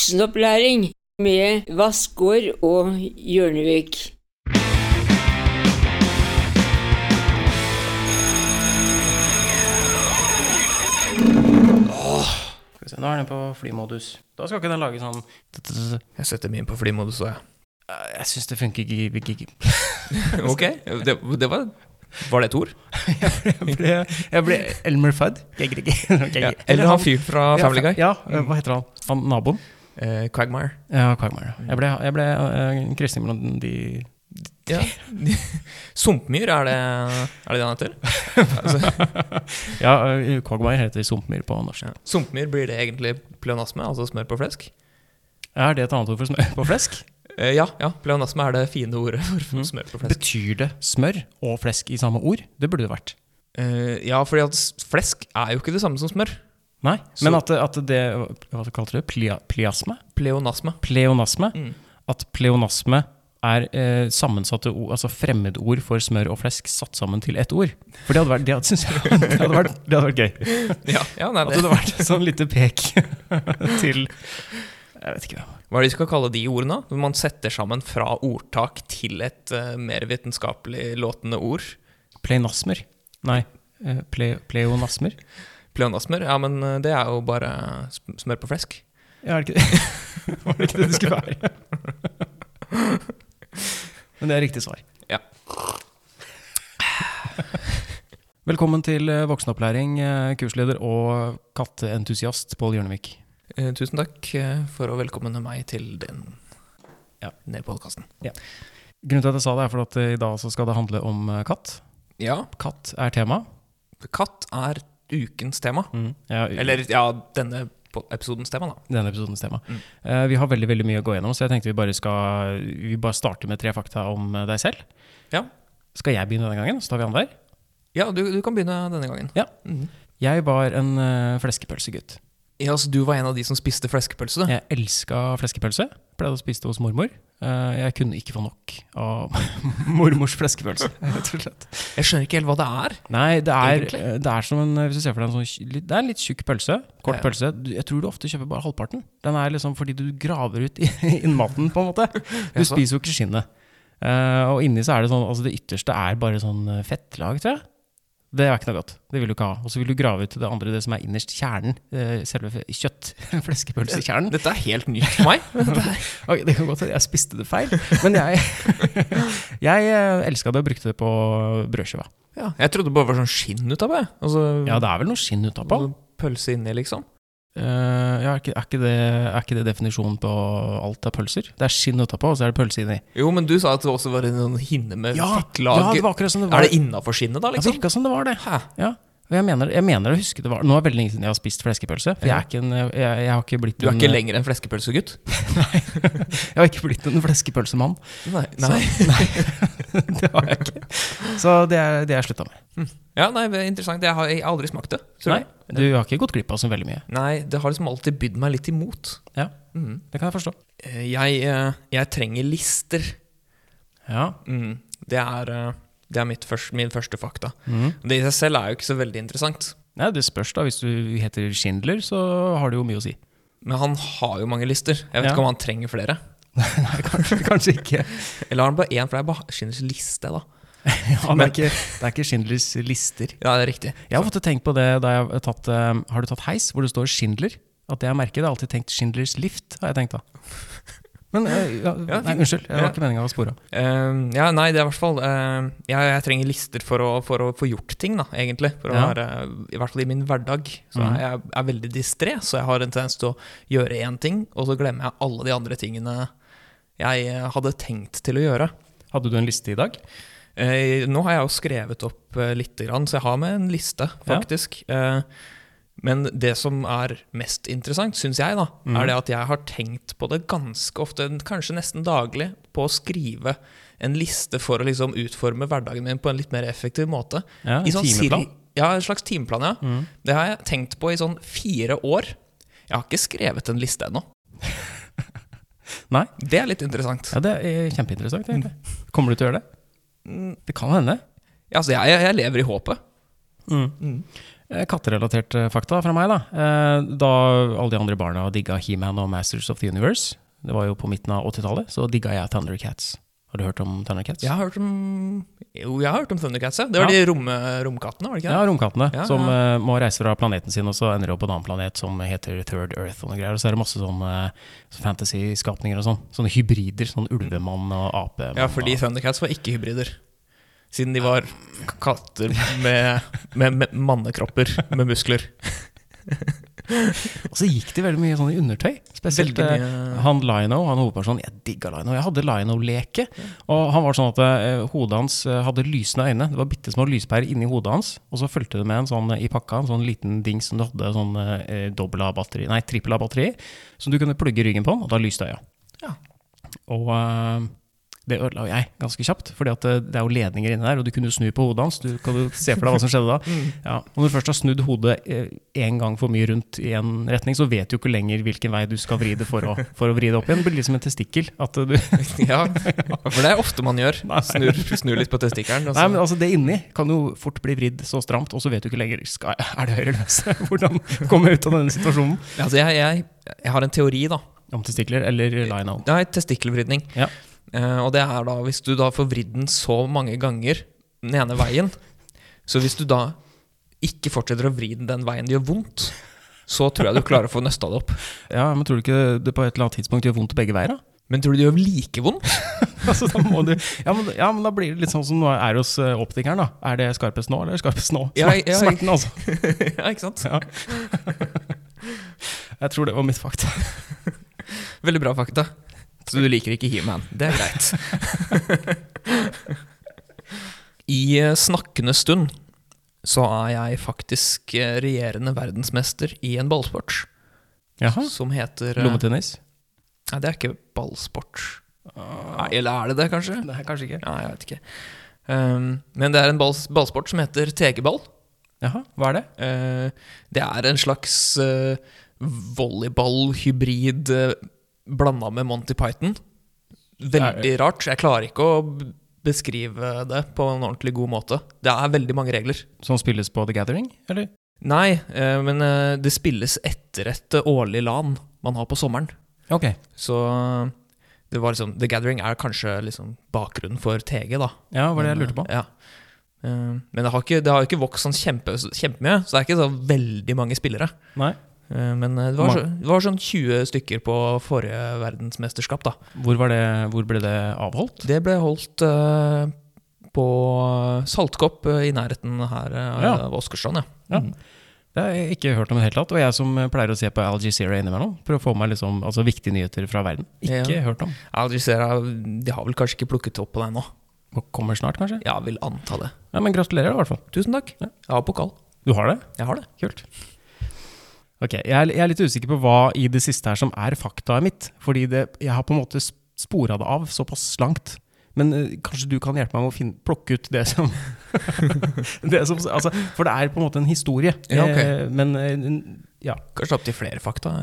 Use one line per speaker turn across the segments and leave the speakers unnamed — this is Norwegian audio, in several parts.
Voksenopplæring med Vassgård og Hjørnevik.
Skal vi se, nå er den på flymodus. Da skal ikke den lage sånn
Jeg setter min på flymodus òg, jeg.
Eh, Jeg syns det funker ikke. ikke- ikke.
Ok, det, det var Var det et ord?
Jeg ble, jeg ble Elmer Fudd. Jeg gidder ikke. Ok,
Ja.
greit.
Eller han fyren fra
ja,
Family Guy? Mm.
Ja, eh, hva heter han? han naboen?
Eh, Quagmire.
Ja, Quagmire. Jeg ble, jeg ble eh, en krysning mellom de
Ja. Sumpmyr, er det er det det han heter?
Ja, eh, Quagmire heter sumpmyr på norsk.
Ja. Sumpmyr blir det egentlig pleonasme, altså smør på flesk?
Er det et annet ord for smør på flesk?
Eh, ja, ja, Mhm. pleonasme er det fine ordet for
Mm.
smør på flesk.
Betyr det smør og flesk i samme ord? Det burde det vært.
Eh, ja, fordi at s- flesk er jo ikke det samme som smør.
Nei,
Så-
men at, at det Hva kalte du det? Plia, pliasme?
Pleonasme.
Pleonasme?
Mm.
At pleonasme er eh, sammensatte ord, altså fremmedord for smør og flesk satt sammen til ett ord. For det hadde vært, det hadde, synes jeg, det hadde vært, det hadde vært gøy.
Ja, ja nei,
At det
Altså, det,
hadde vært et sånn lite pek til Jeg vet ikke.
Hva er det de skal kalle de ordene? Når man setter sammen fra ordtak til et eh, mer vitenskapelig låtende ord.
Pleinasmer? Nei. eh, Ple, pleonasmer?
Pleonasmer, ja, men eh, det er jo bare sm- smør på flesk.
Ja, er det ikke det? Var det ikke det det skulle være? Men det er riktig svar.
Ja.
Velkommen til eh, voksenopplæring, eh, kursleder og katteentusiast Pål Hjørnevik.
Eh, tusen takk eh, for å velkomme meg til den
Ja.
nede på podkasten.
Grunnen til at jeg sa det, er for at eh, i dag så skal det handle om eh, katt.
Ja,
Katt er tema.
katt er ukens tema.
Ja, i-
Mm. Eller ja, denne po- episodens tema, da.
denne episodens tema.
Mm.
Eh, vi har veldig veldig mye å gå gjennom, så jeg tenkte vi bare skal Vi bare starter med tre fakta om eh, deg selv.
Ja.
Skal jeg begynne denne gangen? Så tar vi annenhver.
Ja, du, du kan begynne denne gangen.
Ja.
Mhm.
Jeg var en eh, fleskepølsegutt.
ja, så Du var en av de som spiste fleskepølse, du.
Jeg elska fleskepølse. Pleide å spise det hos mormor. Eh, jeg kunne ikke få nok av mormors fleskepølse, rett og slett.
Jeg skjønner ikke helt hva det er.
Nei, det er,
Egentlig?
eh, det er som en Hvis du ser for deg en sånn tj- litt- Det er en litt tjukk pølse. Kort
Ja.
pølse. Du- Jeg tror du ofte kjøper bare halvparten. Den er liksom fordi du graver ut i- innmaten, på en måte. Du
Jaså?
spiser jo ikke skinnet. Eh, og inni så er det sånn Altså, det ytterste er bare sånn eh, fettlag, tror jeg. Det er ikke noe godt. Det vil du ikke ha. Og så vil du grave ut det andre, det som er innerst, kjernen. eh, Selve fe- kjøtt. Fleskepølsekjernen.
Dette er helt nytt for meg. Det er-
Ok, det kan godt hende jeg spiste det feil, men jeg, jeg elska det og brukte det på brødskiva.
ja, jeg trodde det bare var sånn skinn ut av det. Altså,
Ja, det er vel noe skinn utapå.
altså, pølse inni, liksom.
Eh, ja, er, ikke, er, ikke det, er ikke det definisjonen på alt av pølser? Det er skinn utapå, og så er det pølse inni.
Jo, men du sa at det også var en sånn hinne med
ja,
fettlag.
det var Altså, akkurat som det
er
var.
det innafor skinnet, da?
Det
liksom?
virka som det var det.
Hæ?
Ja. Og jeg mener, jeg mener å huske det var Nå er det veldig lenge siden jeg har spist fleskepølse. For jeg, er ikke en, jeg, jeg har ikke blitt
Du er
en,
ikke lenger en fleskepølsegutt?
Jeg har ikke blitt en fleskepølsemann.
Nei.
Så- nei, det har jeg ikke. Så det er det jeg slutta med.
Ja, nei, det er Interessant. Jeg har, jeg har aldri smakt det. tror
Nei,
jeg.
du har ikke gått glipp av så veldig mye.
Nei, det har liksom alltid bydd meg litt imot.
Ja,
Mhm.
Det kan jeg forstå.
Eh, Jeg, eh, jeg trenger lister.
Ja.
Mm. Det er, eh, det er mitt først, min første fakta.
Mhm.
Det i seg selv er jo ikke så veldig interessant.
Nei, det spørs, da. Hvis du heter Schindler, så har det jo mye å si.
Men han har jo mange lister. Jeg vet
Ja.
ikke om han trenger flere.
Nei, kanskje, kanskje ikke.
Eller har han bare én, for det er bare Schindlers liste, da.
Ja, det,
Men-
er ikke det er ikke Schindlers lister.
Ja, det er riktig.
Jeg har ofte tenkt på det da jeg har tatt eh, Har du tatt heis hvor det står Schindler? At det er merket. Jeg har alltid tenkt Schindlers lift, har jeg tenkt da. Men eh, ja,
Ja,
nei, unnskyld, jeg
Ja.
var ikke meninga å spore av.
Eh, ja, nei, det er i hvert fall eh, ja, Jeg trenger lister for å, for å få gjort ting, da, egentlig. For å
Ja.
være, I hvert fall i min hverdag. Så
Mhm.
jeg er veldig distré, så jeg har en tendens til å gjøre én ting, og så glemmer jeg alle de andre tingene jeg eh, hadde tenkt til å gjøre.
Hadde du en liste i dag?
Eh, nå har jeg jo skrevet opp eh, litt, grann, så jeg har med en liste,
Ja.
faktisk. Eh, men det som er mest interessant, syns jeg, da,
Mhm.
er det at jeg har tenkt på det ganske ofte, kanskje nesten daglig, på å skrive en liste for å liksom utforme hverdagen min på en litt mer effektiv måte.
Ja, en
I sånn
timeplan?
sir- Ja, en slags timeplan, ja.
Mhm.
Det har jeg tenkt på i sånn fire år. Jeg har ikke skrevet en liste ennå.
Nei.
Det er litt interessant.
Ja, det er eh, kjempeinteressant, egentlig. Kommer du til å gjøre det?
Mm,
Det kan hende.
Altså, jeg, jeg lever i håpet.
Mm.
Mm.
Eh, Katterelatert eh, fakta fra meg, da. Eh, Da alle de andre barna digga He-Man og Masters of the Universe, det var jo på midten av 80-tallet, så digga jeg Thundercats. Har du hørt om Thundercats?
Jeg har hørt om Jo, jeg har hørt om Thundercats. ja. Det var
Ja.
de rom, romkattene, var det ikke
Ja,
det?
romkattene
Ja,
som
ja.
eh, må reise fra planeten sin, og så ender de opp på en annen planet som heter Third Earth og noe greier. Og så er det masse sånn eh, fantasy-skapninger og sånn. Sånne hybrider. Sånn ulvemann og apemann.
Ja, fordi
og,
Thundercats var ikke hybrider. Siden de var k- katter med, med, med mannekropper med muskler.
og så gikk de veldig mye sånn i undertøy. Spesielt eh,
Veldig mye-
han Lino, han hovedpersonen. Jeg digga Lino. Jeg hadde Lino-leke. Og han var sånn at eh, hodet hans eh, hadde lysende øyne. Det var bitte små lyspærer inni hodet hans. Og så fulgte det med en sånn eh, i pakka, en sånn liten dings som du hadde sånn eh, dobbel A-batteri, nei, trippel A-batteri, som du kunne plugge i ryggen på, og da lyste øya.
Ja.
Og eh, det ødela jo jeg ganske kjapt, fordi at eh, det er jo ledninger inni der, og du kunne jo snu på hodet hans. Du kan jo se for deg hva som skjedde da. Ja, og når du først har snudd hodet én gang for mye rundt i en retning, så vet du jo ikke lenger hvilken vei du skal vri det for å, for å vri det opp igjen. Det blir liksom en testikkel. At eh, du,
Ja, for det er ofte man gjør. Snur, snur litt på testikkelen. og så-
nei, men altså Det inni kan jo fort bli vridd så stramt, og så vet du ikke lenger skal, jeg- Er det høyre eller venstre. Hvordan komme ut av denne situasjonen?
altså, jeg, jeg, jeg har en teori, da.
Om testikler eller lino.
Nei, testikkelvridning.
Ja.
Eh, og det er da hvis du da får vridd den så mange ganger den ene veien, så hvis du da ikke fortsetter å vri den den veien det gjør vondt, så tror jeg du klarer å få nøsta det opp.
Ja, men tror du ikke det på et eller annet tidspunkt gjør vondt begge veier? da?
Men tror du det gjør like vondt?
altså, da må du, ja, men, ja, men da blir det litt sånn som nå er hos eh, optikeren, da. Er det skarpest nå, eller skarpest nå?
Ja,
Smer-
ja, jeg-
Smerten, altså.
ja, ikke sant?
Ja. Jeg tror det var mitt fakta.
Veldig bra fakta. Så du liker ikke He-Man. Det er greit. I eh, snakkende stund så er jeg faktisk eh, regjerende verdensmester i en ballsport
Jaha.
som heter eh,
Lommetennis?
Nei, det er ikke ballsport. Nei, Ah. eller er det det, kanskje?
Ah. Nei, kanskje ikke.
Nei, jeg vet ikke. Ehm, men det er en balls ballsport som heter tegeball.
Jaha, hva er det?
Eh, det er en slags eh, volleyball-hybrid uh, blanda med Monty Python. Veldig rart. Jeg klarer ikke å b- beskrive det på en ordentlig god måte. Det er veldig mange regler.
Som spilles på The Gathering, eller?
Nei, eh, men eh, det spilles etter et eh, årlig LAN man har på sommeren.
Ok.
Så det var liksom, The Gathering er kanskje liksom bakgrunnen for TG, da.
Ja, var det jeg lurte på.
Ja. Eh, Men det har ikke, det har ikke vokst sånn kjempe, kjempemye, så det er ikke så veldig mange spillere.
Nei.
Eh, Men eh, det var, så, det var sånn 20 stykker på forrige verdensmesterskap, da.
Hvor, var det, hvor ble det avholdt?
Det ble holdt eh, på Saltkopp eh, i nærheten her eh,
Ja.
av Åsgårdstrand, ja.
Ja. Det har jeg ikke hørt om i det hele tatt. Og jeg som eh, pleier å se på Al Jazeera innimellom, for å få meg liksom, altså, viktige nyheter fra verden. Ikke
Ja.
hørt om.
Aldrisera, de har vel kanskje ikke plukket opp på deg nå?
Kommer snart, kanskje.
Ja, vil anta det.
Ja, men gratulerer, i hvert fall.
Tusen takk.
Ja.
Jeg har pokal.
Du har det?
Jeg har det.
Kult. Ok, jeg er, jeg er litt usikker på hva i det siste her som er faktaet mitt. Fordi det, jeg har på en måte spora det av såpass langt. Men eh, kanskje du kan hjelpe meg med å finne, plukke ut det som, det som altså, For det er på en måte en historie.
Ja, ok.
Eh, men eh, n- ja.
Kanskje opp til flere fakta.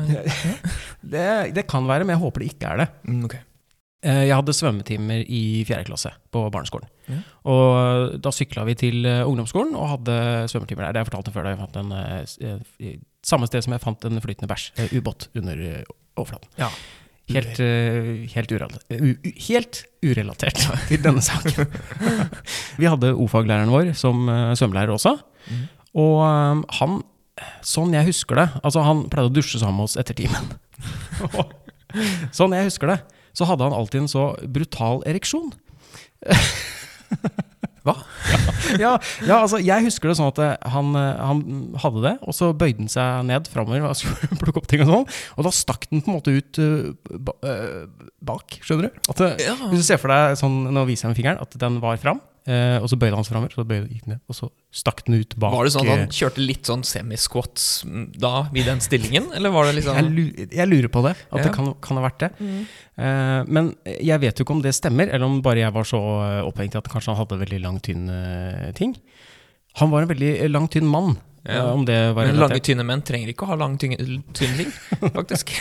Det, det kan være, men jeg håper det ikke er det.
Mm, ok.
Eh, Jeg hadde svømmetimer i fjerde klasse på barneskolen.
Ja.
Og da sykla vi til eh, ungdomsskolen og hadde svømmetimer der. Det har jeg fortalt om før. Da jeg fant en, eh, s- eh, i- samme sted som jeg fant en flytende bæsj, eh, ubåt, under eh, overflaten.
Ja.
Helt, eh, helt, urela- eh, u u- helt urelatert til denne saken. vi hadde O-faglæreren vår som eh, svømmelærer også.
Mhm.
Og eh, han, sånn jeg husker det Altså, han pleide å dusje sammen med oss etter timen. Og sånn jeg husker det, så hadde han alltid en så brutal ereksjon.
Hva?
Ja, ja, altså, jeg husker det sånn at eh, han, eh, han hadde det, og så bøyde han seg ned framover og skulle plukke opp ting og sånn, og da stakk den på en måte ut eh, ba, eh, bak, skjønner du? At, eh,
Ja.
Hvis du ser for deg sånn, nå viser jeg med fingeren, at den var fram, eh, og så bøyde han seg framover, så bøyde, gikk den ned, og så stakk den ut bak.
Var det sånn at
eh,
han kjørte litt sånn semi-squats mm, da, i den stillingen? Eller var det
Jeg,
liksom
lu- jeg lurer på det, at
Ja. Mm.
det kan, kan ha vært det. Eh, men jeg vet jo ikke om det stemmer, eller om bare jeg var så eh, opphengt at kanskje han hadde veldig lang, tynn eh, ting. Han var en veldig eh, lang, tynn mann.
Ja.
eh, om det var
Men lange,
relatert.
tynne menn trenger ikke å ha lang, tynne, tynne ting, faktisk.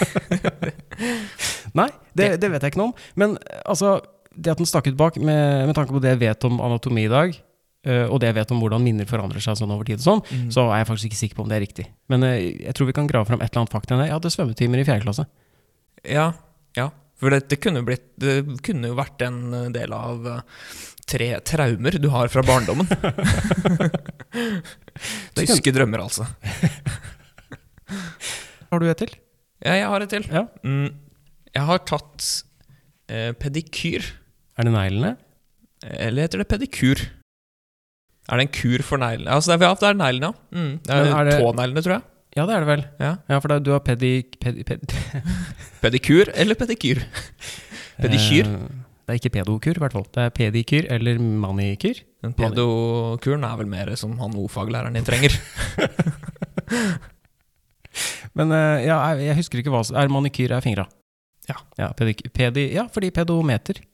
Nei, det, det vet jeg ikke noe om. Men eh, altså, det at den stakk ut bak, med, med tanke på det jeg vet om anatomi i dag, eh, og det jeg vet om hvordan minner forandrer seg sånn over tid, og sånn,
Mm.
så er jeg faktisk ikke sikker på om det er riktig. Men eh, jeg tror vi kan grave fram et eller annet fakta. enn det. Jeg hadde svømmetimer i fjerde klasse.
Ja, ja. For det, det, kunne blitt, det kunne jo vært en eh, del av eh, tre traumer du har fra barndommen. Tyske drømmer, altså.
Har du et til?
Ja, jeg har et til.
Ja.
Mm, jeg har tatt eh, pedikyr.
Er det neglene?
Eller heter det pedikur? Er det en kur for neglene? Altså, det er, ja, det er neglene, ja. Mm, det er,
Men er det-
Tåneglene, tror jeg.
Ja, det er det vel.
Ja.
Ja, for det, er- du har pedi... pedi, pedi
Pedikur eller pedikyr? Pedikyr?
Eh, det er ikke pedokur, i hvert fall. Det er pedikyr eller manikyr.
Den Eh, pedokuren er vel mer som han O-faglæreren din trenger.
Men eh, ja, jeg, jeg husker ikke hva som Er manikyr er fingra?
Ja.
Ja, pedik, pedi, ja, fordi pedometer.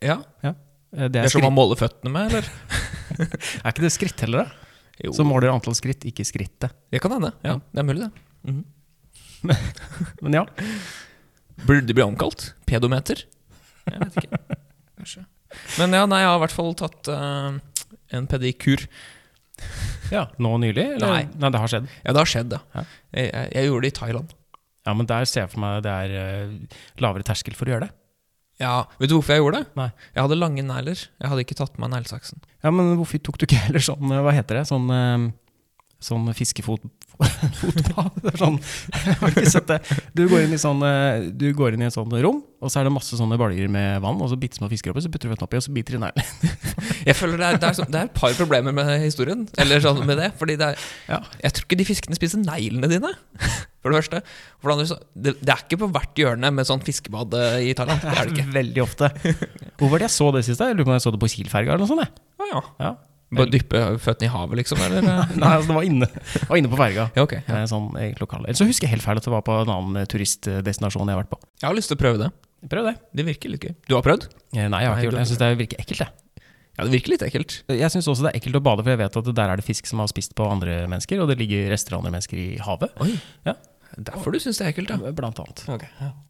Ja,
eh, Det
Det
er,
er som
skritt,
man måler føttene med, eller?
er ikke det skritt heller, da?
Jo,
Så måler antall skritt, ikke skrittet.
det kan hende. Ja, det er mulig, det.
Men ja.
Burde det bli omkalt? Pedometer? Jeg vet ikke. Kanskje. Men ja, nei, jeg har i hvert fall tatt eh, en pedikur.
ja. Nå nylig? Eller?
Nei.
Nei, det har skjedd.
Ja, det har skjedd, ja.
Ja.
Jeg, jeg, jeg gjorde det i Thailand.
Ja, men der ser jeg for meg det er eh, lavere terskel for å gjøre det.
Ja, Vet du hvorfor jeg gjorde det?
Nei.
Jeg hadde lange negler. Jeg hadde ikke tatt med neglesaksen.
Ja, men hvorfor tok du ikke heller sånn, eh, hva heter det, sånn, eh, sånn fiskefot... Fotball? Det er sånn, jeg har ikke sett det. Du går, inn i sånn, eh, du går inn i et sånt rom, og så er det masse sånne baljer med vann, og så bitte små fiskeropper, så putter du føttene oppi, og så biter de neglen.
Jeg føler det er, det, er sånn- det er et par problemer med historien. Eller sånn med det Fordi det er,
Ja.
Jeg tror ikke de fiskene spiser neglene dine. For det første. For det, andre, så, det, det er ikke på hvert hjørne med sånn fiskebad eh, i Thailand. Det er det ikke.
Veldig ofte. Hvor var det jeg så det sist? da? Jeg lurer på om jeg så det på Kielferga eller noe sånt. jeg.
Ah, ja.
Ja.
Bare dyppe føttene i havet, liksom? Eller?
Nei, altså, det var inne, det var inne på ferga.
Ja, ok.
Eh, Sånn, eh, lokal. Eller så husker jeg helt feil at det var på en annen eh, turistdestinasjon jeg har vært på.
Jeg har lyst til å prøve det.
Prøv det.
Det virker litt gøy. Du har prøvd?
Eh, Nei, jeg har
Nei,
ikke gjort
du-
det. Jeg syns det virker ekkelt, jeg.
Ja, det virker litt ekkelt.
Jeg syns også det er ekkelt å bade, for jeg vet at der er det fisk som har spist på andre mennesker, og det ligger rester av andre mennesker i havet,
Oi.
Ja.
Derfor du syns det er ekkelt, ja.
blant annet.
Ok.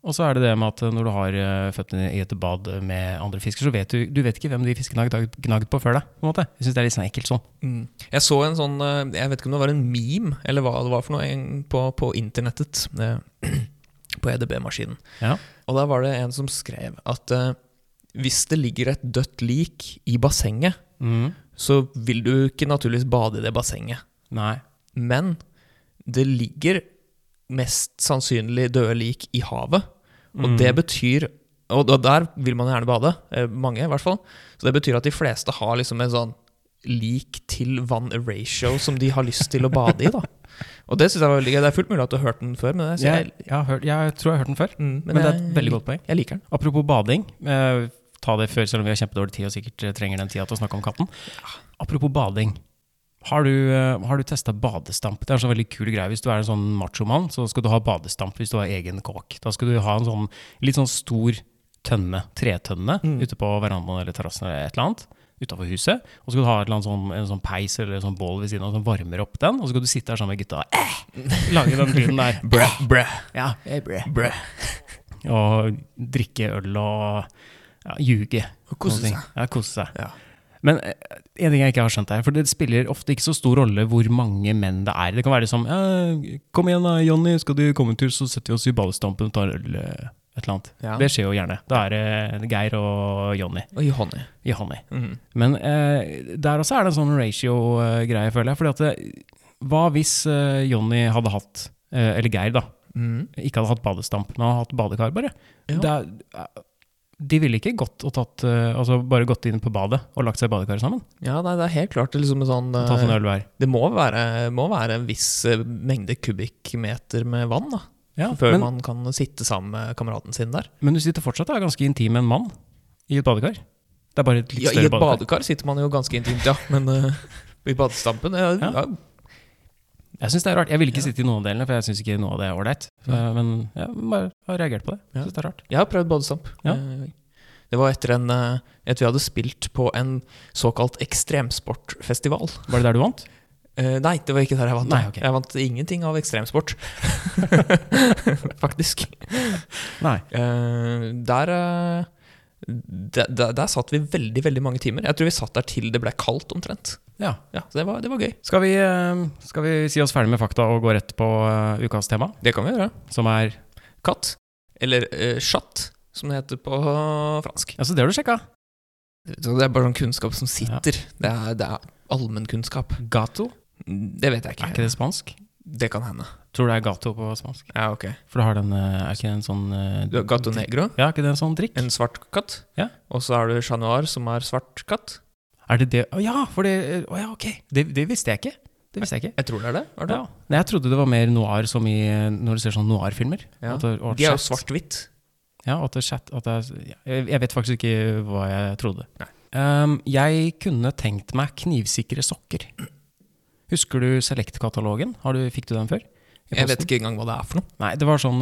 Og så er det det med at når du har eh, føttene i et bad med andre fisker, så vet du, du vet ikke hvem de fiskene har gnagd- gnagd på før deg. på en måte. Jeg syns det er litt sånn ekkelt sånn.
Mm. Jeg så en sånn eh, Jeg vet ikke om det var en meme eller hva det var for noe en- på, på internettet. eh, På EDB-maskinen.
Ja.
Og der var det en som skrev at eh, hvis det ligger et dødt lik i bassenget,
Mm.
så vil du ikke naturligvis bade i det bassenget.
Nei.
Men det ligger mest sannsynlig døde lik i havet. Og
Mm.
det betyr Og da- der vil man gjerne bade. eh, Mange, i hvert fall. Så det betyr at de fleste har liksom en sånn lik til vann ratio som de har lyst til å bade i. da Og det syns jeg var veldig gøy. Det er fullt mulig at du har hørt den før, men jeg,
Altså,
så
Jeg,
jeg,
jeg, har hørt, jeg tror jeg har hørt den før,
mm,
men, det er et veldig godt poeng.
Jeg liker den.
Apropos bading. Eh, ta det før, selv om vi har kjempedårlig tid og sikkert eh, trenger den tida til å snakke om katten. Apropos bading. Har du, eh, har du testa badestamp? Det er en sånn veldig kul greie. Hvis du er en sånn machomann, så skal du ha badestamp hvis du har egen kåk. Da skal du ha en sånn litt sånn stor tønne, tretønne,
Mm.
ute på verandaen eller terrassen eller et eller annet. Utafor huset. Og så skal du ha et eller annet sånn, en sånn peis eller en sånn bål ved siden av som varmer opp den. Og så skal du sitte der sammen med gutta og eh, lage den lyden der.
Brø, brø,
Ja,
brø.
og drikke øl og ja, ljuge.
Og kose
Noen ting.
seg.
Ja, kose seg.
Ja.
Men eh, en ting jeg ikke har skjønt her, for det spiller ofte ikke så stor rolle hvor mange menn det er. Det kan være som ja, 'Kom igjen da, Jonny, skal du komme en tur, så setter vi oss i badestampen og tar øl', eh, et eller annet.
Ja.
Det skjer jo gjerne. Da er det Geir og Jonny.
Og i honning.
Johanni.
Mm.
Men eh, der også er det en sånn ratio-greie, føler jeg. Fordi at det, hva hvis eh, Jonny hadde hatt, eh, eller Geir, da,
Mm.
ikke hadde hatt badestamp, men hadde hatt badekar, bare.
Ja.
Det er, de ville ikke gått og tatt, eh, altså bare gått inn på badet og lagt seg i badekaret sammen.
Ja, nei, det er helt klart liksom en sånn
Og tatt en
eh,
øl hver.
Det må være, må være en viss eh, mengde kubikkmeter med vann da,
Ja,
før
men,
man kan sitte sammen med kameraten sin der.
men du sitter fortsatt og er ganske intim med en mann i et badekar. Det er bare et litt
Ja, I
større
et
badekar.
badekar sitter man jo ganske intimt, ja, men eh, i badestampen ja,
Ja.
ja.
Jeg synes det er rart. Jeg ville ikke sitte i noen av delene, for jeg syns ikke noe av det er ålreit. Så, Men jeg bare har reagert på det.
Ja.
Jeg synes det er rart.
Jeg har prøvd badestamp.
Ja.
Eh, Det var etter en, eh, at vi hadde spilt på en såkalt ekstremsportfestival.
Var det der du vant?
Eh, nei, det var ikke der jeg vant. da.
Nei, ok.
Jeg vant ingenting av ekstremsport, faktisk.
Nei.
Eh, der eh, Der, der, der satt vi veldig veldig mange timer. Jeg tror vi satt der til det ble kaldt, omtrent.
Ja.
Ja, så det var, det var gøy.
Skal vi, eh, skal vi si oss ferdig med fakta og gå rett på eh, ukas tema,
Det kan vi gjøre.
som er
Katt. Eller eh, chat, som det heter på fransk.
Ja, så det har du sjekka.
Så det er bare sånn kunnskap som sitter. Det er, det er allmennkunnskap.
Gato.
Det vet jeg ikke.
Er ikke det spansk?
Det kan hende.
Tror det er gato på spansk.
Ja, ok.
For det har den eh, Er ikke det en sånn eh,
Du har gato negro,
Ja, er ikke det en sånn drikk?
en svart katt.
Ja.
Og så har du chat noir, som er svart katt.
Er det det Å ja, for det eh, Å ja, ok. Det, det visste jeg ikke. Det visste jeg ikke.
Jeg tror det er det. Er det?
Ja. Nei, jeg trodde det var mer noir som i eh, Når du ser sånne noir-filmer.
Ja.
At det- og
De er jo
chat.
svart-hvitt.
Ja, at det er chat at det er, ja, Jeg jeg vet faktisk ikke hva jeg trodde.
Nei.
Ehm, jeg kunne tenkt meg knivsikre sokker. Husker du Select-katalogen? Har du, fikk du den før? I
Jeg vet
posten?
ikke engang hva det er for noe.
Nei, det var sånn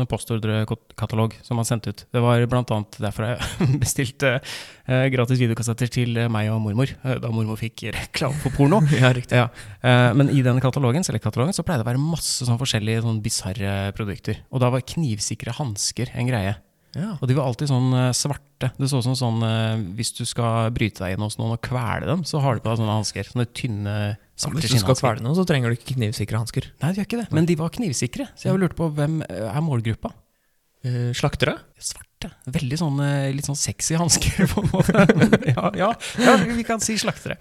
postordrekatalog som man sendte ut. Det var blant annet derfor jeg bestilte eh, gratis videokassetter til eh, meg og mormor, eh, da mormor fikk reklame for porno.
Ja, riktig.
Ja, eh, Men i den katalogen, selektkatalogen så pleide det å være masse sånn forskjellige sånn bisarre produkter. Og da var knivsikre hansker en greie.
Ja.
Og de var alltid sånn eh, svarte. Det så ut som sånn eh, Hvis du skal bryte deg inn hos noen og kvele dem, så har du på deg sånne hansker. Sånne tynne, svarte
Hvis du skal
skinnhansker.
kvele noe, så trenger du ikke knivsikre hansker.
Nei, de gjør ikke det. Men de var knivsikre. Så jeg lurte på hvem eh, er målgruppa?
Eh, slaktere?
Svarte. Veldig sånn eh, litt sånn sexy hansker, på en måte. Men, ja, ja, ja, vi kan si slaktere.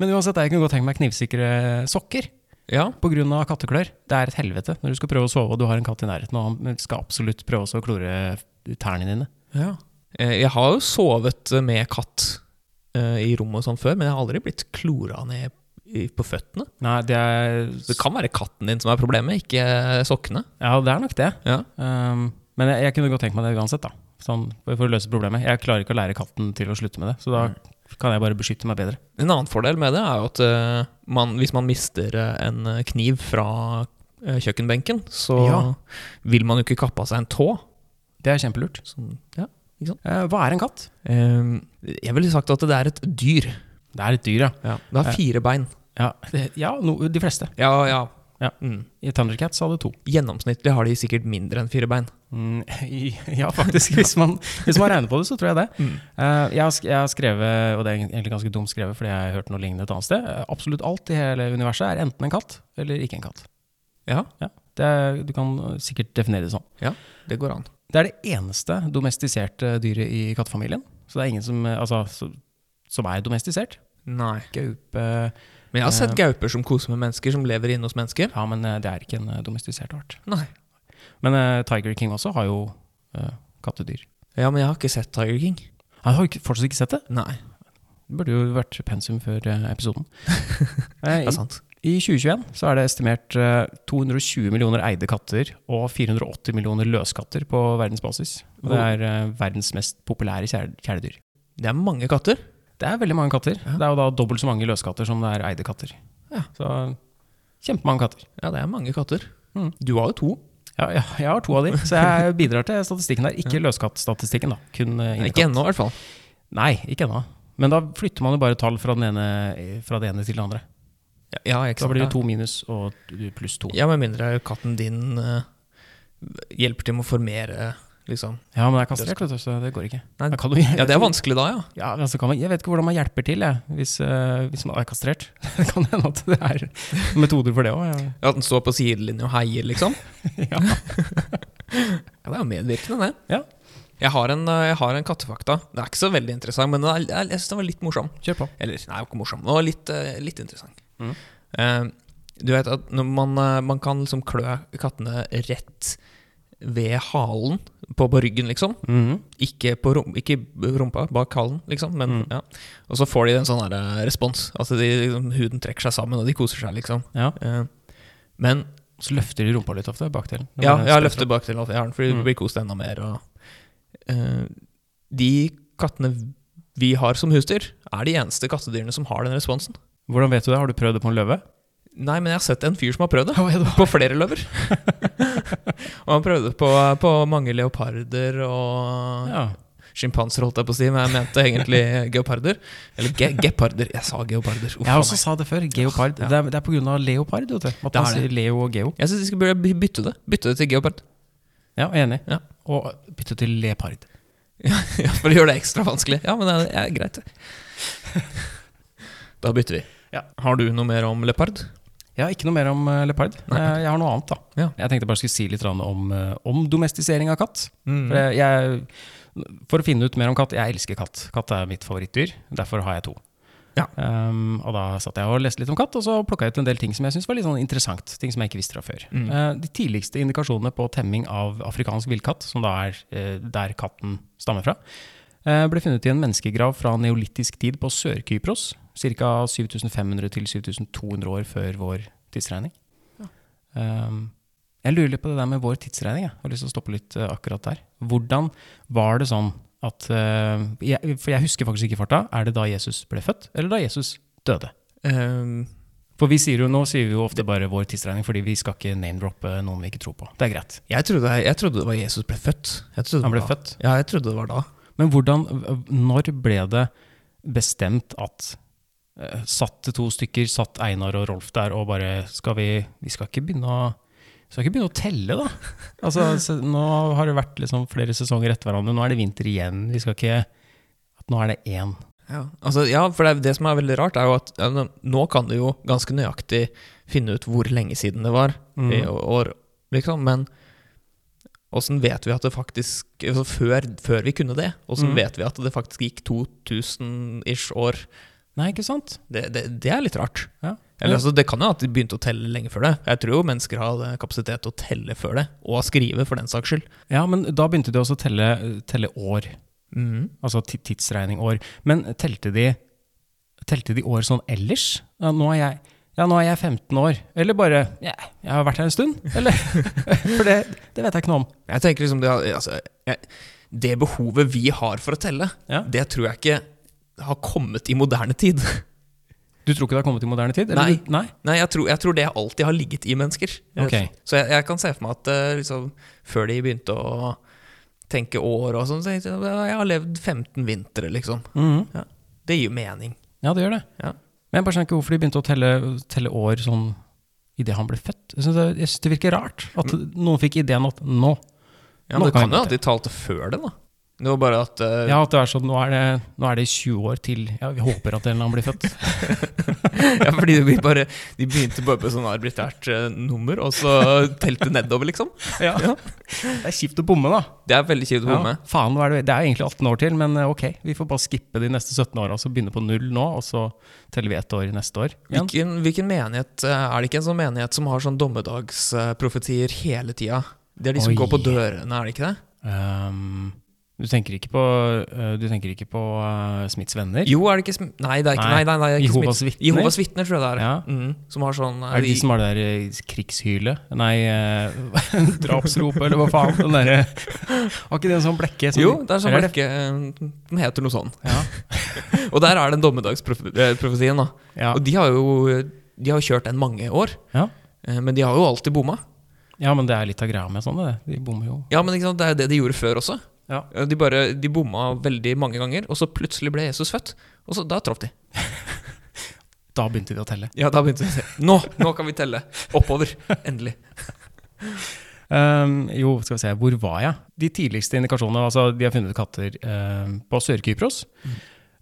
Men uansett, jeg kunne godt tenke meg knivsikre sokker.
Ja.
Pga. katteklør. Det er et helvete når du skal prøve å sove og du har en katt i nærheten og han skal absolutt prøve også å klore tærne dine.
ja. Eh, jeg har jo sovet med katt eh, i rommet og sånn før, men jeg har aldri blitt klora ned i- på føttene.
Nei, det er
Det kan være katten din som er problemet, ikke sokkene.
Ja, det er nok det.
Ja.
Um, men jeg, jeg kunne godt tenkt meg det uansett, da. Sånn, for for å løse problemet. Jeg klarer ikke å lære katten til å slutte med det, så da kan jeg bare beskytte meg bedre.
En annen fordel med det er jo at eh, man, hvis man mister eh, en eh, kniv fra eh, kjøkkenbenken, så
Ja.
vil man jo ikke kappe av seg en tå.
Det er kjempelurt.
Sånn, ja.
Eh, hva er en katt?
Eh, jeg ville sagt at det er et dyr.
Det er et dyr, ja.
Det har fire bein.
Ja, det, ja no, de fleste.
Ja, ja.
Ja.
Mm.
I Thundercats hadde to.
Gjennomsnittlig har de sikkert mindre enn fire bein.
Mm, ja, faktisk. Hvis man, hvis man regner på det, så tror jeg det. Eh, jeg, har sk- jeg har skrevet, og det er egentlig ganske dumt skrevet, fordi jeg har hørt noe lignende et annet sted, eh, absolutt alt i hele universet er enten en katt eller ikke en katt.
Ja.
Ja, det er, du kan eh, sikkert definere det sånn.
Det går an.
Det er det eneste domestiserte dyret i kattefamilien. Så det er ingen som, eh, altså, så, som er domestisert.
Nei.
Gaupe
Men jeg har sett
Eh.
gauper som koser med mennesker, som lever inne hos mennesker.
Ja, men eh, det er ikke en eh, domestisert art.
Nei.
Men eh, Tiger King også har jo eh, kattedyr.
Ja, men jeg har ikke sett Tiger King.
Jeg har jo ikke, fortsatt ikke sett det.
Nei,
Det burde jo vært pensum før eh, episoden.
det
Eh,
er sant.
I 2021 så er det estimert eh, 220 millioner eide katter og 480 millioner løskatter på verdensbasis. Og det er eh, verdens mest populære kjæle- kjæledyr.
Det er mange katter.
Det er veldig mange katter.
Ja.
Det er jo da dobbelt så mange løskatter som det er eide katter.
Ja.
Så kjempemange katter.
Ja, det er mange katter.
Mm.
Du har jo to.
Ja, ja, jeg har to av de, så jeg bidrar til statistikken der. Ikke løskattstatistikken, da. Kun eh, innekatt.
Ikke ennå, i hvert fall.
Nei, ikke ennå. Men da flytter man jo bare tall fra, den ene, fra det ene til det andre.
Ja,
Da
ikke sant.
blir
Ja.
det to minus og pluss to.
Ja, med mindre katten din eh, hjelper til med å formere, liksom.
Ja, men det er kastrert, vet du, så det går ikke.
Nei,
Da kan du,
Ja, det er vanskelig da, ja.
Ja, men altså kan man, jeg vet ikke hvordan man hjelper til jeg, hvis, eh, hvis man er kastrert. Det kan hende at det er metoder for det òg. Ja.
At den står på sidelinjen og heier, liksom.
Ja.
Ja, det er jo medvirkende, det.
Ja.
Jeg har, en, eh, jeg har en kattefakta. Det er ikke så veldig interessant, men den er, jeg- jeg syns den var litt morsom.
Kjør på.
Eller, nei, den var ikke morsom. Den var litt, eh, litt interessant.
Mhm.
Eh, du vet at når man, eh, man kan liksom klø kattene rett ved halen, på, på ryggen, liksom.
Mhm.
Ikke på rom, ikke rumpa, bak halen, liksom. Men,
Mhm.
ja. Og så får de en sånn her, eh, respons. Altså de, liksom, huden trekker seg sammen, og de koser seg, liksom.
Ja.
Eh, men
Så løfter de rumpa litt ofte, bakdelen. Det
ja,
var det
jeg har
spesielt.
løftet bak til jeg har den, fordi
Mm.
det blir kost enda mer. Og, eh, de kattene vi har som husdyr, er de eneste kattedyrene som har den responsen.
Hvordan vet du det? Har du prøvd det på en løve?
Nei, men jeg har sett en fyr som har prøvd det.
Ja, det
På flere løver. og han prøvde det på, på mange leoparder og
Ja.
sjimpanser, holdt jeg på å si, men jeg mente egentlig geoparder. Eller ge geparder. Jeg sa geoparder. Uff,
Jeg har
a
også
meg.
sa det før. Geopard.
Ja.
Det, er, det er på grunn av leopard, vet du. At
Det
man
er det.
sier Leo og Geo.
jeg syns de skulle burde bytte det. Bytte det til geopard.
Ja, jeg er enig.
Ja.
Og bytte til leopard.
Ja, for å gjøre det ekstra vanskelig. Ja, men det er, det er greit, det. Da bytter vi.
Ja.
Har du noe mer om leopard?
Ja, ikke noe mer om eh, leopard.
Nei.
Eh, Jeg har noe annet, da.
Ja.
Jeg tenkte bare skulle si litt grann om, eh, om domestisering av katt.
Mm.
For, jeg, jeg, for å finne ut mer om katt Jeg elsker katt. Katt er mitt favorittdyr. Derfor har jeg to.
Ja.
Um, og da satt jeg og leste litt om katt, og så plukka jeg ut en del ting som jeg syntes var litt sånn interessant. Ting som jeg ikke visste fra før.
Mm.
Eh, de tidligste indikasjonene på temming av afrikansk villkatt, som da er eh, der katten stammer fra, eh, ble funnet i en menneskegrav fra neolitisk tid på Sør-Kypros. Ca. 7500 til 7200 år før vår tidsregning. Um, jeg lurer litt på det der med vår tidsregning. Jeg, jeg har lyst til å stoppe litt eh, akkurat der. Hvordan var det sånn at eh, jeg, For jeg husker faktisk ikke farta. Er det da Jesus ble født, eller da Jesus døde?
Ehm,
For vi sier jo nå sier vi jo ofte bare vår tidsregning, fordi vi skal ikke name-droppe noen vi ikke tror på. Det er greit.
jeg, trodde, jeg trodde det var Jesus ble født. Jeg trodde det
Han ble
var da.
født.
Ja, jeg trodde det var da.
Men hvordan, når ble det bestemt at eh, Satt det to stykker, satt Einar og Rolf der og bare Skal vi Vi skal ikke begynne å vi skal ikke begynne å telle, da. Altså, se- nå har det vært liksom flere sesonger etter hverandre. Nå er det vinter igjen. Vi skal ikke at Nå er det én.
Ja, altså, ja for det, er- det som er veldig rart, er jo at ja, nå- nå kan du jo ganske nøyaktig finne ut hvor lenge siden det var i
Mm.
å- år, liksom, men åssen vet vi at det faktisk altså, før, før vi kunne det, åssen
Mm.
vet vi at det faktisk gikk 2000-ish år?
Nei, ikke sant?
Det, det, det er litt rart.
Ja.
Eller, altså, det kan jo at de begynte å telle lenge før det. Jeg tror jo mennesker hadde kapasitet til å telle før det, og skrive, for den saks skyld.
ja, men da begynte de også å telle, telle år. Altså ti- tidsregning år. Men telte de, telte de år sånn ellers? Ja, nå er jeg ja, nå er jeg 15 år. Eller bare ja, Jeg har vært her en stund. Eller, for det, det vet jeg ikke noe om.
Jeg tenker liksom det, altså, jeg, det behovet vi har for å telle,
Ja.
det tror jeg ikke har kommet i moderne tid.
Du tror ikke det har kommet i moderne tid?
Nei.
Eller? du- Nei.
Nei, jeg tror, jeg tror det alltid har ligget i mennesker.
Ok.
Så jeg, jeg kan se for meg at eh, liksom, før de begynte å tenke år og sånn, så tenkte jeg jeg har levd 15 vintre, liksom.
Mhm.
Det gir jo mening.
Ja, det gjør det.
Ja.
Men jeg bare skjønner ikke hvorfor de begynte å telle, telle år sånn idet han ble født. Jeg syns det, jeg synes det virker rart at
Mm.
noen fikk ideen at nå
Ja, men
Nå
det kan
jeg
jo
gå
at
til.
de talte før det, da. Det var bare at eh,
Ja, at det er sånn Nå er det, nå er det 20 år til Ja, vi håper at en eller annen blir født.
Ja, fordi vi bare, de begynte bare på sånn arbitrært eh, nummer, og så telte nedover, liksom.
Ja. Det er kjipt å bomme, da.
Det er veldig kjipt å bomme.
Ja, faen, hva er det? det er jo egentlig 18 år til, men eh, ok, vi får bare skippe de neste 17 åra, så begynne på null nå, og så teller vi ett år neste år. igjen.
Hvilken, hvilken menighet eh, Er det ikke en sånn menighet som har sånn dommedagsprofetier hele tida? Det er de som
Oi.
går på dørene, er det ikke det?
Ehm, du tenker ikke på, eh, du tenker ikke på eh, Smiths venner?
Jo, er det ikke sm Nei, det er ikke,
Nei,
nei, nei, nei, det er ikke
Jehovas
smitt-
vitner.
Jehovas vitner, tror jeg det er.
Ja.
Mm, som har sånn eh,
Er det de som har det der eh, krigshylet? Nei, eh, drapsropet, eller hva faen? Den derre Har ikke det en sånn blekke? som-
Jo, det er sånn
eller
blekke eh, Den heter noe sånn.
Ja.
og der er den dommedagsprofetien, da.
Ja.
Og de har jo de har jo kjørt den mange år,
Ja.
eh, men de har jo alltid bomma.
ja, men det er litt av greia med sånne, det. De bommer jo.
Ja, men ikke sant, det er jo det de gjorde før også. Eh,
Ja.
De, bare, de bomma veldig mange ganger, og så plutselig ble Jesus født. Og så da traff de.
Da begynte de å telle.
Ja, da begynte de å se. Nå, nå kan vi telle! Oppover. Endelig.
Ehm, jo, skal vi se, hvor var jeg? De tidligste indikasjonene, altså de har funnet katter ehm, på Sør-Kypros.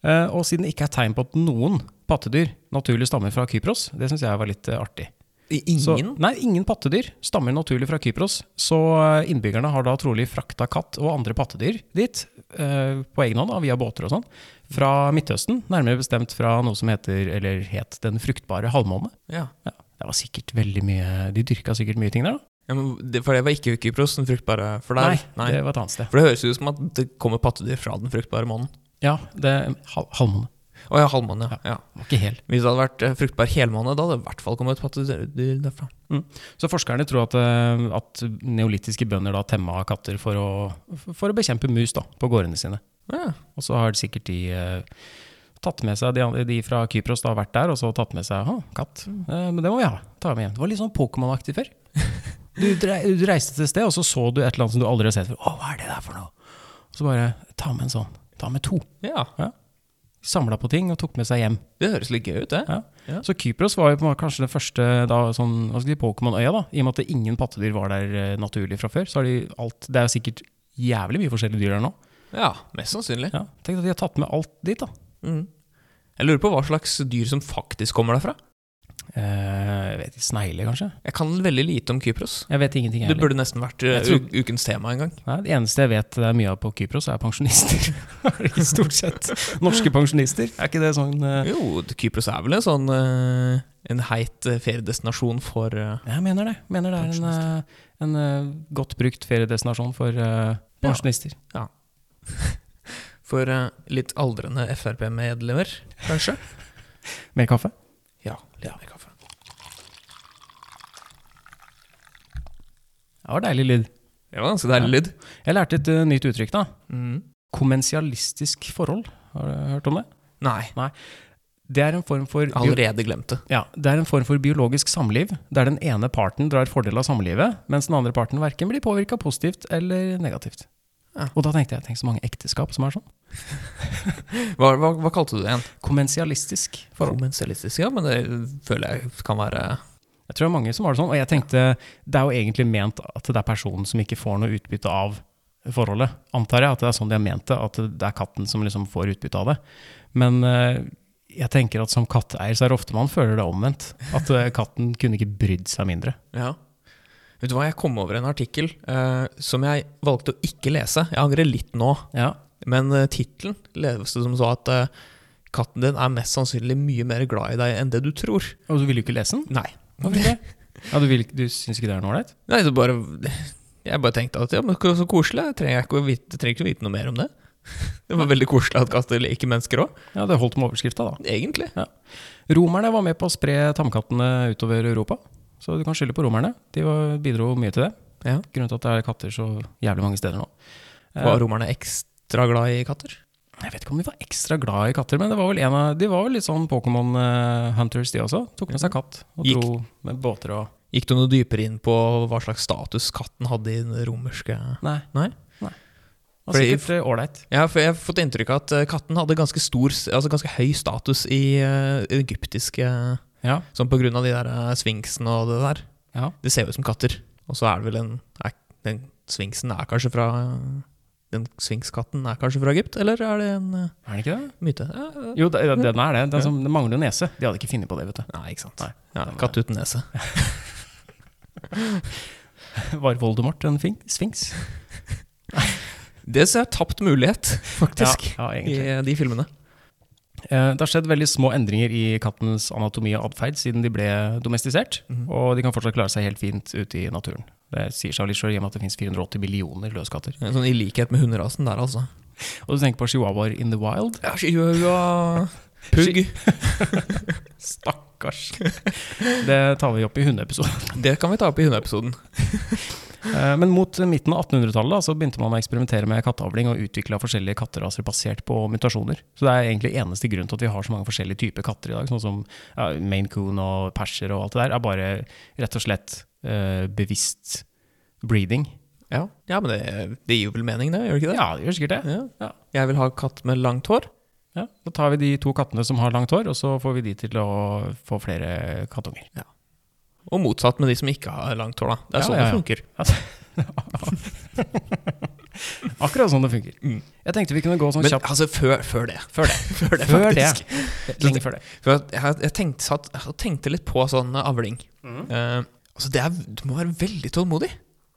Eh, og siden det ikke er tegn på at noen pattedyr naturlig stammer fra Kypros, det syns jeg var litt eh, artig.
I-
Så,
Ingen?
nei, ingen pattedyr stammer naturlig fra Kypros, så eh, innbyggerne har da trolig frakta katt og andre pattedyr dit, eh, på egen hånd, da, via båter og sånn, fra Midtøsten, nærmere bestemt fra noe som heter, eller het, Den fruktbare halvmåne.
Ja.
Ja, det var sikkert veldig mye De dyrka sikkert mye ting der, da.
ja men det, for det var ikke Kypros, den fruktbare eh, for der.
nei. det var et annet sted.
For det høres jo ut som at det kommer pattedyr fra den fruktbare månen.
Ja, det hal halvmåne.
Å ja, halvmåne. Ja. Ja.
Den var Ikke hel.
Hvis det hadde vært eh, fruktbar helmåne, da hadde det i hvert fall kommet pattedyr derfra.
Så forskerne tror at, eh, at neolittiske bønder da temma katter for å, for å bekjempe mus da, på gårdene sine.
Ja.
Og så har sikkert de eh, tatt med seg de, andre- de fra Kypros da har vært der, og så tatt med seg «Å, katt. Eh, men det må vi ha. Ta med hjem. Det var litt sånn Pokémon-aktig før. Du, drei, du reiste til et sted, og så så du et eller annet som du aldri har sett før. Å, hva er det der for noe? Og så bare ta med en sånn. Ta med to.
ja.
Samla på ting og tok med seg hjem.
Det høres litt gøy ut, det.
Ja.
Ja.
Så Kypros var jo på en måte kanskje den første da, sånn, hva skal jeg si, Pokémon-øya, da. I og med at ingen pattedyr var der eh, naturlig fra før. Så har de alt Det er jo sikkert jævlig mye forskjellige dyr der nå.
Ja, mest sannsynlig.
Ja, Tenk at de har tatt med alt dit, da.
Mm. Jeg lurer på hva slags dyr som faktisk kommer derfra.
Eh, jeg vet ikke, Snegler, kanskje?
Jeg kan veldig lite om Kypros.
Jeg vet ingenting, jeg
Det
heller.
burde nesten vært eh,
Jeg tror-
u- ukens tema en gang.
Nei, Det eneste jeg vet det er mye av på Kypros, er pensjonister. Stort sett. Norske pensjonister. Er ikke det sånn eh,
Jo, Kypros er vel en sånn eh, En heit eh, feriedestinasjon for eh,
Jeg mener det. Mener det er en, eh, en eh, godt brukt feriedestinasjon for eh, pensjonister.
For eh, litt aldrende Frp-medlemmer, kanskje?
Mer kaffe?
Ja. Litt mer kaffe.
Det var deilig lyd.
Det var ganske deilig lyd.
Jeg lærte et eh, nytt uttrykk, da.
Mm.
Kommensialistisk forhold. Har du hørt om det?
Nei.
Det er en form for bio-
Allerede glemt det.
Ja, Det er en form for biologisk samliv, der den ene parten drar fordel av samlivet, mens den andre parten verken blir påvirka positivt eller negativt.
Ja.
Og da tenkte jeg tenk så mange ekteskap som er sånn.
Hva, hva, hva kalte du det igjen?
Kommensialistisk forhold.
Formensialistisk, ja, men det føler jeg kan være
Jeg tror det er mange som har det sånn, og jeg tenkte det er jo egentlig ment at det er personen som ikke får noe utbytte av forholdet. Antar jeg at det er sånn de har ment det, at det er katten som liksom får utbytte av det. Men eh, jeg tenker at som katteeier så er det ofte man føler det omvendt. At eh, katten kunne ikke brydd seg mindre.
Ja. Vet du hva, jeg kom over en artikkel eh, som jeg valgte å ikke lese. Jeg angrer litt nå,
Ja,
men uh, tittelen leves det som så at eh, katten din er mest sannsynlig mye mer glad i deg enn det du tror.
Og du ville jo ikke lese den?
Nei.
Hvorfor ikke? Ja, du, vil, ikke- du syns ikke det er noe ålreit?
Nei, det bare Jeg bare tenkte at ja, men så koselig. Jeg trenger ikke å vite, trenger ikke å vite noe mer om det. Det var veldig koselig at katter liker mennesker òg,
Ja, det holdt med overskrifta, da.
egentlig.
Romerne var med på å spre tamkattene utover Europa, så du kan skylde på romerne. De var, bidro mye til det.
Ja.
Grunnen til at det er katter så jævlig mange steder nå. Eh,
Var romerne ekstra glad i katter?
Jeg vet ikke om de var ekstra glad i katter, men det var vel en av, de var vel litt sånn Pokémon eh, Hunters, de også. Tok med seg katt og
Gikk-
dro med båter og
Gikk du noe dypere inn på hva slags status katten hadde i den romerske
Nei.
Nei?
Det var
Fordi-
sikkert eh, ålreit.
Ja, for jeg har fått inntrykk av at eh, katten hadde ganske, stor, altså ganske høy status i eh, i egyptiske
Ja,
Sånn på grunn av de der eh, sfinksene og det der.
ja.
De ser jo ut som katter. Og så er det vel en er, Den sfinksen er kanskje fra eh, Den sfinkskatten er kanskje fra Egypt, eller er det en eh,
Er den ikke det?
myte? Ja, ja.
Jo, det- den er det. Den, som, den mangler jo nese. De hadde ikke funnet på det, vet du.
Nei, ikke sant.
Nei.
Ja, katt uten nese.
Var Voldemort en fin- sfinks?
Det ser jeg tapt mulighet, faktisk,
Ja, ja,
i
egentlig.
eh, de filmene.
Eh, Det har skjedd veldig små endringer i kattenes anatomi og atferd siden de ble domestisert. Og de kan fortsatt klare seg helt fint ute i naturen. Det sier seg litt selv hjemme at det finnes 480 millioner løskatter.
Sånn I likhet med hunderasen der, altså.
Og du tenker på chihuahuaer in the wild?
Ja, chihuahua Pugg.
Stakkars! Det tar vi opp i hundeepisoden.
Det kan vi ta opp i hundeepisoden.
Eh, Men mot midten av 1800-tallet da, så begynte man å eksperimentere med katteavling og utvikla forskjellige katteraser basert på mutasjoner. Så det er egentlig eneste grunn til at vi har så mange forskjellige typer katter i dag, sånn som ja, Maine Coon og perser og alt det der, er bare rett og slett eh, bevisst breeding.
Ja, ja men det, det gir jo vel mening, det? Gjør det ikke det?
Ja, det gjør sikkert det. Ja.
Jeg vil ha katt med langt hår.
Ja, da tar vi de to kattene som har langt hår, og så får vi de til å få flere kattunger.
Og motsatt med de som ikke har langt hår, da. Det er
Ja,
sånn
ja, ja.
det funker.
Akkurat sånn det funker.
Mm.
Jeg tenkte vi kunne gå sånn
Men
kjapt
altså, før, før det.
før det.
Før det,
Før det.
faktisk.
Lenge før det.
For jeg, jeg, jeg, tenkte, satt, jeg tenkte litt på sånn eh, avling.
Mm.
Eh, altså, det er, du må være veldig tålmodig,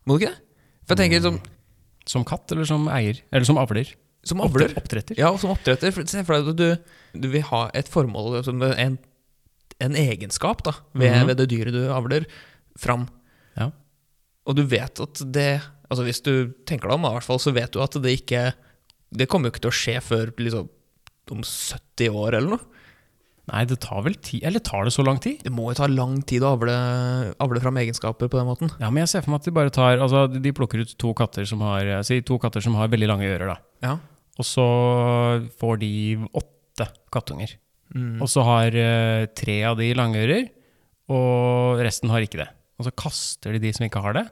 må du ikke det? For jeg tenker
Mm.
som,
Som katt eller som eier? Eller som avler?
som avler
Oppdretter?
Ja, og som oppdretter. For, se for deg at du, du vil ha et formål, som en, en egenskap, da, ved,
Mhm.
ved det dyret du avler, fram.
Ja.
Og du vet at det Altså Hvis du tenker deg om, da, i hvert fall, så vet du at det ikke Det kommer jo ikke til å skje før liksom, om 70 år eller noe.
Nei, det tar vel tid Eller tar det så lang tid?
Det må jo ta lang tid å avle, avle fram egenskaper på den måten.
Ja, men jeg ser for meg at de bare tar Altså, de plukker ut to katter som har eh, Si to katter som har veldig lange ører, da.
Ja.
Og så får de åtte kattunger.
Mm.
Og så har eh, tre av de langører, og resten har ikke det. Og så kaster de de som ikke har det,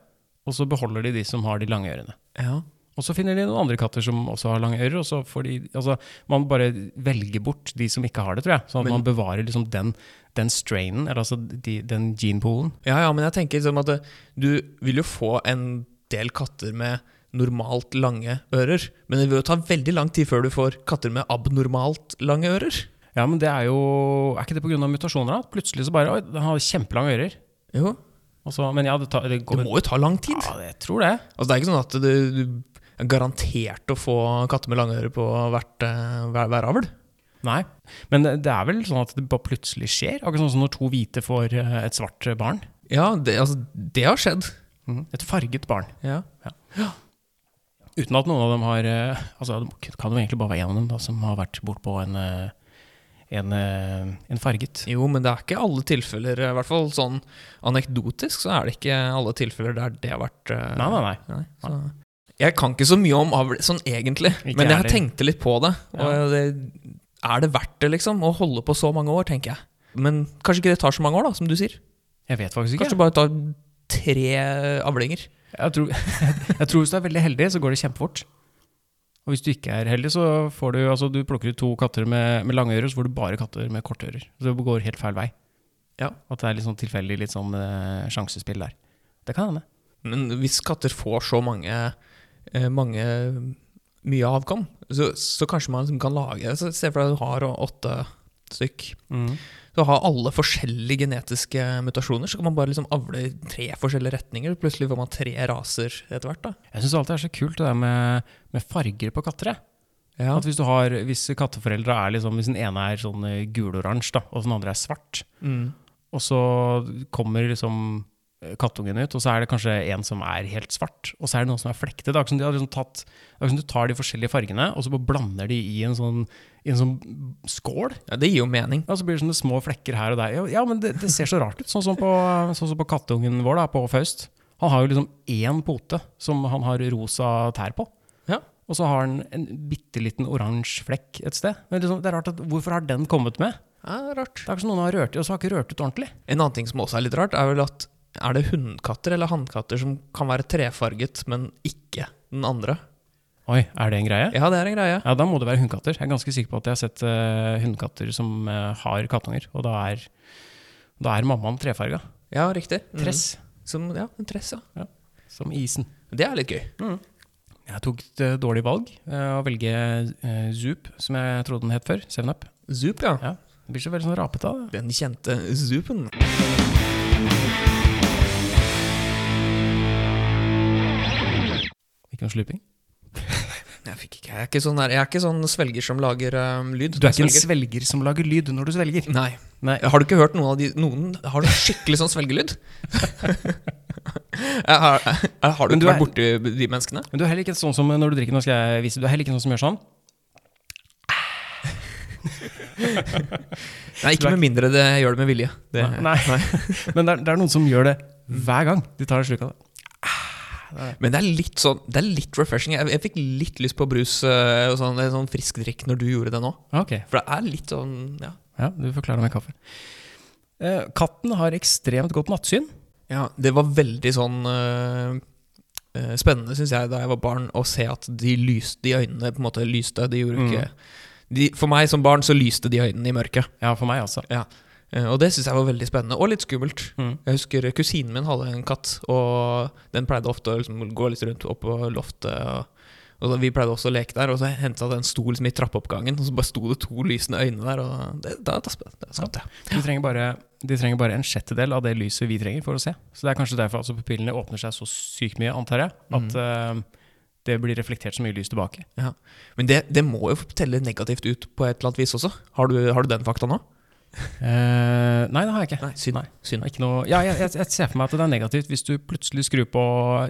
og så beholder de de som har de lange ørene.
ja.
Og så finner de noen andre katter som også har lange ører, og så får de Altså, man bare velger bort de som ikke har det, tror jeg. Sånn at man bevarer liksom den, den strainen, eller altså de, den genpoolen.
Ja, ja, men jeg tenker liksom at eh, du vil jo få en del katter med normalt lange ører. Men det vil jo ta veldig lang tid før du får katter med abnormalt lange ører.
Ja, men det er jo Er ikke det pga. mutasjoner? da? Plutselig så bare Oi, den har kjempelange ører.
Jo,
Og så, men ja, det, tar, det
Det
går
må jo ta lang tid.
Ja, jeg tror det.
Altså, det er ikke sånn at du, du er garantert å få katter med lange ører på hvert, eh, hver, hver avl.
Nei. Men det er vel sånn at det bare plutselig skjer? Akkurat sånn som når to hvite får eh, et svart barn.
Ja, det, altså, det har skjedd. Mhm.
Et farget barn.
Ja.
Uten at noen av dem har eh, Altså, det kan jo egentlig bare være én av dem da, som har vært bortpå en, eh, en, eh, en farget.
Jo, men det er ikke alle tilfeller, i hvert fall sånn anekdotisk, så er det ikke alle tilfeller der det har vært eh,
Nei, nei, nei.
Nei, så. Jeg kan ikke så mye om avl sånn egentlig,
Ikke
men
heller.
jeg tenkte litt på det. Og
Ja.
det. Er det verdt det, liksom? Å holde på så mange år, tenker jeg. Men kanskje ikke det tar så mange år, da, som du sier.
Jeg vet faktisk ikke.
Kanskje det bare tar tre avlinger.
Jeg tror, jeg tror hvis du er veldig heldig, så går det kjempefort. Og hvis du ikke er heldig, så får du altså du plukker ut to katter med, med lange ører, så får du bare katter med korte ører. Så det går helt feil vei.
Ja.
At det er litt sånn tilfeldig litt sånn eh, sjansespill der. Det kan hende.
Men hvis katter får så mange, eh, mange mye avkom, så, så kanskje man liksom kan lage så Se for deg du har åtte stykk. Så har alle forskjellige genetiske mutasjoner, så kan man bare liksom avle i tre forskjellige retninger. Plutselig får man tre raser etter hvert. da.
Jeg syns alltid det er så kult det der med, med farger på katter. jeg. At hvis, du har, hvis katteforeldre er liksom, hvis den ene er sånn eh, guloransje, da, og den andre er svart,
Mm.
Og så kommer liksom eh, kattungen ut, og så er det kanskje en som er helt svart, og så er det noen som er flektet. Det er ikke som de har liksom tatt, det er ikke som du tar de forskjellige fargene, og så bare blander de i en sånn, i en sånn skål.
Ja, det gir jo mening.
Og så blir det sånne små flekker her og der. Ja, Ja, men det, det ser så rart ut. Sånn som på, sånn som på kattungen vår, da, på Faust. Han har jo liksom én pote som han har rosa tær på.
Ja.
Og så har han en bitte liten oransje flekk et sted. Men liksom, det er rart at, Hvorfor har den kommet med?
Ja, rart.
Det er ikke som noen har rørt i, og så har ikke rørt ut ordentlig.
En annen ting som også er litt rart, er vel at er det hunnkatter eller hannkatter som kan være trefarget, men ikke den andre?
Oi, er det en greie?
Ja, det er en greie.
Ja, da må det være hundekatter. Jeg er ganske sikker på at jeg har sett uh, hundekatter som eh, har kattunger, og da er, da er mammaen trefarga.
Ja, riktig. Mm.
Tress,
Som, ja, en tress, ja.
som isen.
Det er litt gøy.
Jeg tok et eh, dårlig valg eh, å velge eh, Zoop, som jeg trodde den het før. Seven Up.
Zoop, ja.
Ja. Det blir så veldig sånn rapete av det.
Den kjente Zoopen.
Ikke noe slurping.
Jeg, fikk ikke, jeg, er ikke sånn der, jeg er ikke sånn svelger som lager øhm, lyd.
Du er ikke en
Svelger.
svelger som lager lyd når du svelger.
Nei.
Nei.
Har du ikke hørt noen av de Noen har du skikkelig sånn svelgelyd? Jeg har, jeg, har du
Men
ikke
du
vært
er-
borti de menneskene?
Men du er heller ikke sånn som eh, når du drikker, nå skal jeg vise, du er heller ikke sånn som gjør sånn.
Nei,
Du
ikke
er
med mindre det gjør det med vilje. Det,
Nei. Men det er, det er noen som gjør det hver gang de tar en slurk av det.
Men det er litt sånn Det er litt refreshing. Jeg, jeg fikk litt lyst på brus øh, og sånn, en sånn frisk drikk når du gjorde det nå.
Ah, Ok,
For det er litt sånn Ja,
Ja, du forklarer med kaffe. Eh, katten har ekstremt godt nattsyn.
ja det var veldig sånn øh, øh, spennende, syns jeg, da jeg var barn, å se at de lyste de øynene på en måte lyste. De gjorde
Mm.
ikke de, For meg som barn så lyste de øynene i mørket.
Ja, for meg altså.
Eh, Og det syns jeg var veldig spennende, og litt skummelt.
Mm.
Jeg husker kusinen min hadde en katt, og den pleide ofte å liksom gå litt rundt opp på loftet. Og, og da, Vi pleide også å leke der, og så henta den sto liksom i trappeoppgangen, og så bare sto det to lysende øyne der, og det, da, da, sp- da skapte jeg.
De trenger, bare, de trenger bare en sjettedel av det lyset vi trenger for å se. Så det er kanskje derfor altså, pupillene åpner seg så sykt mye, antar jeg, at eh, det blir reflektert så mye lys tilbake.
Ja. Men det, det må jo telle negativt ut på et eller annet vis også. Har du, har du den fakta nå?
Eh, nei, det har jeg ikke.
Nei, synd.
Nei.
synd.
Ikke noe, ja, jeg, jeg, jeg ser for meg at det er negativt hvis du plutselig skrur på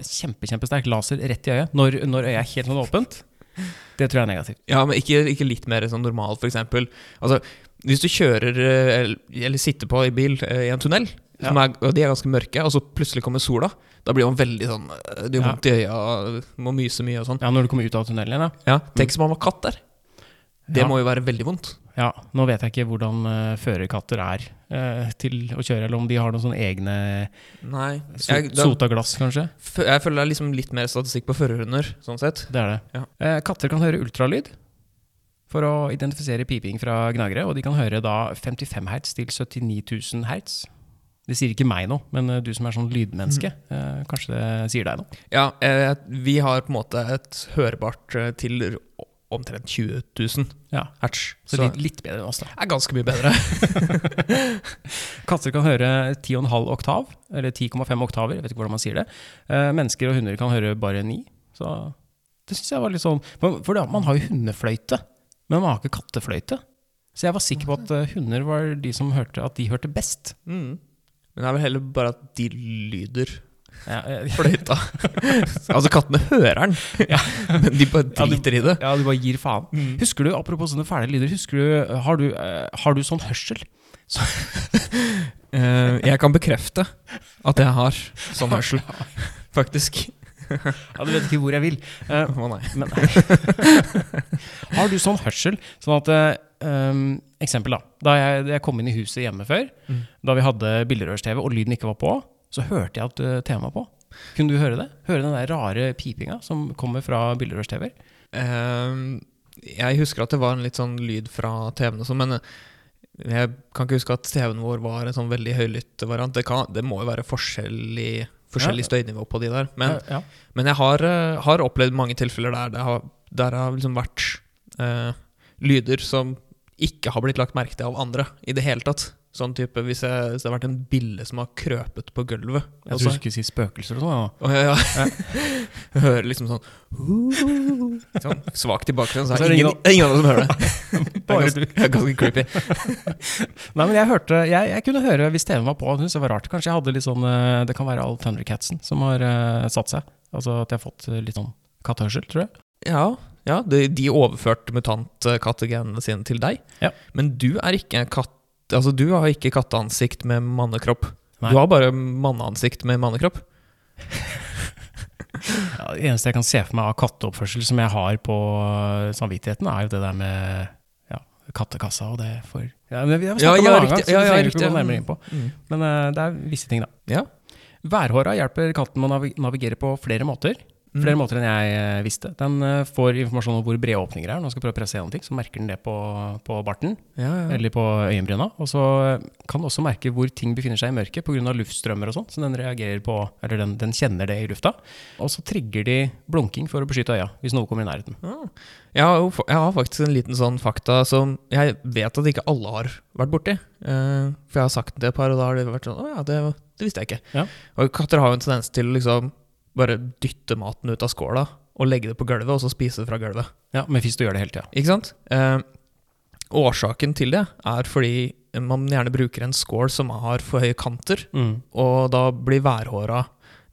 kjempe, kjempesterk laser rett i øyet når, når øyet er helt sånn åpent. Det tror jeg er negativt.
Ja, men ikke, ikke litt mer sånn normal, for eksempel. Altså, hvis du kjører eh, eller, eller sitter på i bil eh, i en tunnel,
Ja.
som er, og de er ganske mørke, og så plutselig kommer sola, da blir man veldig sånn eh, Du har
Ja.
vondt i øya, og må myse mye og sånn.
Ja, når du kommer ut av tunnelen igjen, ja.
Ja, Tenk som man var katt der. Det
Ja.
må jo være veldig vondt.
Ja, nå vet jeg ikke hvordan eh, førerkatter er eh, til å kjøre, eller om de har noen sånne egne
Nei.
so
Jeg, da,
sota glass, kanskje.
f- jeg føler det er liksom litt mer statistikk på førerhunder, sånn sett.
Det er det.
Ja.
Eh, katter kan høre ultralyd for å identifisere piping fra gnagere, og de kan høre da 55 hertz til 79 000 hertz. Det sier ikke meg noe, men eh, du som er sånn lydmenneske, eh, kanskje det sier deg noe.
Ja, eh, vi har på en måte et hørbart eh, til r- omtrent 20 000
Ja,
hertz.
Så,
Så
litt,
det
litt bedre enn oss, da.
er ganske mye bedre.
Katter kan høre 10,5 oktav, eller 10,5 oktaver, jeg vet ikke hvordan man sier det. Eh, mennesker og hunder kan høre bare 9. Så det syns jeg var litt sånn For, for da, man har jo hundefløyte, men man har ikke kattefløyte. Så jeg var sikker på at eh, hunder var de som hørte at de hørte best.
Mm. Men det er vel heller bare at de lyder
Ja, eh,
fløyta. altså, kattene hører den, men de bare
Ja, Mm. de-
driter i det.
ja du bare gir faen. Husker du, apropos sånne fæle lyder, husker du, eh, har, du eh, har du sånn hørsel?
Eh, jeg kan bekrefte at jeg har sånn hørsel, faktisk.
Ja, du vet ikke hvor jeg vil. Eh,
Å nei.
Men har du sånn hørsel? Sånn at eh, um, Eksempel, da. Da jeg, da jeg kom inn i huset hjemme før,
Mm.
da vi hadde bilderørs-TV og lyden ikke var på, så hørte jeg at uh, TV var på. Kunne du høre det? Høre den der rare pipinga som kommer fra bilderørs-TV-er?
Eh, jeg husker at det var en litt sånn lyd fra TV-en og sånn, men eh, jeg kan ikke huske at TV-en vår var en sånn veldig høylytt variant. Det, kan, det må jo være forskjellig, forskjellig støynivå på de der. Men,
Eh, ja,
men jeg har, eh, har opplevd mange tilfeller der det har, der har liksom vært eh, lyder som ikke har blitt lagt merke til av andre i det hele tatt. Sånn type hvis, jeg, hvis det har vært en bille som har krøpet på gulvet.
jeg
og
tror
så-
du skulle si spøkelser og sånn.
Å, ja, ja. Hører liksom sånn, sånn Svakt i bakgrunnen, så
Og så er
er
det
det ingen, ingen andre som hører det. Det er
Bare
ganske- Det er ganske creepy.
Nei, men jeg hørte Jeg, jeg kunne høre hvis TV-en var på. Jeg syntes det var rart. Kanskje jeg hadde litt sånn eh, Det kan være all Thundercatsen som har eh, satt seg. Altså at jeg har fått eh, litt sånn kattehørsel, tror jeg.
Ja, ja de, de overførte mutantkategenene sine til deg.
Ja.
Men du er ikke en katt Altså, du har ikke katteansikt med mannekropp.
Nei.
Du har bare manneansikt med mannekropp.
Ja, det eneste jeg kan se for meg av katteoppførsel som jeg har på øh, samvittigheten, er jo det der med ja, kattekassa og det for ja, men Vi har snakket om det mange ganger, så det trenger vi ikke gå nærmere inn på.
Mm.
Men øh, det er visse ting, da.
Ja.
Værhåra hjelper katten med å navi- navigere på flere måter. Flere måter enn jeg øh, visste. Den øh, får informasjon om hvor brede åpninger er. Når den skal prøve å presse gjennom ting, så merker den det på, på barten
Ja, ja.
eller på øyenbryna. Og så øh, kan den også merke hvor ting befinner seg i mørket pga. luftstrømmer og sånn. Så den reagerer på, eller den, den kjenner det i lufta. Og så trigger de blunking for å beskytte øya hvis noe kommer i nærheten.
Ah. Jeg har, jo fa- jeg har faktisk en liten sånn fakta som jeg vet at ikke alle har vært borti. Eh, for jeg har sagt det et par, og da har det vært sånn Å ja, det, det visste jeg ikke.
Ja.
Og katter har jo en tendens til å liksom bare dytte maten ut av skåla og legge det på gulvet, og så spise det fra gulvet.
Ja, Mefisto gjør det hele tida.
Ikke sant? Eh, årsaken til det er fordi man gjerne bruker en skål som har for høye kanter,
Mm.
og da blir værhåra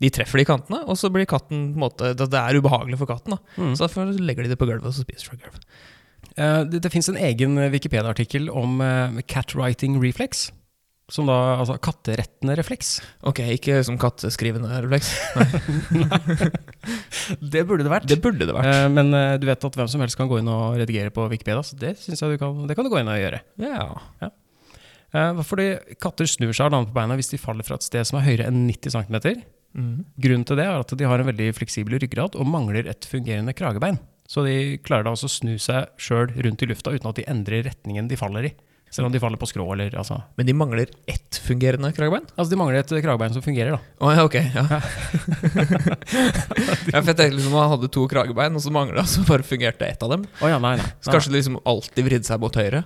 De treffer de kantene, og så blir katten på en måte Det det er ubehagelig for katten, da.
Mm.
Så derfor legger de det på gulvet, og så spiser de fra gulvet.
Eh, Det, det fins en egen Wikipedia-artikkel om eh, catwriting reflex. Som da, altså katterettende refleks.
Ok, ikke som katteskrivende refleks.
Det burde det vært.
Det burde det vært.
Eh, Men eh, du vet at hvem som helst kan gå inn og redigere på Wikipedia, så det synes jeg du kan, det kan du gå inn og gjøre.
Ja.
Eh, Fordi katter snur seg og lander på beina hvis de faller fra et sted som er høyere enn 90 cm.
Mm.
Grunnen til det er at de har en veldig fleksibel ryggrad og mangler et fungerende kragebein. Så de klarer da også å snu seg sjøl rundt i lufta uten at de endrer retningen de faller i. Selv om de faller på skrå eller altså
Men de mangler ett fungerende kragebein?
Altså, de mangler et kragebein som fungerer, da.
Å ja, ok. Ja. ja, for jeg tenkte liksom Man hadde to kragebein, og så mangla så bare fungerte ett av dem.
Å ja, nei, nei.
Så kanskje det liksom alltid vridde seg mot høyre.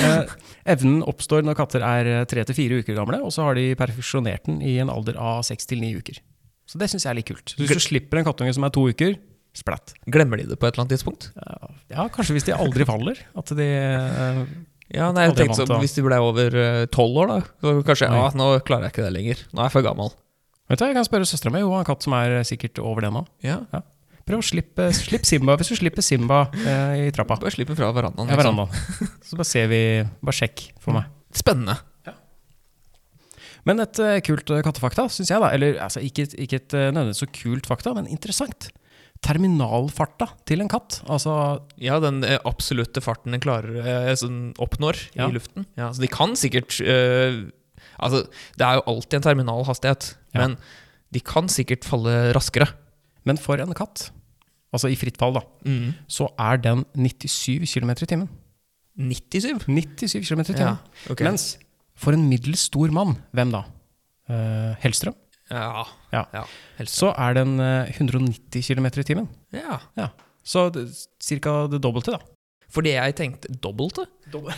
Eh, evnen oppstår når katter er eh, tre til fire uker gamle, og så har de perfeksjonert den i en alder av seks til ni uker. Så det syns jeg er litt kult. Så hvis du slipper en kattunge som er to uker, splatt.
Glemmer de det på et eller annet tidspunkt?
Ja, Ja, kanskje hvis de aldri faller. At de eh,
Ja, nei, jeg
Aldri vant,
tenkte sånn,
da.
Hvis de ble over eh, tolv år, da, så kanskje
Oi.
ja, nå klarer jeg ikke det lenger. Nå er jeg for gammel.
Vet du, Jeg kan spørre søstera mi, hun har en katt som er eh, sikkert over det nå.
Ja,
Prøv å slippe slipp Simba hvis du slipper Simba eh, i trappa.
Bare slipp den fra verandaen.
Ja,
liksom.
verandaen. Så bare ser vi Bare sjekk for meg.
Spennende.
Men et eh, kult eh, kattefakta, syns jeg, da. Eller altså, ikke, et- ikke et eh, nødvendigvis så kult fakta, men interessant. Terminalfarta til en katt. Altså
Ja, den eh, absolutte farten den klarer, eh, sånn, oppnår
Ja.
i luften. Ja, så de kan sikkert eh, Altså, det er jo alltid en terminal hastighet,
Ja.
men de kan sikkert falle raskere.
Men for en katt, altså i fritt fall, da, så er den 97 km i timen.
97?
97 km i timen.
Ja, ok.
Mens For en middels stor mann, hvem da? Eh, Hellstrøm.
Ja.
Ja.
helst.
Så er den eh, 190 km i timen.
ja.
Så ca. det dobbelte, da.
Fordi jeg tenkte Dobbelt, det?
Dobbel-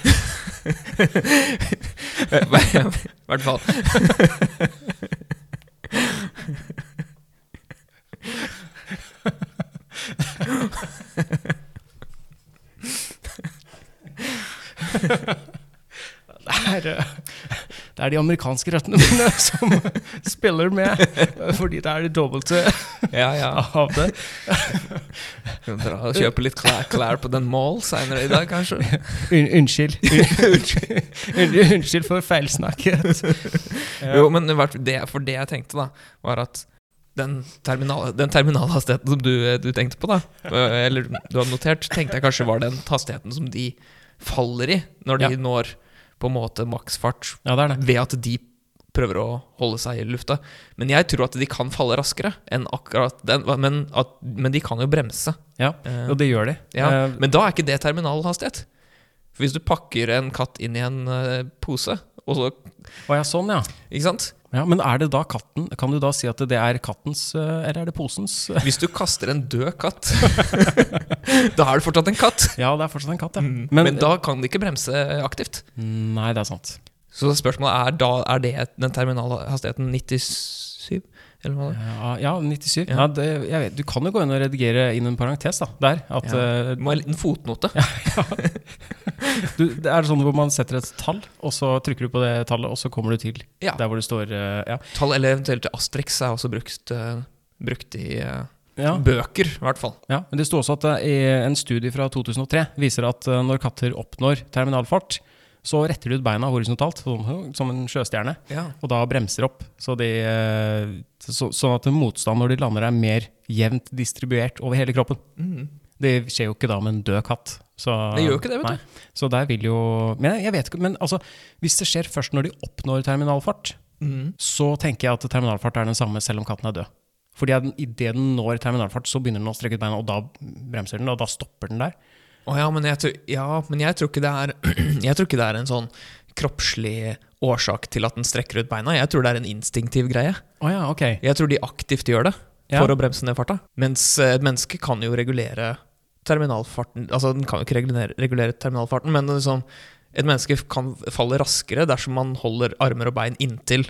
I hvert fall.
Det er, eh, det er de amerikanske røttene mine som spiller med, eh, fordi det er det dobbelte
Ja, ja.
av det.
Skal dra og kjøpe litt klær, klær på den mall seinere i dag, kanskje.
Un unnskyld. unnskyld. Un- Unnskyld for feilsnakket.
Jo, men i hvert fall det, for det jeg tenkte, da, var at den, terminal, den terminalhastigheten som du, du tenkte på, da, eh, eller du hadde notert, tenkte jeg kanskje var den hastigheten som de faller i når de
Ja.
når på en måte maksfart,
Ja, det er det.
ved at de prøver å holde seg i lufta. Men jeg tror at de kan falle raskere enn akkurat den, men, at, men de kan jo bremse.
Ja,
Eh,
Og det gjør de.
ja.
Eh,
Men da er ikke det terminalhastighet. For hvis du pakker en katt inn i en eh, pose, og så
Å ja, sånn, ja.
Ikke sant?
ja. Men er det da katten? Kan du da si at det er kattens, eh, eller er det posens?
Hvis du kaster en død katt, da er det fortsatt en katt. Mm.
Ja, det er fortsatt en katt, ja.
Men,
Men-
da kan de ikke bremse eh, aktivt.
Nei, det er sant.
Så spørsmålet er da er det den terminalhastigheten 97? Eller hva det er?
Ja, ja 97.
Ja.
Ja. det, jeg vet, du kan jo gå inn og redigere inn en parentes da, der. At, eh,
Det må en liten fotnote.
du, det er sånn hvor man setter et tall, og så trykker du på det tallet, og så kommer du til
Ja.
der hvor det står eh, ja.
Tall eller eventuelt Astrix er også brukt, eh, brukt i eh,
Ja,
bøker, i hvert fall.
ja. Men det sto også at eh, i en studie fra 2003 viser at eh, når katter oppnår terminalfart, så retter de ut beina horisontalt, sånn, som en sjøstjerne,
Ja.
og da bremser opp. Så de, eh, så, sånn at motstand når de lander er mer jevnt distribuert over hele kroppen.
Mm.
Det skjer jo ikke da med en død katt. Så,
Det gjør jo ikke det, vet du.
du. Så der vil jo Men jeg, jeg vet ikke, men altså, hvis det skjer først når de oppnår terminalfart,
Mm.
så tenker jeg at terminalfart er den samme selv om katten er død. Fordi at den- i det den når terminalfart, så begynner den å strekke ut beina, og da bremser den, og da stopper den der.
Å ja, men jeg, tror- ja, men jeg tror ikke det er Jeg tror ikke det er en sånn kroppslig årsak til at den strekker ut beina. Jeg tror det er en instinktiv greie.
Å ja, ok.
Jeg tror de aktivt gjør det
Ja.
for å bremse ned farta. Mens eh, et menneske kan jo regulere terminalfarten Altså, den kan jo ikke regulere, regulere terminalfarten, men liksom, et menneske kan falle raskere dersom man holder armer og bein inntil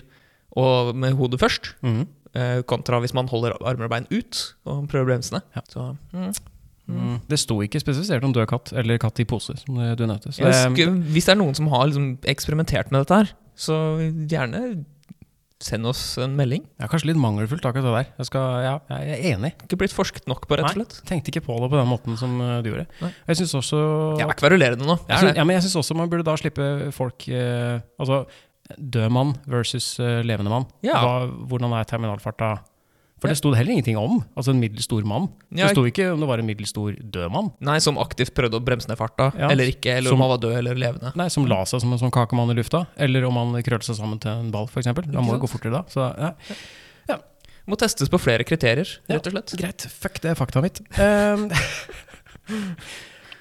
og med hodet først,
Mhm.
eh, kontra hvis man holder armer og bein ut og prøver å bremse ned.
Ja.
Så, mm.
Mm. Det sto ikke spesifisert om død katt eller katt i pose, som eh, du nevnte. Så
Jeg
det,
skulle- hvis det er noen som har liksom eksperimentert med dette her, så gjerne send oss en melding.
ja, kanskje litt mangelfullt akkurat det der. Jeg, skal, ja, jeg er enig.
Ikke blitt forsket nok på, rett og
Nei.
slett.
Tenkte ikke på det på den måten som eh, du gjorde.
Nei.
Jeg synes også
Jeg er kverulerende nå.
Jeg synes, Altså, ja, men jeg syns også man burde da slippe folk eh, Altså død mann versus eh, levende mann.
Ja.
Hva, hvordan er terminalfarta? For
Ja.
det sto det heller ingenting om. Altså en middels stor mann.
Ja,
det sto ikke om det var en middels stor død mann.
Nei, som aktivt prøvde å bremse ned farta,
Ja.
eller ikke, eller
Som-
om han var død eller levende.
Nei, som la seg som en sånn kakemann i lufta. Eller om han krøller seg sammen til en ball, f.eks. Da må
Ikke
det
sant?
gå fortere da. Så ja.
Må testes på flere kriterier,
Ja.
rett og slett.
greit. Fuck, det er fakta mitt. Um,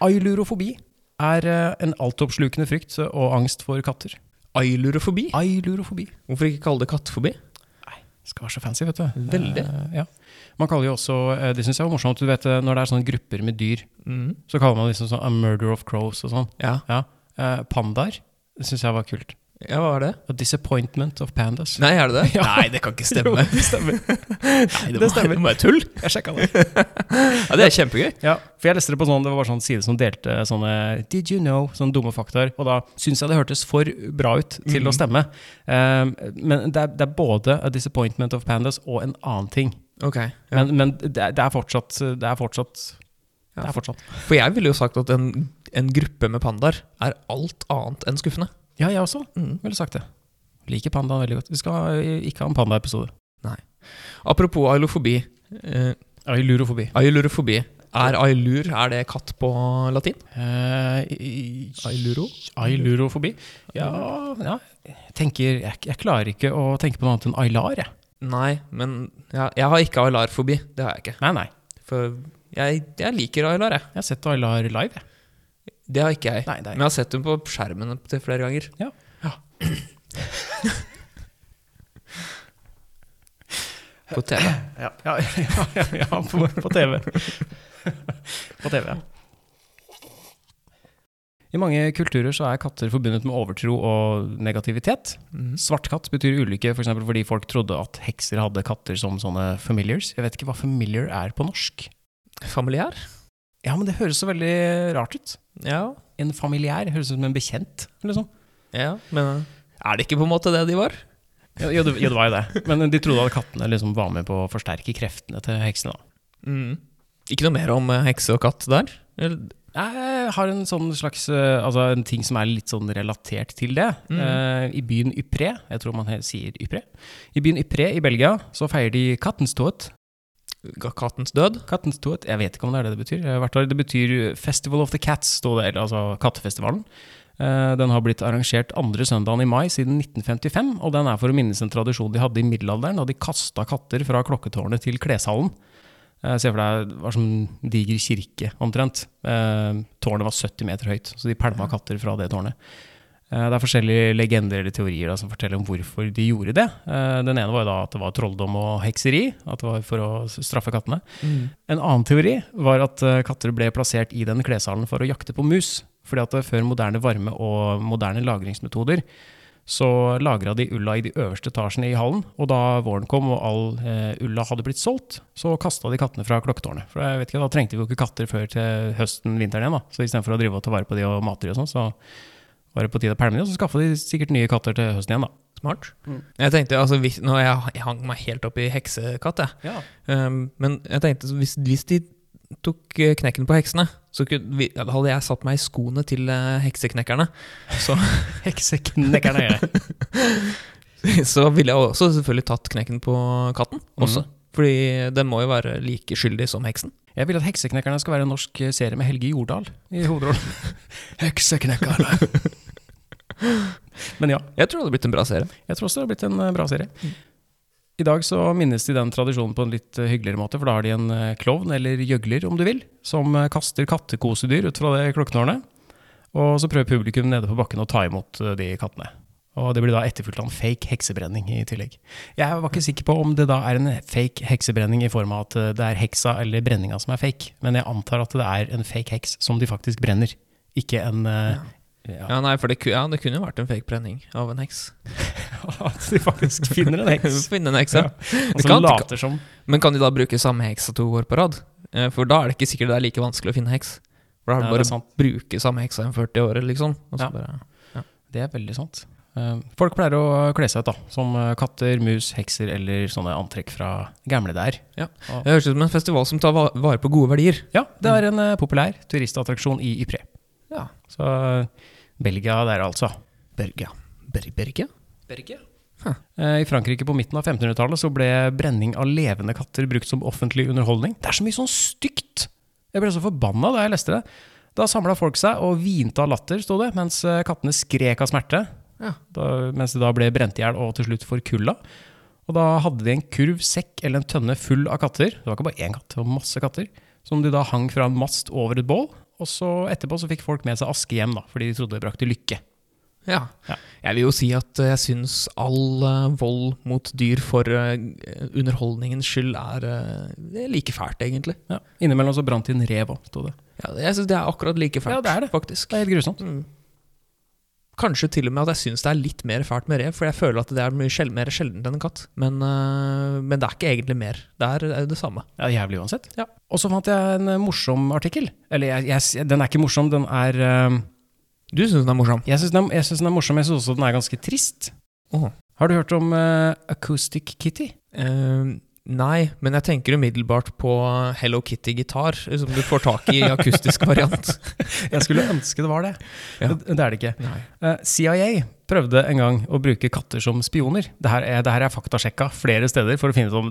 Ailurofobi er eh, en altoppslukende frykt og angst for katter.
Ailurofobi.
Ailurofobi.
Hvorfor ikke kalle det kattefobi?
skal være så fancy, vet du.
Veldig.
Eh, ja. Man kaller jo også, eh, det syns jeg var morsomt, du vet eh, når det er sånne grupper med dyr, så kaller man liksom sånn a murder of crows og sånn.
Ja.
Ja. Eh, pandaer, det syns jeg var kult.
ja, hva er det?
A disappointment of pandas.
Nei, er det det?
Ja.
Nei, det kan ikke stemme.
det stemmer.
Nei,
det stemmer.
Det må være tull.
Jeg sjekka det.
Ja, det er kjempegøy.
Ja, for jeg leste det på sånn, det var bare sånn side som delte sånne Did you know? Sånne dumme faktaer. Og da syns jeg det hørtes for bra ut til å stemme. Um, men det er, det er både a disappointment of pandas og en annen ting.
Ok. Ja.
Men, men det, er, det er fortsatt Det er fortsatt
Ja.
Det er fortsatt.
For jeg ville jo sagt at en, en gruppe med pandaer er alt annet enn skuffende.
Ja, jeg også ville sagt det. Liker pandaen veldig godt. Vi skal eh, ikke ha en pandaepisode.
Apropos ailufobi. Eh,
Ailurofobi.
ailurofobi. Er ailur er det katt på latin?
Ailuro?
Ailuro?
Eh, Ailurofobi. Ja, ja. Jeg, tenker, jeg, jeg klarer ikke å tenke på noe annet enn ailar, jeg.
Nei, men ja, jeg har ikke ailarfobi. Det har jeg ikke.
Nei, nei.
For jeg, jeg liker ailar, jeg.
Jeg har sett ailar live, jeg.
Det har ikke jeg.
Nei, det er-
Men jeg har sett dem på skjermen til flere ganger.
Ja.
På TV.
Ja, ja, ja, ja, ja på, på TV. på TV, ja. I mange kulturer så er katter forbundet med overtro og negativitet.
Mm.
Svart katt betyr ulykke, f.eks. eksempel fordi folk trodde at hekser hadde katter som sånne familiars. Jeg vet ikke hva familiar er på norsk.
Familiær?
Ja, men det høres så veldig rart ut.
Ja.
En familiær høres ut som en bekjent, liksom.
ja. Men er det ikke på en måte det de var?
Jo, jo, det, jo, det var jo det. Men de trodde at kattene liksom var med på å forsterke kreftene til heksene. da.
Mm. Ikke noe mer om eh, hekse og katt der? Eller,
Jeg har en sånn slags eh, Altså en ting som er litt sånn relatert til det. Eh, I byen Ypré, jeg tror man he- sier Ypré I byen Ypré i Belgia så feirer de Kattenstoet.
ga kattens død?
Kattenstoet, jeg vet ikke om det er det det betyr. Jeg har vært der. Det betyr Festival of the Cats, sto det, eller altså kattefestivalen. Eh, Den har blitt arrangert andre søndagen i mai siden 1955, og den er for å minnes en tradisjon de hadde i middelalderen, da de kasta katter fra klokketårnet til kleshallen. Eh, Se for deg det var som en diger kirke, omtrent. Eh, Tårnet var 70 meter høyt, så de pælma katter fra det tårnet. Eh, Det er forskjellige legender eller teorier da, som forteller om hvorfor de gjorde det. Eh, Den ene var jo da at det var trolldom og hekseri, at det var for å straffe kattene.
Mm.
En annen teori var at eh, katter ble plassert i den kleshallen for å jakte på mus. Fordi at eh, før moderne varme og moderne lagringsmetoder, så lagra de ulla i de øverste etasjene i hallen. Og da våren kom og all eh, ulla hadde blitt solgt, så kasta de kattene fra klokketårnet. For jeg vet ikke, da trengte vi jo ikke katter før til høsten, vinteren igjen. da. Så istedenfor å drive og ta vare på de og mate de og sånn, så var det på tide å pælme de, og så skaffa de sikkert nye katter til høsten igjen, da.
Smart. Jeg tenkte, altså, hvis, nå, jeg, jeg hang meg helt opp i heksekatt, jeg. Um, men jeg tenkte, så hvis, hvis de tok eh, knekken på heksene, så kunne, vi, da hadde jeg satt meg i skoene til eh, hekseknekkerne. Så,
Hekseknekkerne gjør det.
så ville jeg også selvfølgelig tatt knekken på katten også. Fordi den må jo være like skyldig som heksen.
Jeg vil at Hekseknekkerne skal være en norsk eh, serie med Helge Jordal i hovedrollen. Hekseknekkerne. Men ja,
Jeg tror det hadde blitt en bra serie.
jeg tror også det har blitt en eh, bra
Mm.
serie. I dag så minnes de den tradisjonen på en litt eh, hyggeligere måte, for da har de en eh, klovn, eller gjøgler om du vil, som eh, kaster kattekosedyr ut fra det klokketårnet. Og så prøver publikum nede på bakken å ta imot eh, de kattene. Og det blir da etterfulgt av en fake heksebrenning i tillegg. Jeg var ikke sikker på om det da er en fake heksebrenning i form av at eh, det er heksa eller brenninga som er fake, men jeg antar at det er en fake heks som de faktisk brenner, ikke en eh, ja.
Ja, nei, for det, ku- ja, det kunne jo vært en fake brenning av en heks.
At de faktisk finner en heks.
Finne en heks, ja.
Og så
kan-
later som.
Men kan de da bruke samme heksa to år på rad? Eh, For da er det ikke sikkert det er like vanskelig å finne heks. For da
Ja, det
er det
er
bare å
sant.
bruke samme heksa i 40 år, liksom. Og så
Ja.
bare,
Det er veldig sant. Eh, Folk pleier å kle seg ut, da. Som eh, katter, mus, hekser eller sånne antrekk fra gamle der.
det høres ut som en festival som tar va- vare på gode verdier.
Ja, det er en eh, populær turistattraksjon i Ypré.
Ja.
Så eh, Belgia der, altså.
Berge. Ber Berge?
Eh, I Frankrike på midten av 1500-tallet så ble brenning av levende katter brukt som offentlig underholdning. Det er så mye sånn stygt! Jeg ble så forbanna da jeg leste det. Da samla folk seg og hvinte av latter, sto det, mens eh, kattene skrek av smerte.
Ja.
Da, mens de da ble brent i hjel og til slutt forkulla. Og da hadde de en kurv, sekk eller en tønne full av katter. Det var ikke bare én katt, det var masse katter. Som de da hang fra en mast over et bål. Og så etterpå så fikk folk med seg aske hjem, da, fordi de trodde det brakte lykke.
Ja.
Ja.
Jeg vil jo si at eh, jeg syns all eh, vold mot dyr for eh, underholdningens skyld er eh, det er like fælt, egentlig.
Ja. Innimellom så brant de en rev òg, sto det.
Ja, jeg syns det er akkurat like fælt,
Ja, det er det.
faktisk.
Det er helt grusomt.
Mm. Kanskje til og med at jeg syns det er litt mer fælt med rev, for jeg føler at det er mye sjel mer sjeldent enn en katt. Men, øh, men det er ikke egentlig mer. Det er, det er det samme.
Ja, jævlig uansett.
Ja.
Og så fant jeg en eh, morsom artikkel. Eller jeg, jeg, den er ikke morsom, den er eh,
Du syns den er morsom?
Jeg syns den, jeg synes den er morsom, jeg syns også den er ganske trist.
Åh.
Har du hørt om eh, Acoustic Kitty?
Eh, nei, men jeg tenker umiddelbart på Hello Kitty-gitar, som du får tak i i akustisk variant.
Jeg skulle ønske det var det.
Ja.
Det, det er det ikke.
Nei.
Eh, CIA prøvde en gang å bruke katter som spioner. Det her er, det her er faktasjekka flere steder for å finne ut om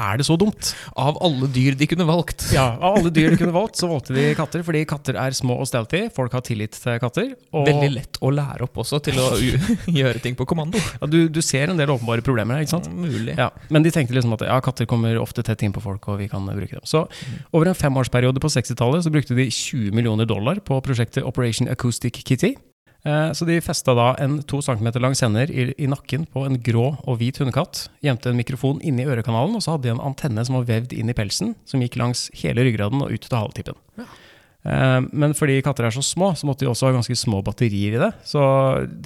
Er det så dumt?
Av alle dyr de kunne valgt.
Ja, Av alle dyr de kunne valgt, så valgte de katter, fordi katter er små og stouty. Folk har tillit til katter. Og
Veldig lett å lære opp også, til å u- gjøre ting på kommando.
ja, du, du ser en del åpenbare problemer her, ikke sant?
Mulig.
Ja, men de tenkte liksom at ja, katter kommer ofte tett inn på folk, og vi kan eh, bruke dem. Så over en femårsperiode på 60-tallet så brukte de 20 millioner dollar på prosjektet Operation Acoustic Kitty. Eh, Så de festa da en to centimeter lang sender i, i nakken på en grå og hvit hundekatt, gjemte en mikrofon inni ørekanalen, og så hadde de en antenne som var vevd inn i pelsen, som gikk langs hele ryggraden og ut til haletippen. Eh, Men fordi katter er så små, så måtte de også ha ganske små batterier i det. Så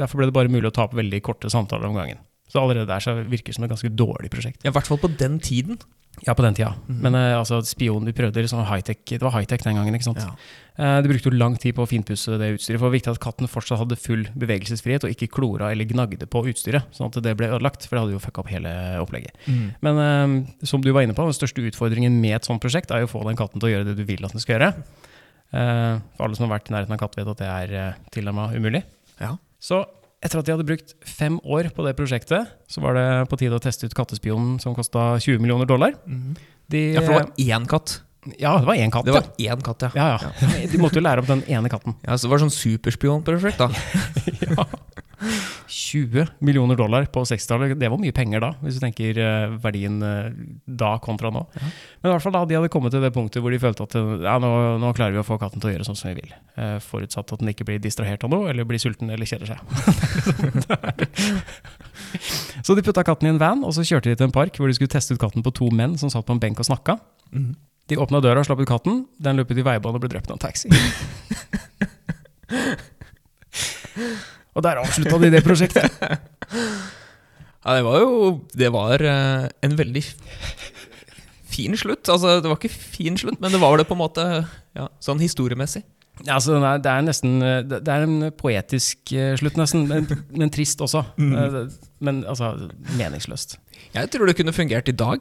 derfor ble det bare mulig å ta opp veldig korte samtaler om gangen. Så allerede der så virker det som et ganske dårlig prosjekt.
Ja, I hvert fall på den tiden.
Ja, på den tida. Men eh, altså, spion, vi prøvde liksom high-tech, det var high-tech den gangen, ikke sant?
Ja.
Eh, de brukte jo lang tid på å finpusse det utstyret, for det var viktig at katten fortsatt hadde full bevegelsesfrihet, og ikke klora eller gnagde på utstyret, sånn at det ble ødelagt, for det hadde jo fucka opp hele opplegget. Men eh, som du var inne på, den største utfordringen med et sånt prosjekt er jo å få den katten til å gjøre det du vil at den skal gjøre. Eh, for alle som har vært i nærheten av katt vet at det er eh, tilnærma umulig.
Ja.
Så etter at de hadde brukt fem år på det prosjektet, så var det på tide å teste ut kattespionen som kosta 20 millioner dollar. De, eh,
ja, for det var én katt.
ja, det var én katt.
Det var én katt, ja.
ja. Ja, ja. De måtte jo lære opp den ene katten.
ja så det var sånn superspionprosjekt, da.
Ja. 20 millioner dollar på 60-tallet, det var mye penger da, hvis du tenker eh, verdien eh, da kontra nå. Men i hvert fall da de hadde kommet til det punktet hvor de følte at eh, ja, nå, nå klarer vi å få katten til å gjøre sånn som vi vil. Eh, Forutsatt at den ikke blir distrahert av noe, eller blir sulten eller kjeder seg. så de putta katten i en van, og så kjørte de til en park hvor de skulle teste ut katten på to menn som satt på en benk og snakka. De åpna døra og slapp ut katten. Den løp ut i veibanen og ble drept av en taxi. og der avslutta de det prosjektet.
Ja, det var jo Det var eh, en veldig f- fin slutt. Altså, det var ikke fin slutt, men det var det på en måte ja, sånn historiemessig.
Ja, altså, den er, det, er nesten, eh, det det er en poetisk eh, slutt, nesten, men, men trist også. Eh, Men altså, meningsløst.
Jeg tror det kunne fungert i dag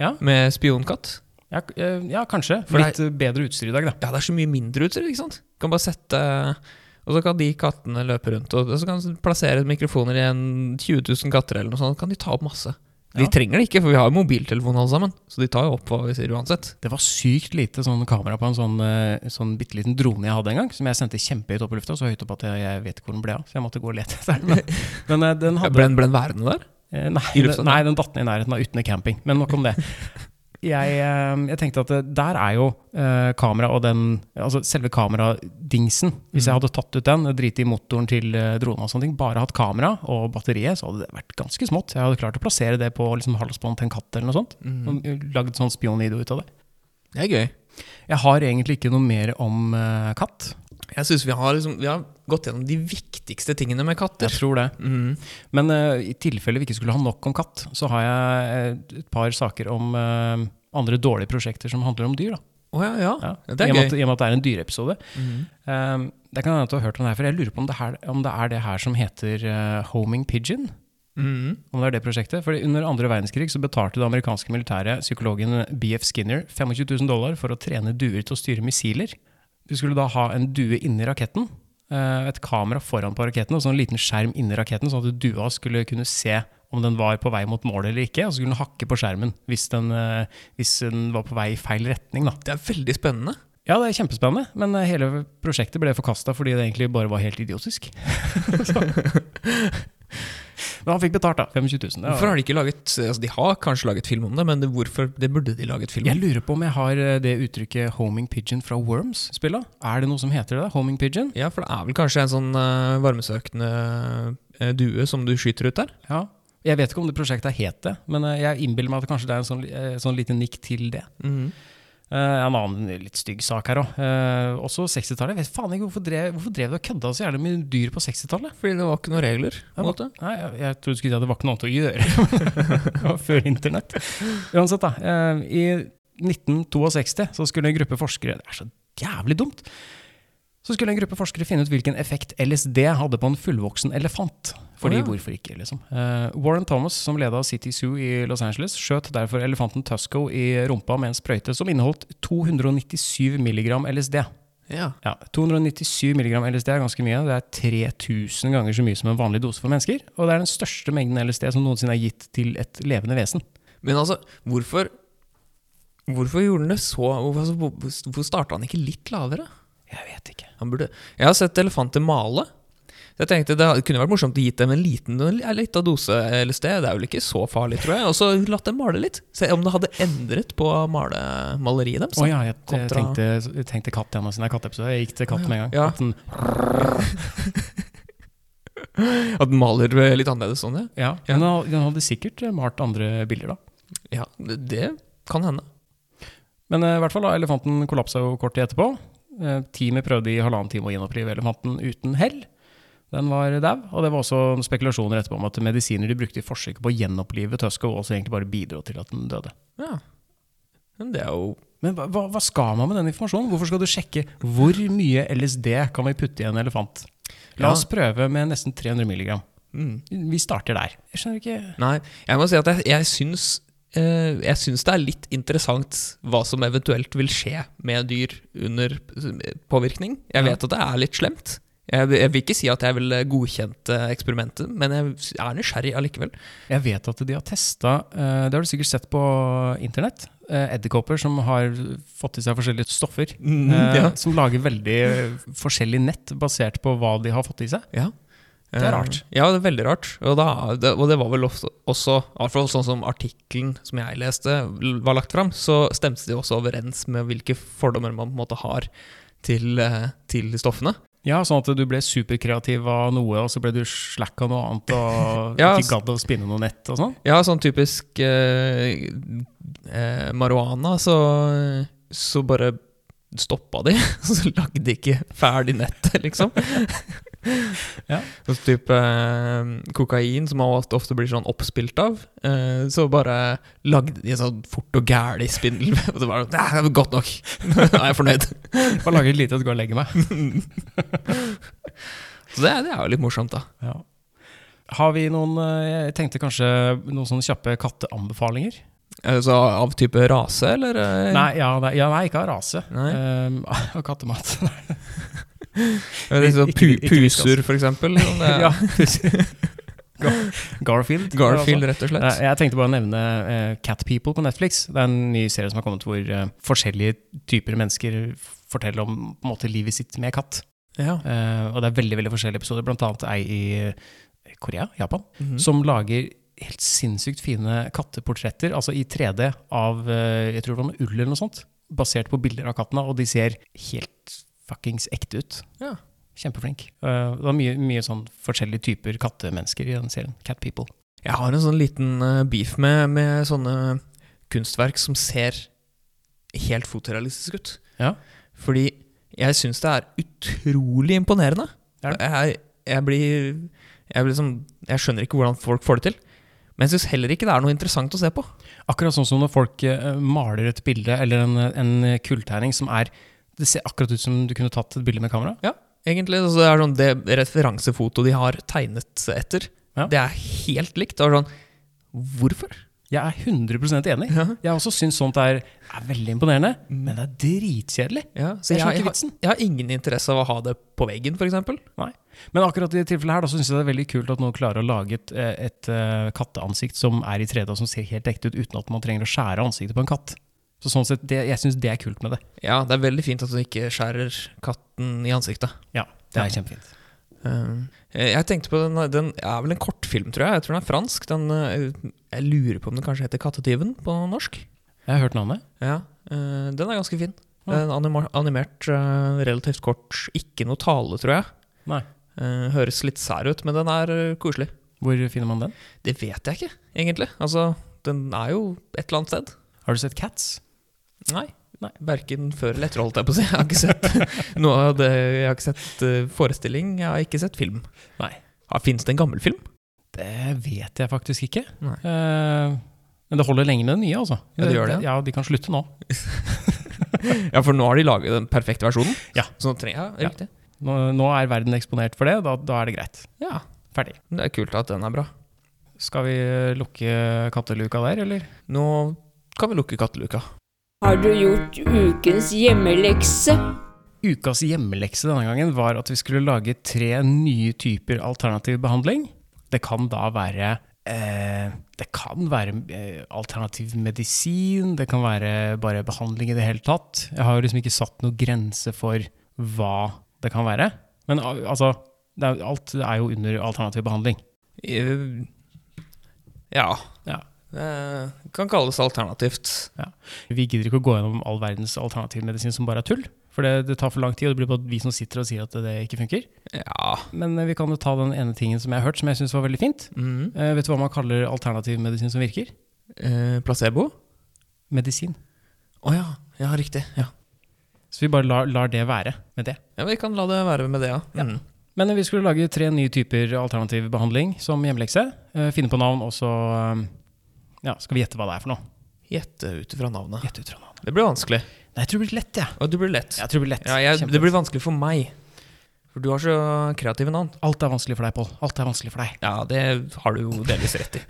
Ja.
med spionkatt.
Ja, k- eh, ja kanskje.
For
Litt eh, bedre utstyr i dag, da.
Ja, det er så mye mindre utstyr, ikke sant? Du kan bare sette Og så kan de kattene løpe rundt, og så kan du plassere mikrofoner i en 20 000 katter eller noe sånt, kan de ta opp masse. De
Ja.
trenger det ikke, for vi har jo mobiltelefon alle sammen, så de tar jo opp hva vi sier uansett.
Det var sykt lite sånn kamera på en sånn, eh, sånn bitte liten drone jeg hadde en gang, som jeg sendte kjempehøyt opp i lufta, så høyt opp at jeg, jeg vet ikke hvor den ble av. Så jeg måtte gå og lete etter den. Men, men eh, den
Ja,
hadde
Ble den ble den værende der?
Eh, Nei,
I lufta,
den- nei, den datt ned i nærheten av Utne camping, men nok om det. Jeg, eh, jeg tenkte at eh, der er jo eh, kamera og den Altså selve kameradingsen. Hvis jeg hadde tatt ut den, driti i motoren til eh, dronen og sånne ting, bare hatt kamera og batteriet, så hadde det vært ganske smått. Jeg hadde klart å plassere det på liksom, halsbånd til en katt eller noe sånt. Og Lagd sånn spionvideo ut av det.
Det er gøy.
Jeg har egentlig ikke noe mer om eh, katt.
Jeg synes vi har, liksom, vi har gått gjennom de viktigste tingene med katter. Mm.
Jeg tror det. Men eh, i tilfelle vi ikke skulle ha nok om katt, så har jeg eh, et par saker om eh, andre dårlige prosjekter som handler om dyr. Da.
Å ja, ja.
Ja.
Ja,
I, og
Det er
med at,
gøy. Mm.
I og med at det er en dyreepisode. Eh, det kan hende at du har hørt om det her, for jeg lurer på om det, her, om det er det her som heter eh, Homing Pigeon?
Mhm.
Om det er det prosjektet? Fordi Under andre verdenskrig så betalte det amerikanske militæret psykologen BF Skinner 25 000 dollar for å trene duer til å styre missiler. Du skulle da ha en due inni raketten, eh, et kamera foran på raketten og så en liten skjerm inni raketten, sånn at dua skulle kunne se om den var på vei mot målet eller ikke, og så skulle den hakke på skjermen hvis den, eh, hvis den var på vei i feil retning. da.
Det er veldig spennende.
Ja, det er kjempespennende, men eh, hele prosjektet ble forkasta fordi det egentlig bare var helt idiotisk. Så. men han fikk betalt, da. 25 000. det var-
Hvorfor har de ikke laget altså De har kanskje laget film om det, men det, hvorfor, det burde de laget film
Jeg
om.
lurer på om jeg har eh, det uttrykket 'homing pigeon' fra Worms-spillet. Er det noe som heter det? Homing pigeon?
Ja, for det er vel kanskje en sånn eh, varmesøkende eh, due som du skyter ut der?
Ja. Jeg vet ikke om det prosjektet het det, men eh, jeg innbiller meg at kanskje det er en sånn, li- eh, sånn liten nikk til det. Eh, en annen litt stygg sak her òg. også 60-tallet. Jeg vet faen ikke hvorfor drev, hvorfor drev du og kødda så gjerne med dyr på 60-tallet?
Fordi det var ikke noen regler. på en måte.
Nei, jeg, jeg trodde du skulle si at det var ikke noe annet å gjøre. det var før internett. Uansett, da. eh, I 1962 så skulle en gruppe forskere Det er så jævlig dumt! Så skulle en gruppe forskere finne ut hvilken effekt LSD hadde på en fullvoksen elefant. Fordi
Å, ja.
hvorfor ikke, liksom. Eh, Warren Thomas, som leda City Zoo i Los Angeles, skjøt derfor elefanten Tusco i rumpa med en sprøyte som inneholdt 297 milligram LSD.
Ja.
Ja, 297 mg LSD er ganske mye. Det er 3000 ganger så mye som en vanlig dose for mennesker. Og det er den største mengden LSD som noensinne er gitt til et levende vesen.
Men altså, hvorfor Hvorfor gjorde han det så Hvorfor, altså, hvor- hvorfor starta han ikke litt lavere?
Jeg vet ikke.
Han burde Jeg har sett elefanter male. Så jeg tenkte Det kunne vært morsomt å gi dem en liten en liten dose eller sted. Det er vel ikke så farlig, tror jeg. Og så latt dem male litt. Se om det hadde endret på male, maleriet deres.
Å ja, jeg, jeg
kontra-
altså. tenkte, jeg tenkte katt igjen, siden det er katteepisode. Jeg gikk til katt med en gang.
Ja.
Katten-
At den maler eh, litt annerledes sånn, ja.
Ja, men han- han hadde sikkert eh, malt andre bilder da.
ja. Det det kan hende.
Men eh, i hvert fall da, elefanten kollapsa jo kort tid etterpå. Eh, Teamet prøvde i halvannen time å gjenopplive elefanten uten hell. Den var dau, og det var også noen spekulasjoner etterpå om at medisiner de brukte i forsøket på å gjenopplive Tuskov, også egentlig bare bidro til at den døde.
Ja. Men det er jo
Men hva, hva- hva skal man med den informasjonen? Hvorfor skal du sjekke hvor mye LSD kan vi putte i en elefant? La
Ja.
oss prøve med nesten 300 milligram.
mm.
Vi starter der. Jeg skjønner ikke
Nei, jeg må si at jeg, jeg syns eh, jeg syns det er litt interessant hva som eventuelt vil skje med dyr under eh, påvirkning. Jeg
Ja.
vet at det er litt slemt. Jeg, jeg vil ikke si at jeg ville godkjent eh, eksperimentet, men jeg er nysgjerrig allikevel.
Jeg vet at de har testa Det har du sikkert sett på internett. eh, Edderkopper som har fått i seg forskjellige stoffer. eh,
Mm, ja.
Som lager veldig eh, forskjellig nett basert på hva de har fått i seg.
Ja.
Det er rart.
Eh, Ja, det er veldig rart. Og, da, det, og det var vel ofte også, i hvert fall sånn som artikkelen som jeg leste, l- var lagt fram, så stemte det også overens med hvilke fordommer man på en måte har til, eh, til stoffene.
Ja, Sånn at du ble superkreativ av noe, og så ble du slack av noe annet. Og
Ja,
ikke gadd å spinne noe nett og sånn.
Ja, sånn typisk eh, eh, marihuana, så, så bare stoppa de. Så lagde de ikke ferdig nettet, liksom.
Ja.
Sånn type eh, kokain, som man ofte- ofte blir sånn oppspilt av. Eh, så bare lagde de en sånn fort og gæli spindel. Og så bare Nei, det var godt nok! Nå er jeg fornøyd.
Bare lager litt lite og går og legger meg.
Så det, det er jo litt morsomt, da.
Ja. Har vi noen eh, Jeg tenkte kanskje noen sånne kjappe katteanbefalinger?
Eh, Så av type rase, eller? eh?
Nei, ja, nei, ja, nei ikke av rase.
Nei.
Ehm, Av kattemat.
Eh, det er sånn
Ikke-
pu
ikke viskas.
puser, for eksempel. Sånn, det er-
Ja. Gar- Garfield.
Garfield, rett og slett.
Eh, Jeg tenkte bare å nevne eh, Cat People på Netflix. Det er en ny serie som har kommet hvor eh, forskjellige typer mennesker forteller om på en måte, livet sitt med katt.
Ja.
Eh, og det er veldig veldig forskjellige episoder, blant annet ei i eh, Korea, Japan,
Mm.
som lager helt sinnssykt fine katteportretter, altså i 3D, av eh, jeg tror det var med ull eller noe sånt, basert på bilder av kattene, og de ser helt fuckings ekte ut.
Ja.
Kjempeflink. Eh, det var mye, mye sånn forskjellige typer kattemennesker i den serien. Cat People.
Jeg har en sånn liten eh, beef med, med sånne kunstverk som ser helt fotorealistisk ut.
Ja.
Fordi jeg syns det er utrolig imponerende.
Det er det.
Jeg, jeg blir, jeg blir sånn- Jeg skjønner ikke hvordan folk får det til. Men jeg syns heller ikke det er noe interessant å se på.
Akkurat sånn som når folk eh, maler et bilde eller en, en kulltegning som er Det ser akkurat ut som du kunne tatt et bilde med kamera.
Egentlig, så det er sånn Det referansefotoet de har tegnet etter,
Ja.
det er helt likt. Det er sånn Hvorfor?
Jeg er 100 enig.
Ja.
Jeg har også syns sånt er, er veldig imponerende, men det er dritkjedelig.
Mm. Ja, så
Jeg
jeg,
skjønner ikke
jeg,
vitsen.
jeg har ingen interesse av å ha det på veggen, f.eks.
Men akkurat i det tilfellet her da, så syns jeg det er veldig kult at noen klarer å lage et, eh, et eh, katteansikt som er i 3D, og som ser helt ekte ut, uten at man trenger å skjære ansiktet på en katt. Så sånn sett, det, Jeg syns det er kult med det.
Ja, det er veldig fint at du ikke skjærer katten i ansiktet.
Ja, Det er kjempefint. Um,
Eh, Jeg tenkte på den, den er vel en kortfilm, tror jeg. Jeg tror den er fransk. Den, eh, jeg lurer på om den kanskje heter 'Kattetyven' på norsk.
Jeg har hørt navnet.
Ja, eh, Den er ganske fin.
Ja.
Den er anima- animert, eh, relativt kort. Ikke noe tale, tror jeg.
Nei.
Eh, Høres litt sær ut, men den er eh, koselig.
Hvor finner man den?
Det vet jeg ikke, egentlig. Altså, den er jo et eller annet sted.
Har du sett Cats?
Nei.
Nei.
Verken før eller etter, holdt jeg på å si. Jeg har ikke sett noe av det. Jeg har ikke sett eh, forestilling, jeg har ikke sett film.
Nei.
Fins det en gammel film?
Det vet jeg faktisk ikke.
Nei.
Eh, men det holder lenge med den nye, altså.
Ja, det gjør det.
Ja, De kan slutte nå.
Ja, for nå har de laget den perfekte versjonen.
Ja.
Så nå trenger jeg
Ja.
ja, riktig.
Nå, nå er verden eksponert for det, da, da er det greit.
Ja.
Ferdig.
men Det er kult at den er bra.
Skal vi eh, lukke katteluka der, eller?
Nå kan vi lukke katteluka.
Har du gjort ukens hjemmelekse?
Ukas hjemmelekse denne gangen var at vi skulle lage tre nye typer alternativ behandling. Det kan da være eh, Det kan være eh, alternativ medisin, det kan være bare behandling i det hele tatt. Jeg har jo liksom ikke satt noen grense for hva det kan være. Men al- altså det er, Alt er jo under alternativ behandling.
Eh, Ja.
Ja.
Eh, Kan kalles alternativt.
Vi gidder ikke å gå gjennom all verdens alternativmedisin som bare er tull. For det, det tar for lang tid, og det blir bare vi som sitter og sier at det ikke funker.
Ja.
Men eh, vi kan jo ta den ene tingen som jeg har hørt, som jeg syns var veldig fint.
Mm.
Eh, vet du hva man kaller alternativmedisin som virker?
Eh, placebo?
Medisin.
Å ja. Ja, riktig. Ja.
Så vi bare lar, lar det være med det.
ja, Vi kan la det være med det, ja. Mm.
Men eh, vi skulle lage tre nye typer alternativ behandling som hjemmelekse. Eh, finne på navn, og så eh, ja, skal vi gjette hva det er for noe.
Gjette ut ifra navnet.
Gjette ut fra navn.
Det blir vanskelig.
Nei, jeg tror det blir lett, jeg.
Og det blir lett.
Jeg tror det blir lett.
Ja, jeg, det
Kjempelett.
blir vanskelig for meg. For du har så kreative navn.
Alt er vanskelig for deg, Pål. Alt er vanskelig for deg.
Ja, det har du jo delvis rett i.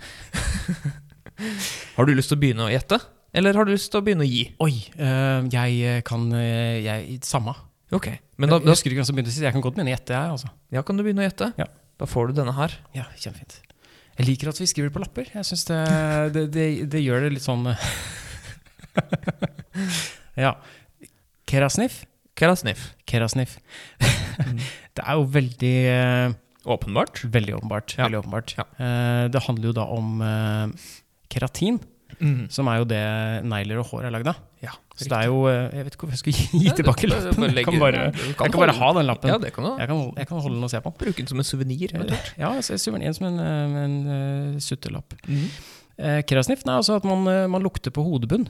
har du lyst til å begynne å gjette? Eller har du lyst til å begynne å gi?
Oi, eh, jeg eh, kan eh, jeg, Samme.
Ok, men da,
Eh, jeg
da,
husker ikke hvem som begynte sist. Jeg kan godt mene gjette, jeg. altså.
ja, kan du begynne å gjette.
Ja.
Da får du denne her.
Ja, kjempefint. Jeg liker at vi skriver på lapper. Jeg synes det, det, det, det gjør det litt sånn Ja. Kerasniff.
Kerasniff.
Kerasniff. det er jo veldig eh,
Åpenbart.
Mm. Veldig åpenbart.
Ja.
Veldig åpenbart.
Ja.
Eh, det handler jo da om eh, keratin,
Mm.
som er jo det negler og hår er lagd av.
Ja,
Så det er jo eh, Jeg vet ikke hvorfor jeg skulle gi, gi tilbake lappen. Jeg kan bare, jeg kan bare ha den lappen.
Ja, det kan du ha.
Jeg kan, jeg kan holde den og se på den.
Bruke den som en suvenir.
Ja, så jeg suver den igjen som en, eh, en eh, suttelapp.
Mm.
Eh, Kerasniffen er altså at man, eh, man lukter på hodebunn,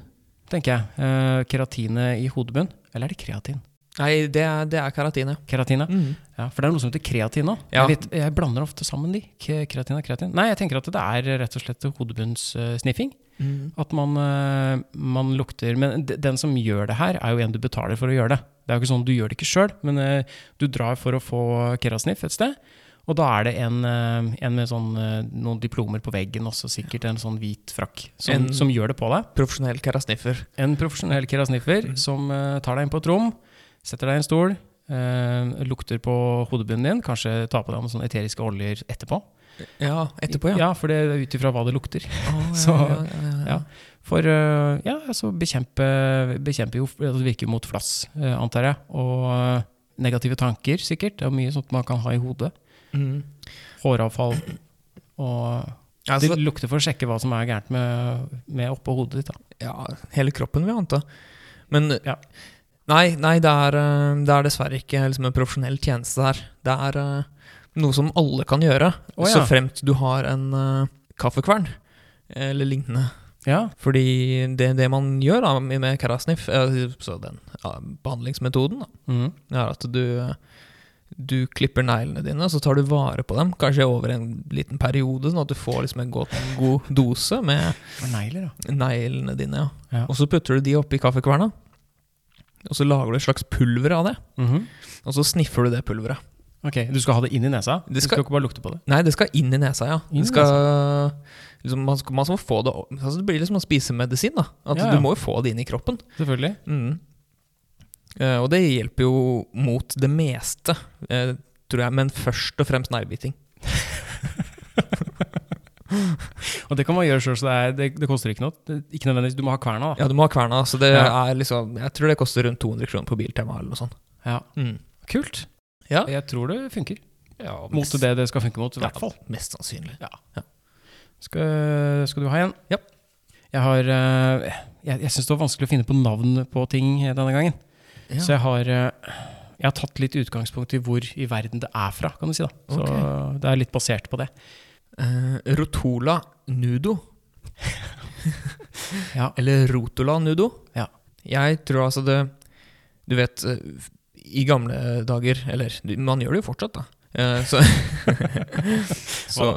tenker jeg. Eh, keratinet i hodebunn. Eller er det kreatin?
Nei, det er, det er keratin, ja.
Keratin, ja. ja. For det er noe som heter kreatin òg.
Ja.
Jeg, vet- jeg blander ofte sammen de. Ke- Kreatin og kreatin. Nei, jeg tenker at det er rett og slett hodebunnssniffing. At man, eh, man lukter Men de- den som gjør det her, er jo en du betaler for å gjøre det. Det er jo ikke sånn Du gjør det ikke sjøl, men eh, du drar for å få Kerasniff et sted. Og da er det en, eh, en med sånn, eh, noen diplomer på veggen også, sikkert en sånn hvit frakk, som,
En-
som gjør det på deg.
Profesjonell kerasniffer.
En profesjonell Kerasniffer som eh, tar deg inn på et rom, setter deg i en stol, eh, lukter på hodebunnen din, kanskje tar på deg noen sånne eteriske oljer etterpå.
Ja, etterpå, ja.
Ja, for det er ut ifra hva det lukter.
Å,
Så-
ja, ja, ja, ja.
ja. For øh, ja, altså bekjempe, bekjempe jo, altså det virker jo mot flass, øh, antar jeg. Og øh, negative tanker, sikkert. Det er mye sånt man kan ha i hodet.
Mm.
Håravfall. Og
Ja, så-
det lukter for å sjekke hva som er gærent med, med oppå hodet ditt. Da.
Ja, hele kroppen vil jeg anta. Men
Ja.
nei, nei det, er, eh, det er dessverre ikke liksom en profesjonell tjeneste her. Det er eh, noe som alle kan gjøre,
Å, ja.
så fremt du har en eh, kaffekvern eller lignende.
Ja,
Fordi det, det man gjør da, med Karasnif, eh, så den ja, behandlingsmetoden, da,
mhm.
er at du, eh, du klipper neglene dine, så tar du vare på dem, kanskje over en liten periode, sånn at du får liksom en godt, god dose med
For negler, da.
neglene dine, ja.
Ja.
Og så putter du de oppi kaffekverna. Og så lager du et slags pulver av det,
Mhm.
og så sniffer du det pulveret.
Ok, Du skal ha det inn i nesa?
Det
Du skal
skal-
ikke bare lukte på det?
Nei, det skal inn i nesa, ja.
Inn i
Det skal, liksom, man, skal, man skal få det opp- altså, Det blir liksom å spise medisin, da. At
Ja, ja.
Du må jo få det inn i kroppen.
Selvfølgelig.
Mm. Eh, og det hjelper jo mot det meste, eh, tror jeg, men først og fremst neglebiting.
Og det kan man gjøre sjøl, så det, er, det, det koster ikke noe. Det, ikke nødvendigvis, Du må ha kverna, da.
Ja, du må ha kverna, så det
Ja.
er liksom Jeg tror det koster rundt 200 kroner på Biltema eller noe sånt.
Ja.
Mm.
Kult.
Ja.
Jeg tror det funker.
Ja,
Mot
mest-
det det skal funke mot, i hvert fall.
Mest sannsynlig.
Skal, skal du ha en?
Ja.
Jeg har eh, Jeg, jeg syns det var vanskelig å finne på navn på ting eh, denne gangen.
Ja.
Så jeg har eh, Jeg har tatt litt utgangspunkt i hvor i verden det er fra, kan du si. da. Så det er litt basert på det.
Eh, rotola nudo.
Ja.
Eller rotola nudo.
Ja.
Jeg tror altså det Du vet, eh, i gamle dager Eller du- man gjør det jo fortsatt, da. Eh, så så,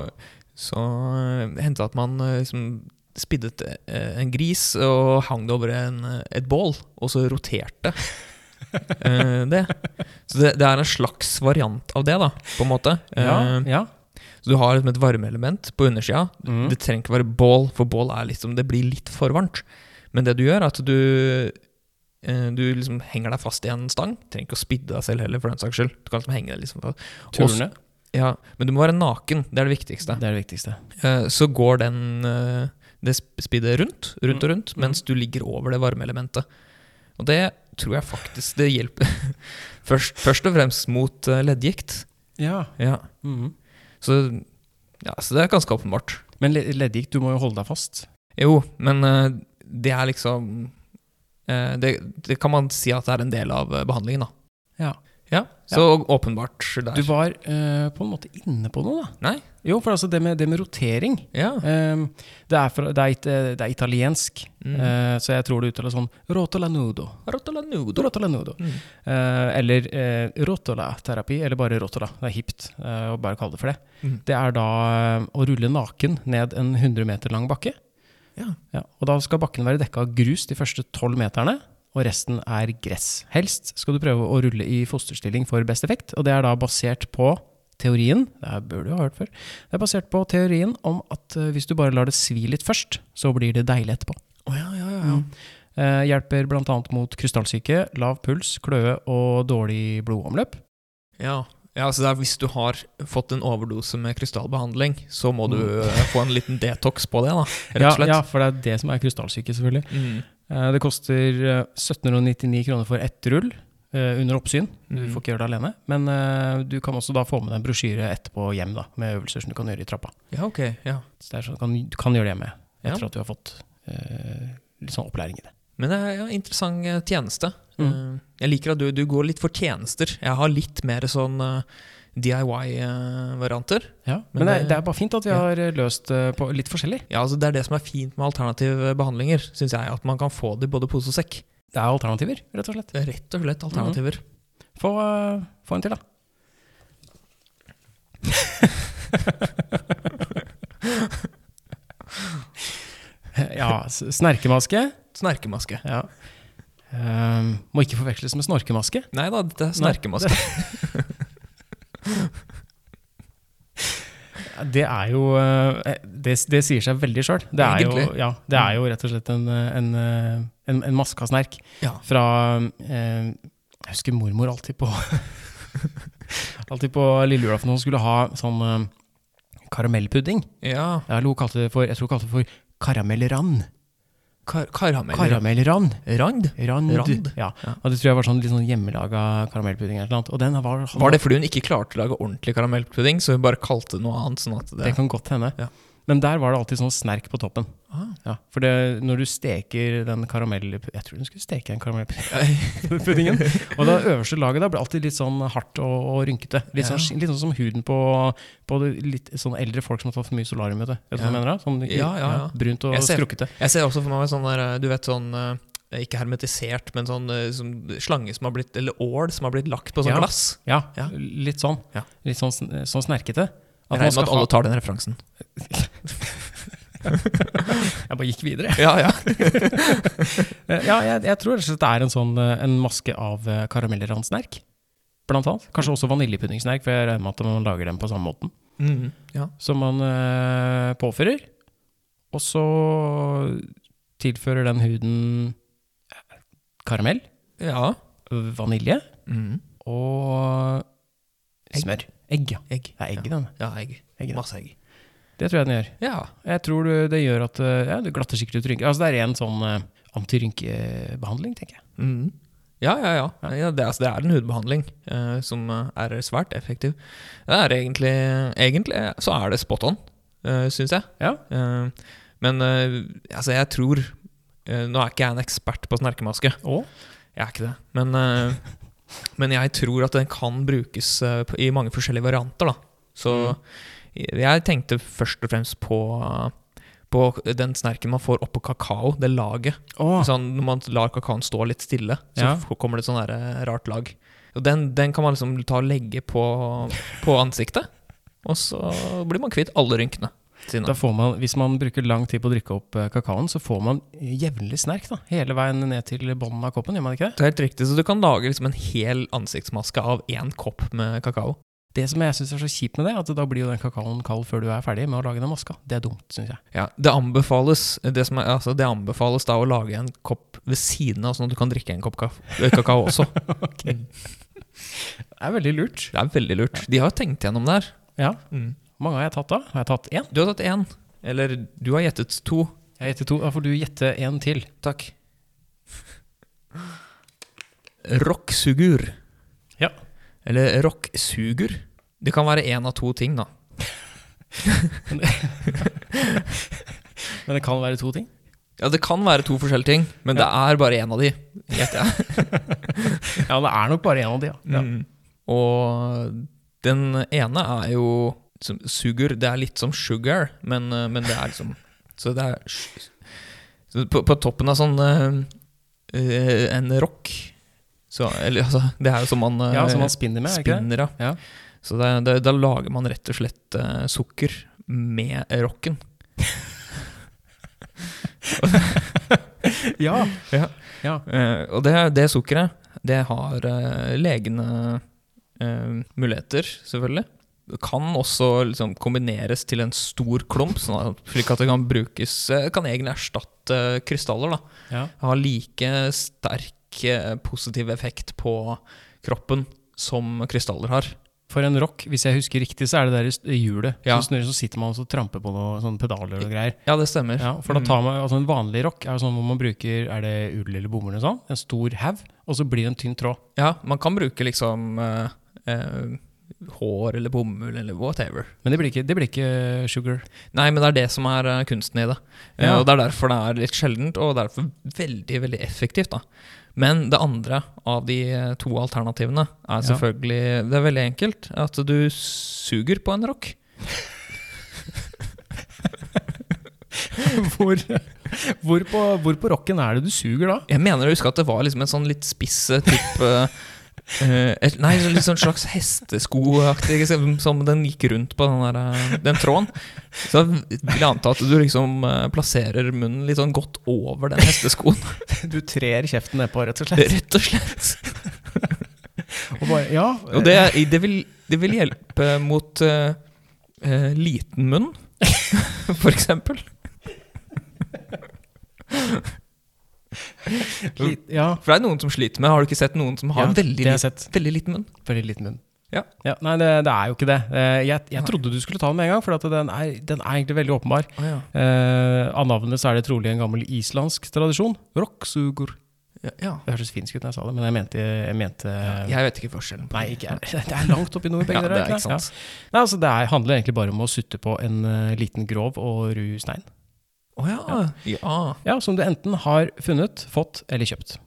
så eh, hendte det at man eh, liksom spiddet eh, en gris og hang det over en, eh, et bål, og så roterte eh, det. Så det, det er en slags variant av det, da, på en måte.
Ja,
Eh,
ja.
så du har liksom et varmeelement på undersida.
Mm.
Det trenger ikke være bål, for bål er liksom, det blir litt for varmt. Men det du gjør, er at du, eh, du liksom henger deg fast i en stang. Trenger ikke å spidde deg selv heller, for den saks skyld. Du kan liksom henge deg liksom fast.
Turene.
Ja, men du må være naken. Det er det viktigste.
Det er det viktigste.
Eh, Så går den, eh, det sp- spiddet rundt, rundt og rundt, mens du ligger over det varmeelementet. Og det tror jeg faktisk det hjelper. Først, først og fremst mot eh, leddgikt.
Ja.
Ja.
Mhm.
Så, ja, så det er ganske åpenbart.
Men le- leddgikt, du må jo holde deg fast.
Jo, men eh, det er liksom Eh, det, det kan man si at det er en del av eh, behandlingen, da.
Ja.
Ja, Så åpenbart der.
Du var eh, på en måte inne på noe, da.
Nei.
Jo, for altså det med, det med rotering
Ja.
Ehm, det, er fra, det, er, it- eh, det er italiensk,
Mm.
eh, så jeg tror det uttales sånn rotola nudo.
Rotola nudo.
Rotola nudo.
Mm.
Eh, eller eh, rotola-terapi, eller bare rotola. Det er hipt eh, å bare kalle det for det.
Mm.
Det er da eh, å rulle naken ned en 100 meter lang bakke.
Ja.
Ja, og da skal bakken være dekka av grus de første 12 meterne, og resten er gress. Helst skal du prøve å rulle i fosterstilling for best effekt, og det er da basert på teorien Det her burde du ha hørt før. Det er basert på teorien om at eh, hvis du bare lar det svi litt først, så blir det deilig etterpå. Mm. Eh, hjelper bl.a. mot krystallsyke, lav puls, kløe og dårlig blodomløp.
Ja. ja, altså det er Hvis du har fått en overdose med krystallbehandling, så må du
Mm.
eh, få en liten detox på det, da. Rett
Ja,
og slett.
ja, for det er det som er krystallsyke, selvfølgelig.
Mm.
Eh, Det koster eh, 1799 kroner for ett rull eh, under oppsyn. Du
Mm.
får ikke gjøre det alene. Men eh, du kan også da få med deg en brosjyre etterpå hjem da, med øvelser som du kan gjøre i trappa.
ja, ok. Ja.
Så det er sånn, du kan, du kan gjøre det hjemme etter
Ja.
at du har fått eh, litt sånn opplæring i det.
Men det er ja, interessant eh, tjeneste.
Mm.
Eh, Jeg liker at du, du går litt for tjenester. Jeg har litt mer sånn eh, DIY-varianter.
Men, det,
Men det-
er- det er bare fint at vi
ja.
har eh, løst det på litt forskjellig.
Ja, altså Det er det som er fint med alternative behandlinger, syns jeg. At man kan få det i både pose og sekk.
Det er alternativer, rett og slett.
Det er rett og slett alternativer.
Få, eh, få en til, da. ja, s- snerkemaske.
Snerkemaske.
Ja. Ehm, må ikke forveksles med snorkemaske.
Nei da, dette er snerkemaske.
Det er jo eh, Det, det sier seg veldig sjøl. Det, er jo-
Egentlig. Mm.
ja, det er jo rett og slett en, eh, en, eh, en, en maske av snerk.
Ja.
Fra eh, Jeg husker mormor alltid på Alltid på lille julaften hun skulle ha sånn eh, karamellpudding.
Ja.
Ja, Eller hun kalte det for, jeg tror hun kalte det for karamellrand.
Kar karamell.
Karamellrand.
Rand?
Rand.
Rand.
Ja.
Ja.
Og det tror jeg var sånn litt sånn hjemmelaga karamellpudding. eller noe annet. Og den var,
Var det fordi hun ikke klarte å lage ordentlig karamellpudding, så hun bare kalte det noe annet? sånn at det...
Det kan godt hende.
Ja.
Men der var det alltid sånn snerk på toppen.
Ah.
Ja, for det, når du steker den karamell... Jeg tror hun skulle steke den karamellpuddingen. og det øverste laget da ble alltid litt sånn hardt og, og rynkete. Litt, sånn,
Ja.
litt sånn som huden på, på det litt sånn eldre folk som har tatt for mye solarium. Vet du, vet du hva jeg
Ja.
mener da? Sånn,
Ja, ja, ja.
Brunt og
Jeg ser-
skrukkete.
Jeg ser også for meg sånn der, eh, du vet sånn eh, ikke hermetisert, men sånn eh, som slange som har blitt, eller ål som har blitt lagt på sånn
Ja.
glass.
Ja,
Ja.
litt sånn.
Ja.
Litt sånn, sn- sånn snerkete.
Jeg regner med at alle tar den referansen.
Jeg bare gikk videre.
Ja, ja.
Eh, Ja, jeg, jeg tror rett og slett det er en sånn eh, en maske av eh, karamellransnerk. Blant annet. Kanskje også vaniljepuddingssnerk, for jeg regner med at man lager den på samme måten.
Mm, ja.
Som man eh, påfører. Og så tilfører den huden eh, karamell,
ja.
vanilje
Mm.
og
Egg.
smør. Egg, ja.
Egg.
Det er egg, den.
Ja, egg.
Egg, da.
Masse egg.
Det tror jeg den gjør.
Ja.
Jeg tror du- det gjør at eh, ja, det glatter sikkert ut rynker. Altså, det er en sånn eh, antirynkebehandling, tenker jeg.
Mm. Ja, ja, ja. ja det, altså, det er en hudbehandling eh, som eh, er svært effektiv. Det er egentlig, egentlig eh, så er det spot on, uh, syns jeg.
Ja.
Eh, men eh, altså, jeg tror eh, Nå er ikke jeg en ekspert på snerkemaske.
Og
Jeg er ikke det. Men, eh, men jeg tror at den kan brukes eh, på- i mange forskjellige varianter, da. Så
Mm.
jeg tenkte først og fremst på på den snerken man får oppå kakao, det laget.
Å,
Sånn, når man lar kakaoen stå litt stille, så
Ah. Ja.
f- kommer det et sånn der, eh, rart lag. Og den, den kan man liksom ta og legge på, på ansiktet, og så blir man kvitt alle rynkene sine.
Da får man, hvis man bruker lang tid på å drikke opp eh, kakaoen, så får man jevnlig snerk da, hele veien ned til bånden av koppen, gjør man ikke det?
Det er helt riktig, så du kan lage liksom en hel ansiktsmaske av én kopp med kakao.
Det som jeg syns er så kjipt med det, er at da blir jo den kakaoen kald før du er ferdig med å lage den maska. Det er dumt, syns jeg.
Ja, det anbefales, det som er, altså, det anbefales da å lage en kopp ved siden av, sånn at du kan drikke en kopp kaf- eh, kakao også. Mm.
Det er veldig lurt.
Det er veldig lurt. De har jo tenkt gjennom det her.
Ja.
Mm.
Hvor mange har jeg tatt da? Har jeg tatt én?
Du har tatt én, eller du har gjettet to.
Jeg gjetter to. Da får du gjette én til.
Takk. Rocksugur.
Ja.
Eller rocksuger. Det kan være én av to ting, da.
Men det kan være to ting.
Ja, det kan være to forskjellige ting, men det er bare én av de, gjetter jeg.
Ja, det er nok bare en av de, ja. ja.
Mm. Og den ene er jo som sugar. Det er litt som sugar, men, eh, men det er liksom Så det er sj- så på, på toppen av sånn eh, eh, en rock så, eller, altså, Det er jo som man, eh,
Ja, som man spinner med, er det ikke det?
spinner av.
Ja.
Så det, det, da lager man rett og slett eh, sukker med rocken.
Ja.
Ja.
ja.
Eh, og det, det sukkeret, det har eh, legene eh, muligheter, selvfølgelig. Det kan også liksom, kombineres til en stor klump, sånn at, slik at det kan brukes eh, Kan egentlig erstatte krystaller. Da.
ja.
Har like sterk eh, positiv effekt på kroppen som krystaller har.
For en rock, hvis jeg husker riktig, så er det der i s- i hjulet.
Ja.
Så snurrer, så sitter man og så tramper på noen sånne pedaler og greier.
Ja, det stemmer.
Ja, for da tar man, altså En vanlig rock er jo sånn hvor man bruker er det ull eller bomull, eller sånn, en stor haug, og så blir det en tynn tråd.
Ja, man kan bruke liksom eh, eh, hår eller bomull eller whatever.
Men det blir ikke, det blir ikke sugar.
Nei, men det er det som er eh, kunsten i det. Eh,
Ja.
Og Det er derfor det er litt sjeldent, og derfor veldig veldig effektivt. da. Men det andre av de eh, to alternativene er
Ja.
selvfølgelig Det er veldig enkelt. At du suger på en rock.
Hvor, hvor, på, hvor på rocken er det du suger da?
Jeg mener å huske at det var liksom en sånn litt spiss eh, type eh, et, Nei, så litt sånn slags hesteskoaktig som, som den gikk rundt på den, der, eh, den tråden. Så jeg vil anta at du liksom eh, plasserer munnen litt sånn godt over den hesteskoen,
Du trer kjeften nedpå, rett og
rett og slett.
Og bare, ja,
Og det, det, vil, det vil hjelpe mot eh, eh, liten munn, for eksempel.
eh, Litt, ja.
For det er noen som sliter med Har du ikke sett noen som har
ja,
veldig,
det har jeg
lit-
sett.
veldig liten munn?
Veldig liten munn.
Ja.
nei, det, det er jo ikke det. Eh, Jeg,
Nei.
jeg trodde du skulle ta den med en gang, for at den, er, den er egentlig veldig åpenbar.
Å ja.
Eh, av navnet så er det trolig en gammel islandsk tradisjon. Rocksugur.
Ja, ja.
Det hørtes finsk ut når jeg sa det, men jeg mente, jeg mente
Jeg vet ikke forskjellen. på
Nei,
det.
ikke, det er langt oppi nord, begge
Ja, Eh, det
dere.
er ikke sant.
Ja. Nei, altså, det er, handler egentlig bare om å sutte på en eh, liten grov og ru stein.
Å ja. ja.
Ja, Som du enten har funnet, fått eller kjøpt.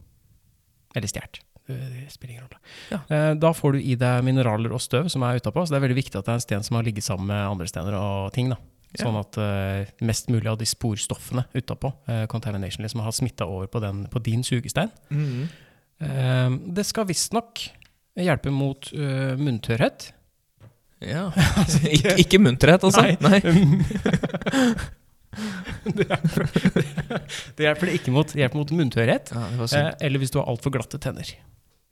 Eller stjålet. Det spiller ingen rolle.
Ja.
Eh, Da får du i deg mineraler og støv som er utapå, så det er veldig viktig at det er en sten som har ligget sammen med andre stener og ting. da.
Ja.
Sånn at eh, mest mulig av de sporstoffene utapå, eh, contamination, liksom har smitta over på, den, på din sugestein.
Mhm.
Eh, det skal visstnok hjelpe mot eh, munntørrhet.
ja. ikke, ikke munterhet, altså? Nei.
det, hjelper, det hjelper det ikke mot. Det hjelper mot munntørrhet.
Ja, det var
Eh,
synd.
eller hvis du har altfor glatte tenner.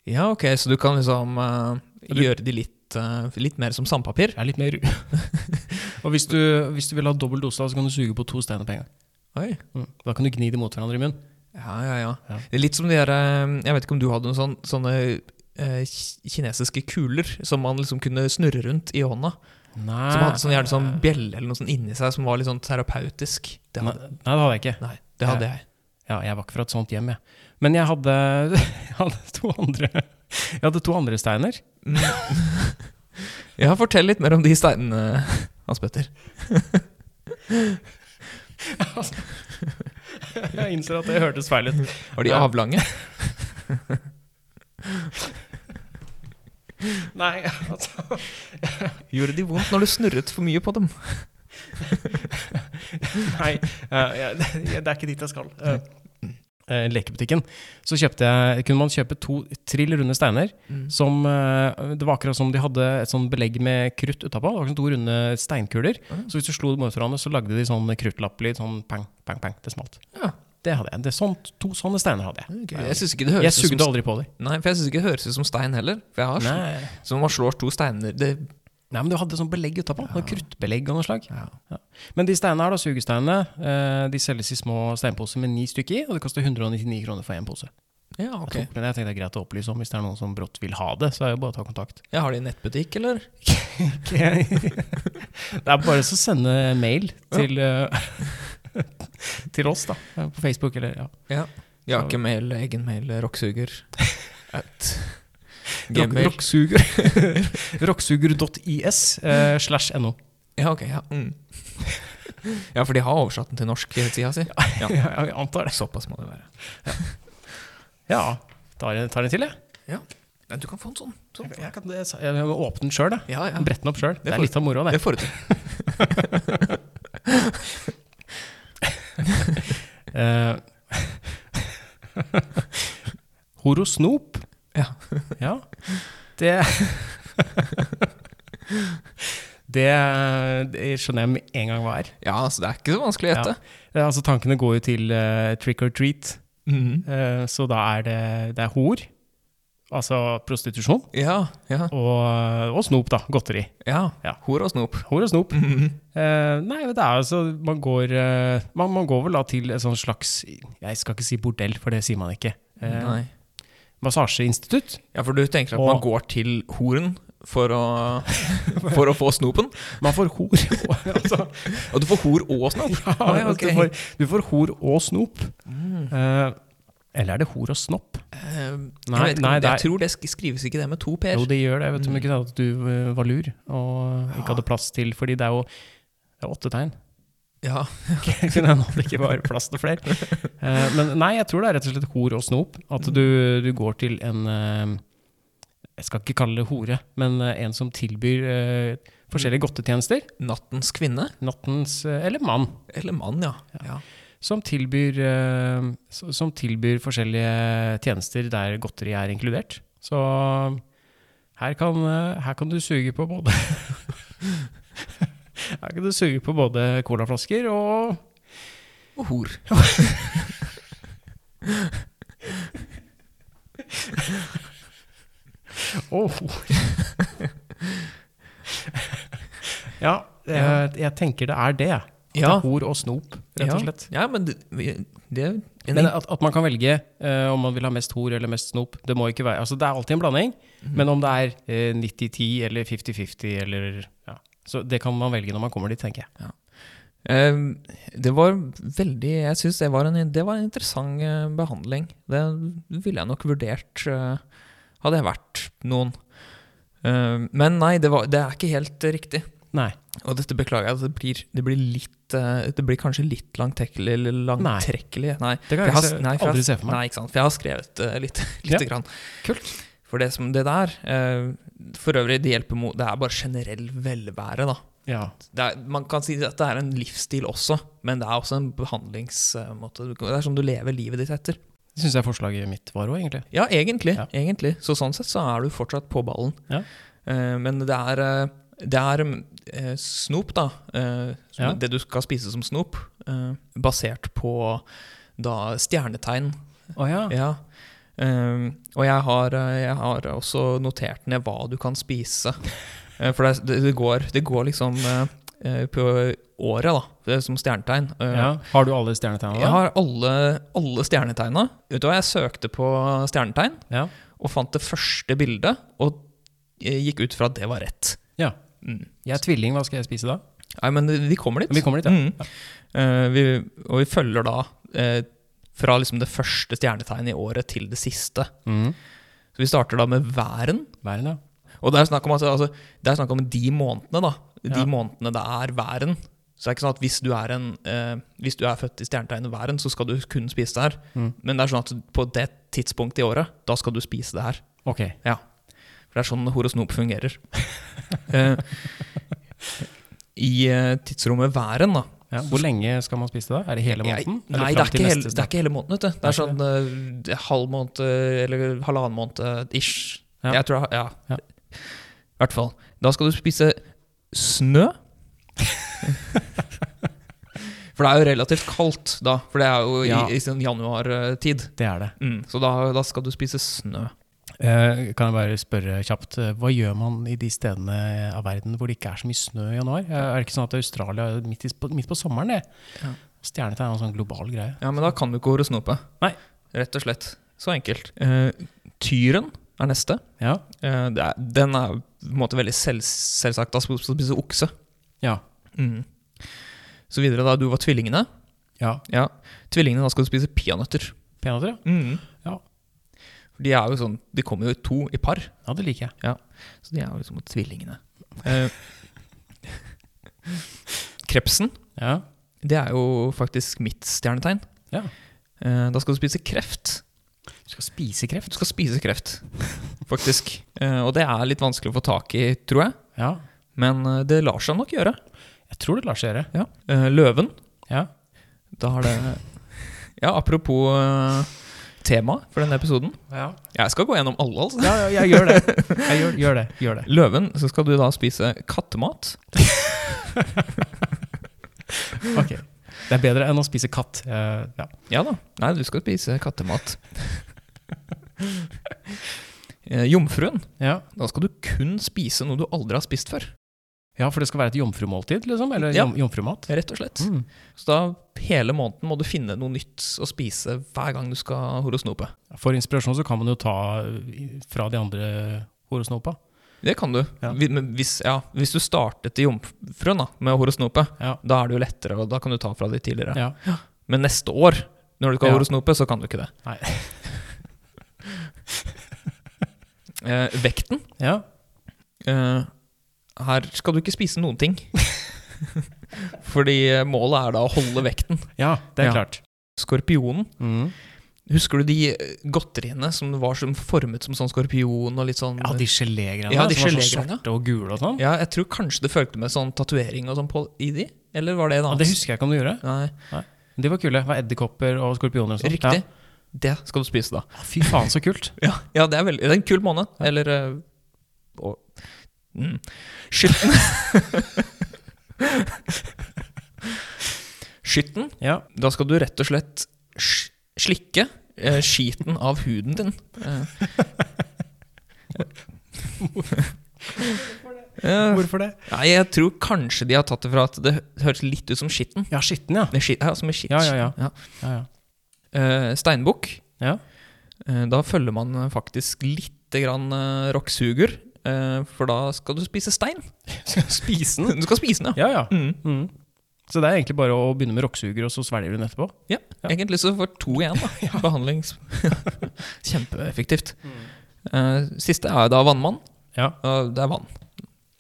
ja, ok, så du kan liksom eh,
Du-
gjøre de litt, eh, litt mer som sandpapir?
Det er litt mer ru. og hvis du, hvis du vil ha dobbel dose, så kan du suge på to steiner på en gang. Mm.
Oi.
Da kan du gni det mot hverandre i munnen.
Ja, ja, ja.
Ja.
Det er litt som de der eh, Jeg vet ikke om du hadde noen sånn, sånne eh, ki- kinesiske kuler som man liksom kunne snurre rundt i hånda.
Nei,
Som hadde sånn, gjerne sånn bjelle eller noe sånt inni seg som var litt sånn terapeutisk. Det
nei,
hadde,
nei, det hadde jeg ikke.
nei, det hadde jeg.
Ja, jeg var ikke fra et sånt hjem, jeg. Men jeg hadde, jeg hadde to andre Jeg hadde to andre steiner.
Ja, fortell litt mer om de steinene, Hans Petter.
Jeg innser at det hørtes feil ut.
Var de
Nei.
avlange?
Nei, altså
Gjorde de vondt når du snurret for mye på dem?
Nei, eh, jeg- det er ikke dit jeg skal. Eh, eh, Lekebutikken. Så kjøpte jeg, kunne man kjøpe to trill runde steiner.
Mm.
Som, eh, det var akkurat som de hadde et sånn belegg med krutt utapå. Det var sånn to runde steinkuler. Så hvis du slo dem mot hverandre, så lagde de sånn kruttlapplyd. Sånn pang, pang, pang. Det smalt.
Ja.
Det hadde jeg. Det, sånt, to sånne steiner hadde jeg.
Ok, Jeg syns ikke det
Jeg
høres ut
sugde
som
aldri på dem.
Nei, for jeg synes ikke det høres ut som stein heller. For jeg har sl-
Nei.
Så når man slår to steiner det,
Nei, men du hadde sånn belegg utapå. Noe kruttbelegg og noe slag.
ja.
Men de steinene her, da, sugesteinene, eh, de selges i små steinposer med ni stykker i, og det koster 199 kroner for én pose.
ja, ok.
Jeg tok med det, jeg tenkte det er greit å opplyse om hvis det er noen som brått vil ha det, så er det jo bare å ta kontakt.
Jeg har de i nettbutikk, eller?
det er bare å sende mail til, eh, til oss, da. eh, På Facebook eller ja.
Ja. Jeg har ikke mail, egen mail, rocksuger. At
Rock-
gmail.
Rocksuger. Rocksuger.is eh, slash no.
Ja, ok. Ja. Mm. Ja, for de har oversatt den til norsk i tida si. Ja.
Jeg antar det.
Såpass må det være.
Ja. Tar en, tar en til, jeg.
Nei, du kan få en sånn. sånn.
Jeg, kan, jeg må åpne den sjøl, jeg.
Ja, ja.
Brette den opp sjøl. Det
får-
er litt av moroa, det.
Det får du til.
Eh, Horosnop.
Ja.
ja. Det det, det skjønner jeg med en gang hva er.
Ja, altså, det er ikke så vanskelig å gjette.
Eh, Altså, tankene går jo til eh, trick or treat,
Mhm.
eh, så da er det, det er hor, altså prostitusjon,
Ja, ja,
og, eh, og snop, da. Godteri.
ja.
Ja.
Hor og snop.
Hor og snop.
Mhm.
Eh, nei, men det er altså man går, eh, man, man går vel da til et sånn slags Jeg skal ikke si bordell, for det sier man ikke. Eh,
Nei.
massasjeinstitutt.
Ja, for du tenker at
Og-
man går til horen for å, for å få snopen?
Man får hor og altså,
Og du får hor og snop?
ja,
ja, ok.
du, får, du får hor og snop. Eh, eller er det hor og snopp?
Eh,
Nei,
jeg, vet ikke,
nei,
om-
det er-
jeg tror det sk- skrives ikke det med to p-er.
Jo, det gjør det. Vet du, men ikke sant, at du eh, var lur og ikke hadde plass til Fordi det er jo det er åtte tegn.
Ja.
Kunne hende at det ikke var plass til flere. Eh, men nei, jeg tror det er rett og slett hor og snop. At du, du går til en eh, Jeg skal ikke kalle det hore, men eh, en som tilbyr eh, forskjellige godtetjenester.
Nattens kvinne?
Nattens eh, eller mann.
Eller mann, ja. ja.
Som tilbyr, eh, s- som tilbyr forskjellige tjenester der godteri er inkludert. Så her kan, eh, her kan du suge på både Her kan du suge på både colaflasker og
Og hor.
Åh! ja, jeg, jeg tenker det er det. At det
Ja.
er hor og snop, rett og
Ja.
slett.
Ja, men det, vi- det er en
Men at, at man kan velge eh, om man vil ha mest hor eller mest snop, det må ikke være Altså, det er alltid en blanding,
Mhm.
men om det er eh, 90-10 eller 50-50 eller ja. Så det kan man velge når man kommer dit, tenker jeg.
Eh, Det var veldig Jeg syns det, var en- det var en interessant eh, behandling. Det ville jeg nok vurdert eh, hadde jeg vært noen. Eh, Men nei, det, var, det er ikke helt eh, riktig.
Nei.
Og dette beklager jeg. at Det blir, det blir, litt, eh, det blir kanskje litt langtekkelig. eller
Nei.
langtrekkelig. Nei.
Det kan jeg
For jeg har,
ikke se-
s- nei, for jeg-
aldri se for meg.
Nei, ikke sant. For jeg har skrevet eh, litt. lite
Ja.
grann.
Kult.
For det som det der eh, For øvrig, det hjelper mot Det er bare generell velvære, da
Ja.
det er, man kan si at det er en livsstil også, men det er også en behandlingsmåte. Du kan- Det er som du lever livet ditt etter.
Det syns jeg forslaget mitt var òg, egentlig.
Ja, egentlig.
Ja.
egentlig. Så sånn sett så er du fortsatt på ballen.
Ja.
Eh, men det er, eh, det er mm, eh, snop, da. eh, som-
Ja.
Det du skal spise som snop, eh, basert på da stjernetegn.
Å ja.
Ja. Eh, og jeg har, eh, jeg har også notert ned hva du kan spise. Eh, for det, er- det, det, går, det går liksom eh, eh, på året, da, det er som stjernetegn. Eh,
ja. Har du alle stjernetegnene?
Jeg har alle, alle stjernetegna. Vet du hva, jeg søkte på stjernetegn
Ja.
og fant det første bildet, og eh, gikk ut fra at det var rett.
ja.
Mm.
Jeg er tvilling, hva skal jeg spise da?
Nei, men vi kommer dit.
Vi kommer dit, ja.
Mm. Eh, vi, og vi følger da eh, fra liksom det første stjernetegnet i året til det siste.
Mm.
Så vi starter da med væren.
Væren, ja.
Og det er snakk om, altså, altså, det er snakk om de månedene, da. De
Ja.
månedene det er væren. Så det er ikke sånn at hvis du er, en, eh, hvis du er født i stjernetegnet væren, så skal du kun spise det her.
Mm.
Men det er sånn at på det tidspunktet i året, da skal du spise det her.
Ok.
Ja. For det er sånn horosnop fungerer. Eh, I eh, tidsrommet væren, da.
Ja. Hvor lenge skal man spise da? Er det hele måneden?
Nei,
Eller fram
det er,
til
ikke hele,
neste
det er ikke hele måneden, vet du. Det er
Er ikke
sånn eh, det er halv måned eh, eller halvannen måned eh, ish.
Ja.
Jeg tror jeg har-
Ja.
Ja. I hvert fall. Da skal du spise snø. For det er jo relativt kaldt da, for det er jo i,
Ja.
i sånn januartid.
sted? Det er det.
Mm, så da, da skal du spise snø.
Eh, Kan jeg bare spørre kjapt, eh, hva gjør man i de stedene av verden hvor det ikke er så mye snø i januar? Eh, Er det ikke sånn at Australia er midt, i, på- midt på sommeren, det?
Ja.
Stjernetegn er en sånn global greie.
Ja, men da kan du ikke horesnope.
Nei.
Rett og slett. Så enkelt. Eh, tyren er neste.
Ja.
Eh, det er, den er på en måte veldig selv, selvsagt. Da skal du spise okse.
Ja.
Mm. Så videre da, du var tvillingene.
ja.
Ja, tvillingene, da skal du spise peanøtter.
Peanøtter, ja. Ja.
De er jo sånn, de kommer jo i to i par,
ja. Det liker jeg.
så de er jo liksom tvillingene. Eh, Krepsen,
Ja.
det er jo faktisk mitt stjernetegn.
ja.
Eh, Da skal du spise kreft.
Du skal spise kreft?
Du skal spise kreft, faktisk. Eh, Og det er litt vanskelig å få tak i, tror jeg.
Ja.
Men eh, det lar seg nok gjøre.
Jeg tror det lar seg gjøre.
Ja. Eh, Løven,
Ja.
da har det Ja, apropos eh, tema for denne episoden.
Ja.
Jeg skal gå gjennom alle, altså.
ja, jeg gjør det. Jeg gjør, gjør det. Gjør det.
Løven, så skal du da spise kattemat.
Ok. Det er bedre enn å spise katt. Eh, ja.
Ja da. Nei, du skal spise kattemat. Eh, Jomfruen,
Ja.
da skal du kun spise noe du aldri har spist før.
ja, for det skal være et jomfrumåltid, liksom? Eller
Ja.
jom, jomfrumat?
Rett og slett.
Mm.
Så da hele måneden må du finne noe nytt å spise hver gang du skal horosnope.
For inspirasjon så kan man jo ta eh, fra de andre horosnopa.
Det kan du.
Ja.
Vi- men Hvis, ja, hvis du startet i Jomfruen da, med horosnope,
Ja.
da er det jo lettere, og da kan du ta fra de tidligere.
Ja.
Men neste år, når du skal
Ja.
ha horosnope, så kan du ikke det.
Nei.
Eh, vekten
ja.
eh, Her skal du ikke spise noen ting. Fordi eh, målet er da å holde vekten.
Ja, det er
Ja.
klart.
Skorpionen.
Mm.
Husker du de eh, godteriene som var som formet som sånn skorpion og litt sånn
Ja, de gelégreiene
Ja, de
som var så
gelégreiene.
svarte og gule og sånn.
Ja, jeg tror kanskje det fulgte med sånn tatovering og sånn på i de? Eller var det en
Ja,
annen?
det husker jeg ikke om du gjorde.
Nei,
De var kule. Det var edderkopper og skorpioner og sånn.
riktig. Det skal du spise, da.
Ja. Fy faen, så kult.
Ja, ja det, er veldig, det er en kul måned. Eller eh, å, mm. Skytten. Skytten.
Ja.
Da skal du rett og slett sj- slikke eh, skiten av huden din. Eh. Eh,
Hvorfor det?
Nei, jeg tror kanskje de har tatt det fra at det hø- høres litt ut som skitten.
Ja, skitten, ja.
Det er skitt, ja, som er skitt.
Ja, ja, ja. Ja, ja.
Eh, steinbukk.
Ja.
Eh, da følger man eh, faktisk lite grann eh, rocksuger, eh, for da skal du spise stein.
Spise
Du skal spise den, ja.
Ja, ja.
Mm.
Mm. Så det er egentlig bare å begynne med rocksuger, og så svelger du den etterpå? Ja.
Egentlig så får to igjen, da. Behandling. Kjempeeffektivt. Eh, siste er da vannmann.
Mm. Ja.
Eh, det er vann.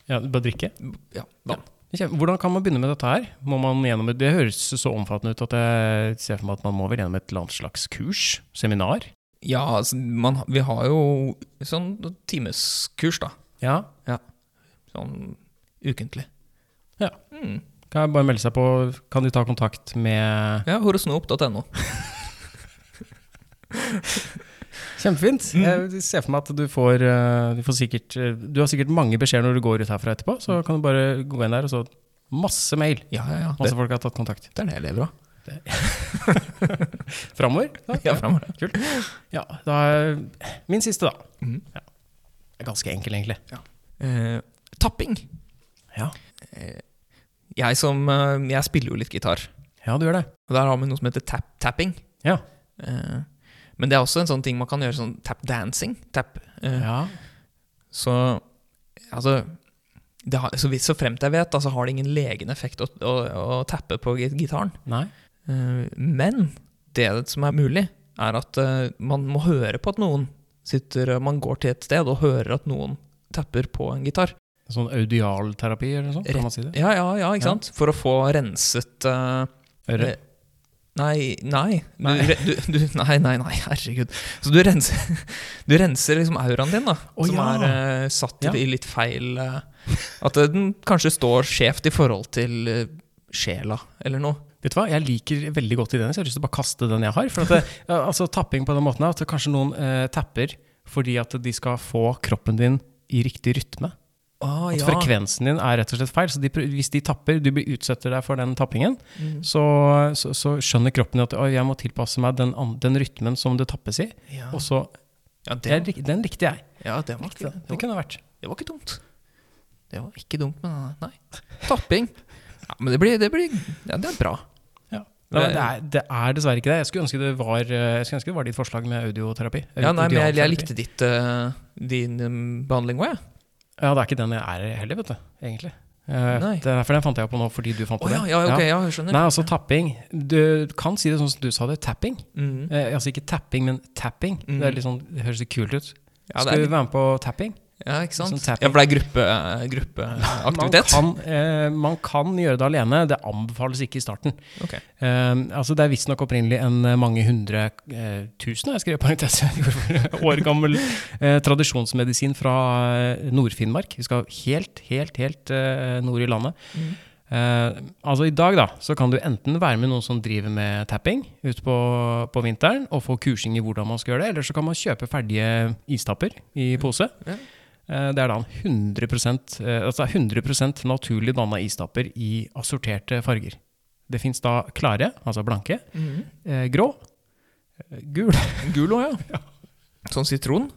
ja bare drikke?
Ja, vann.
Kjem- Hvordan kan man begynne med dette her? Må man gjennom et, det høres så omfattende ut at jeg ser for meg at man må vel gjennom et eller annet slags kurs? Seminar?
Ja, altså, man, vi har jo sånn timeskurs, da.
Ja.
Sånn ukentlig.
Ja.
Mm.
Kan jeg bare melde seg på? Kan de ta kontakt med
Ja, horosnop.no.
Kjempefint. Jeg ser for meg at du får, eh, du får sikkert eh, Du har sikkert mange beskjeder når du går ut herfra etterpå, så kan du bare gå inn der og så Masse mail!
Ja, ja, ja.
Masse folk har tatt kontakt.
Det er det jeg lever av.
Framover? da?
Ja, fremover.
Ja, da er min siste, da.
Mhm.
Ja. Det er ganske enkel, egentlig.
Eh, tapping.
Ja.
Eh, jeg, som, eh, jeg spiller jo litt gitar,
ja, du gjør det.
og der har vi noe som heter tap tapping.
Ja.
Eh, men det er også en sånn ting man kan gjøre sånn tap dancing. Tap. Eh,
Ja,
Så altså det har, så, vidt, så fremt jeg vet, da, så har det ingen legende effekt å, å, å tappe på gi- gitaren.
Nei.
Eh, men det som er mulig, er at eh, man må høre på at noen sitter Man går til et sted og hører at noen tapper på en gitar.
Sånn audialterapi eller noe sånt, kan man si det?
Ja, ja, ja, ikke
Ja.
sant? For å få renset eh,
Øre.
Nei, nei. Du,
Nei.
re- du, du, nei, nei, nei, herregud. Så du renser, du renser liksom auraen din, da.
Å,
som
ja.
er eh, satt
Ja.
i litt feil eh, At den kanskje står skjevt i forhold til eh, sjela, eller noe.
Vet du hva, jeg liker veldig godt ideen, så jeg har lyst til å bare kaste den jeg har. For at det, ja, altså, tapping på den måten er at kanskje noen eh, tapper fordi at de skal få kroppen din i riktig rytme.
Ah,
At
ja.
frekvensen din er rett og slett feil. Så de, prø- hvis de tapper, du blir- utsetter deg for den tappingen,
Mm.
så, så, så skjønner kroppen at «Oi, jeg må tilpasse meg den, an- den rytmen som det tappes i.
Ja.
Og så
Ja, Ah, det,
Den, lik- den likte jeg.
ja, det var ikke
Det kunne vært.
Det var ikke dumt. Det var ikke dumt, men eh, nei. Tapping. Ja, men det blir, det blir ja, Det er bra.
Nei, men det, er, det er dessverre ikke det. Jeg skulle ønske det var, eh, jeg skulle ønske det var ditt forslag med audioterapi.
Ja, nei, men jeg, jeg
Audioterapi.
likte ditt, eh, din um, behandling òg, jeg.
Ja, det er ikke den jeg er i heller, vet du. Egentlig. Eh,
Nei.
Det er derfor den fant jeg på nå, fordi du fant
Å
på
ja,
den.
ja, ok, ja, jeg skjønner.
Nei, altså tapping. Du kan si det sånn som du sa det, tapping.
Mm.
Eh, altså ikke tapping, men tapping.
Mm.
Det, er litt sånn, det høres litt kult ut.
Ja, det
Skal
er
du
litt,
være med på tapping?
Ja, ikke sant?
Sånn tapping.
ja, for det er gruppe, eh,
Man
gruppeaktivitet?
kan, eh, man kan gjøre det alene, det anbefales ikke i starten.
Ok.
Eh, altså det er visstnok opprinnelig en eh, mange hundre eh, tusen, jeg skrev i parentes, år gammel eh, tradisjonsmedisin fra eh, Nord-Finnmark. Vi skal helt, helt, helt eh, nord i landet.
Mhm.
Eh, altså I dag da, så kan du enten være med noen som driver med tapping ute på, på vinteren, og få kursing i hvordan man skal gjøre det, eller så kan man kjøpe ferdige istapper i pose.
Ja.
Eh, Det er da en 100, eh, altså 100 naturlig danna istapper i assorterte farger. Det fins da klare, altså blanke,
Mhm.
eh, grå, eh, gul
Gul òg, ja. Sånn sitron?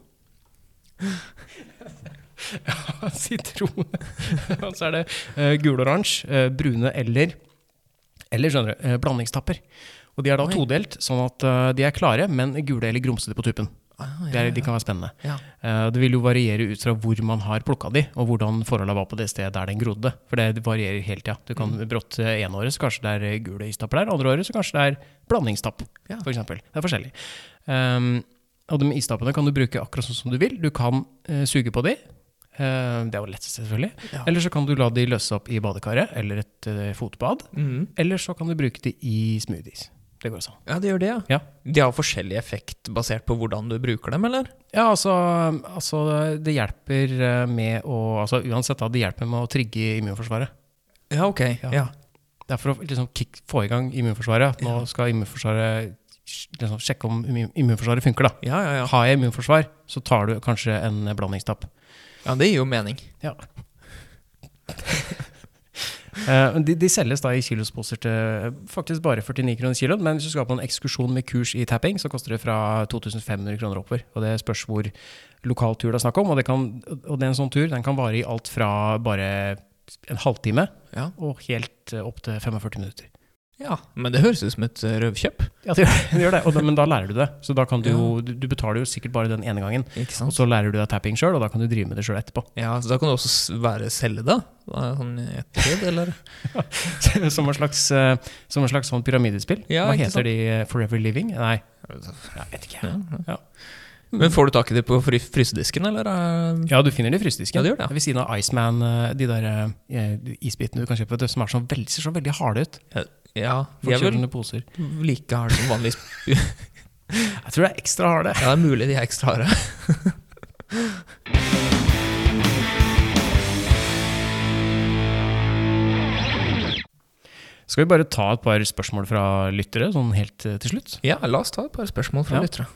sitron. og så er det eh, guloransje, eh, brune eller eller skjønner du, eh, blandingstapper. Og de er da
Oi.
todelt, sånn at eh, de er klare, men gule eller grumsete på tuppen.
Ah,
Det er, de kan være spennende.
Ja.
Eh, Det vil jo variere ut fra hvor man har plukka de, og hvordan forholda var på det stedet der den grodde. For det varierer hele tida. Du
Mm.
kan brått eh, ene året så kanskje det er eh, gule istapper der, andre året så kanskje det er blandingstapp,
Ja.
for eksempel. Det er forskjellig. Ehm, og de istappene kan du bruke akkurat sånn som du vil. Du kan eh, suge på de. Eh, det er jo lettest, selvfølgelig.
Ja.
Eller så kan du la de løse opp i badekaret eller et eh, fotbad.
Mhm.
Eller så kan du bruke de i smoothies. Det går sånn. også an.
ja, det gjør det, ja.
Ja.
De har forskjellig effekt basert på hvordan du bruker dem, eller?
Ja, altså, altså det hjelper eh, med å altså, Uansett, da, det hjelper med å trigge immunforsvaret.
Ja, ok.
Ja.
Ja.
Det er for å liksom, kick, få i gang immunforsvaret. Nå
Ja.
skal immunforsvaret liksom, sjekke om immun- immunforsvaret funker. da.
Ja, ja, ja.
Har jeg immunforsvar, så tar du kanskje en blandingstapp.
Ja, det gir jo mening.
Eh, men de, de selges da i kilosposer til eh, faktisk bare 49 kroner kiloen, men hvis du skal på en ekskursjon med kurs i tapping, så koster det fra 2500 kroner oppover. Og det spørs hvor lokal tur det er snakk om. Og, det kan, og det er en sånn tur den kan vare i alt fra bare en halvtime
Ja.
og helt eh, opp til 45 minutter.
ja. Men det høres ut som et eh, røvkjøp.
Ja, det gjør det, det, gjør det. Og da- men da lærer du det. Så da kan du jo Du du betaler jo sikkert bare den ene gangen,
Ikke
og så lærer du deg tapping sjøl, og da kan du drive med det sjøl etterpå.
Ja, så da kan du også s- være selge, da? Da er det Sånn i ettertid, eller?
som en slags, eh, som en slags sånn pyramidespill.
Ja,
Hva
ikke
heter
sant?
de? eh, Forever Living? Nei, jeg vet ikke.
Ja,
Ja.
Men får du tak i det på fry frysedisken, eller? eh?
Ja, du finner det i frysedisken.
Ja, det gjør det.
Ved siden av Iceman, eh, de der eh, isbitene du kan kjøpe, vet du, som er sånn veldig, ser så veldig harde ut.
Ja, de er vel
Forkjølende poser.
like harde som vanlig.
Jeg tror det er ekstra harde.
Ja, det er mulig de er ekstra harde.
Skal vi bare ta et par spørsmål fra lyttere, sånn helt eh, til slutt?
Ja, la oss ta et par spørsmål fra
Ja.
lyttere.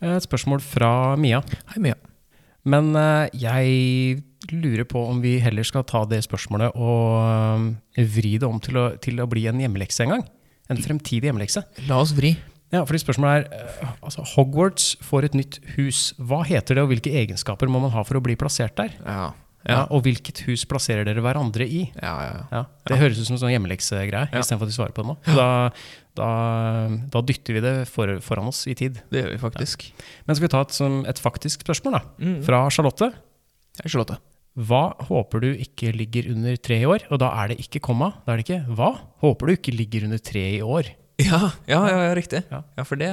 Eh, Et spørsmål fra Mia.
Hei, Mia.
Men eh, jeg lurer på om vi heller skal ta det spørsmålet og eh, vri det om til å, til å bli en hjemmelekse en gang. En fremtidig hjemmelekse.
La oss vri.
Ja, fordi spørsmålet er eh, altså, Hogwarts får et nytt hus. Hva heter det, og hvilke egenskaper må man ha for å bli plassert der?
Ja.
Ja.
Ja,
og hvilket hus plasserer dere hverandre i?
ja, ja. ja.
Ja, det høres ut som en sånn hjemmeleksegreie,
Ja.
istedenfor at de svarer på det nå. Da, da, da dytter vi det for, foran oss i tid.
Det gjør vi faktisk.
Men skal vi ta et, som et faktisk spørsmål, da?
Mm.
Fra Charlotte.
Hei, Charlotte.
Hva håper du ikke ligger under tre i år? Og da er det ikke komma, da er det ikke hva? Håper du ikke ligger under tre i år?
Ja, ja, ja, ja riktig.
Ja.
Ja. for det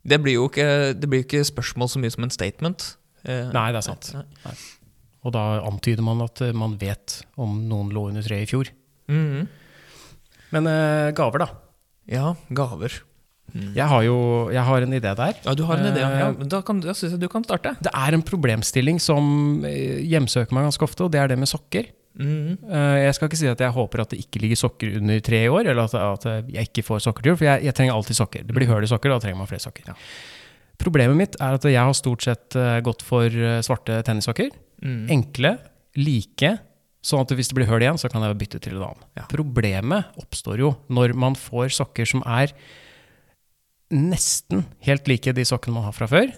Det blir jo ikke, det blir jo ikke spørsmål så mye som en statement. Eh,
Nei, det er sant.
Nei.
Og da antyder man at eh, man vet om noen lå under tre i fjor.
Mhm.
Men eh, gaver, da.
Ja, gaver. Mm.
Jeg har jo jeg har en idé der.
Ja, du har en idé.
Eh,
Ja, men da kan, da syns jeg du kan starte.
Det er en problemstilling som eh, hjemsøker meg ganske ofte, og det er det med sokker.
Mhm.
Eh, Jeg skal ikke si at jeg håper at det ikke ligger sokker under tre i år, eller at, at jeg ikke får sokkertur, for jeg, jeg trenger alltid sokker. Det blir høl i sokker, da trenger man flere sokker.
Ja.
Problemet mitt er at jeg har stort sett eh, gått for eh, svarte tennissokker.
Mhm.
Enkle, like, sånn at hvis det blir høl igjen, så kan jeg bytte til en annen.
Ja.
Problemet oppstår jo når man får sokker som er nesten helt like de sokkene man har fra før.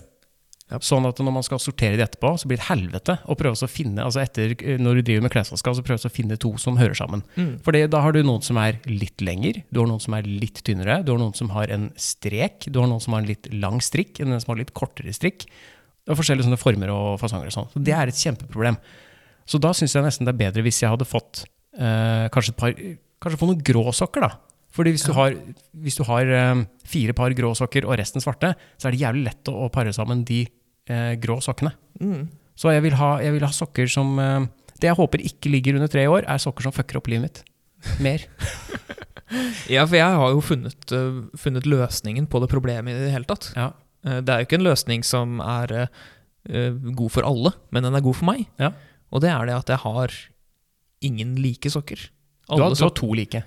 Ja.
Sånn at når man skal sortere de etterpå, så blir det helvete å prøve å finne altså etter, Når du driver med klesvaska, så prøve å finne to som hører sammen.
Mhm.
For da har du noen som er litt lengre, du har noen som er litt tynnere, du har noen som har en strek, du har noen som har en litt lang strikk, en som har litt kortere strikk. Det er forskjellige sånne former og fasonger og sånn. Så det er et kjempeproblem. Så da syns jeg nesten det er bedre hvis jeg hadde fått eh, kanskje et par Kanskje få noen grå sokker, da. Fordi hvis du har, hvis du har eh, fire par grå sokker og resten svarte, så er det jævlig lett å, å pare sammen de eh, grå sokkene.
Mhm.
Så jeg vil ha, jeg vil ha sokker som eh, Det jeg håper ikke ligger under tre år, er sokker som fucker opp livet mitt. Mer.
Ja, for jeg har jo funnet, eh, funnet løsningen på det problemet i det hele tatt.
Ja.
Eh, det er jo ikke en løsning som er eh, eh, god for alle, men den er god for meg.
Ja.
Og det er det at jeg har ingen like sokker.
Du har,
Alle
du har
sok-
to like.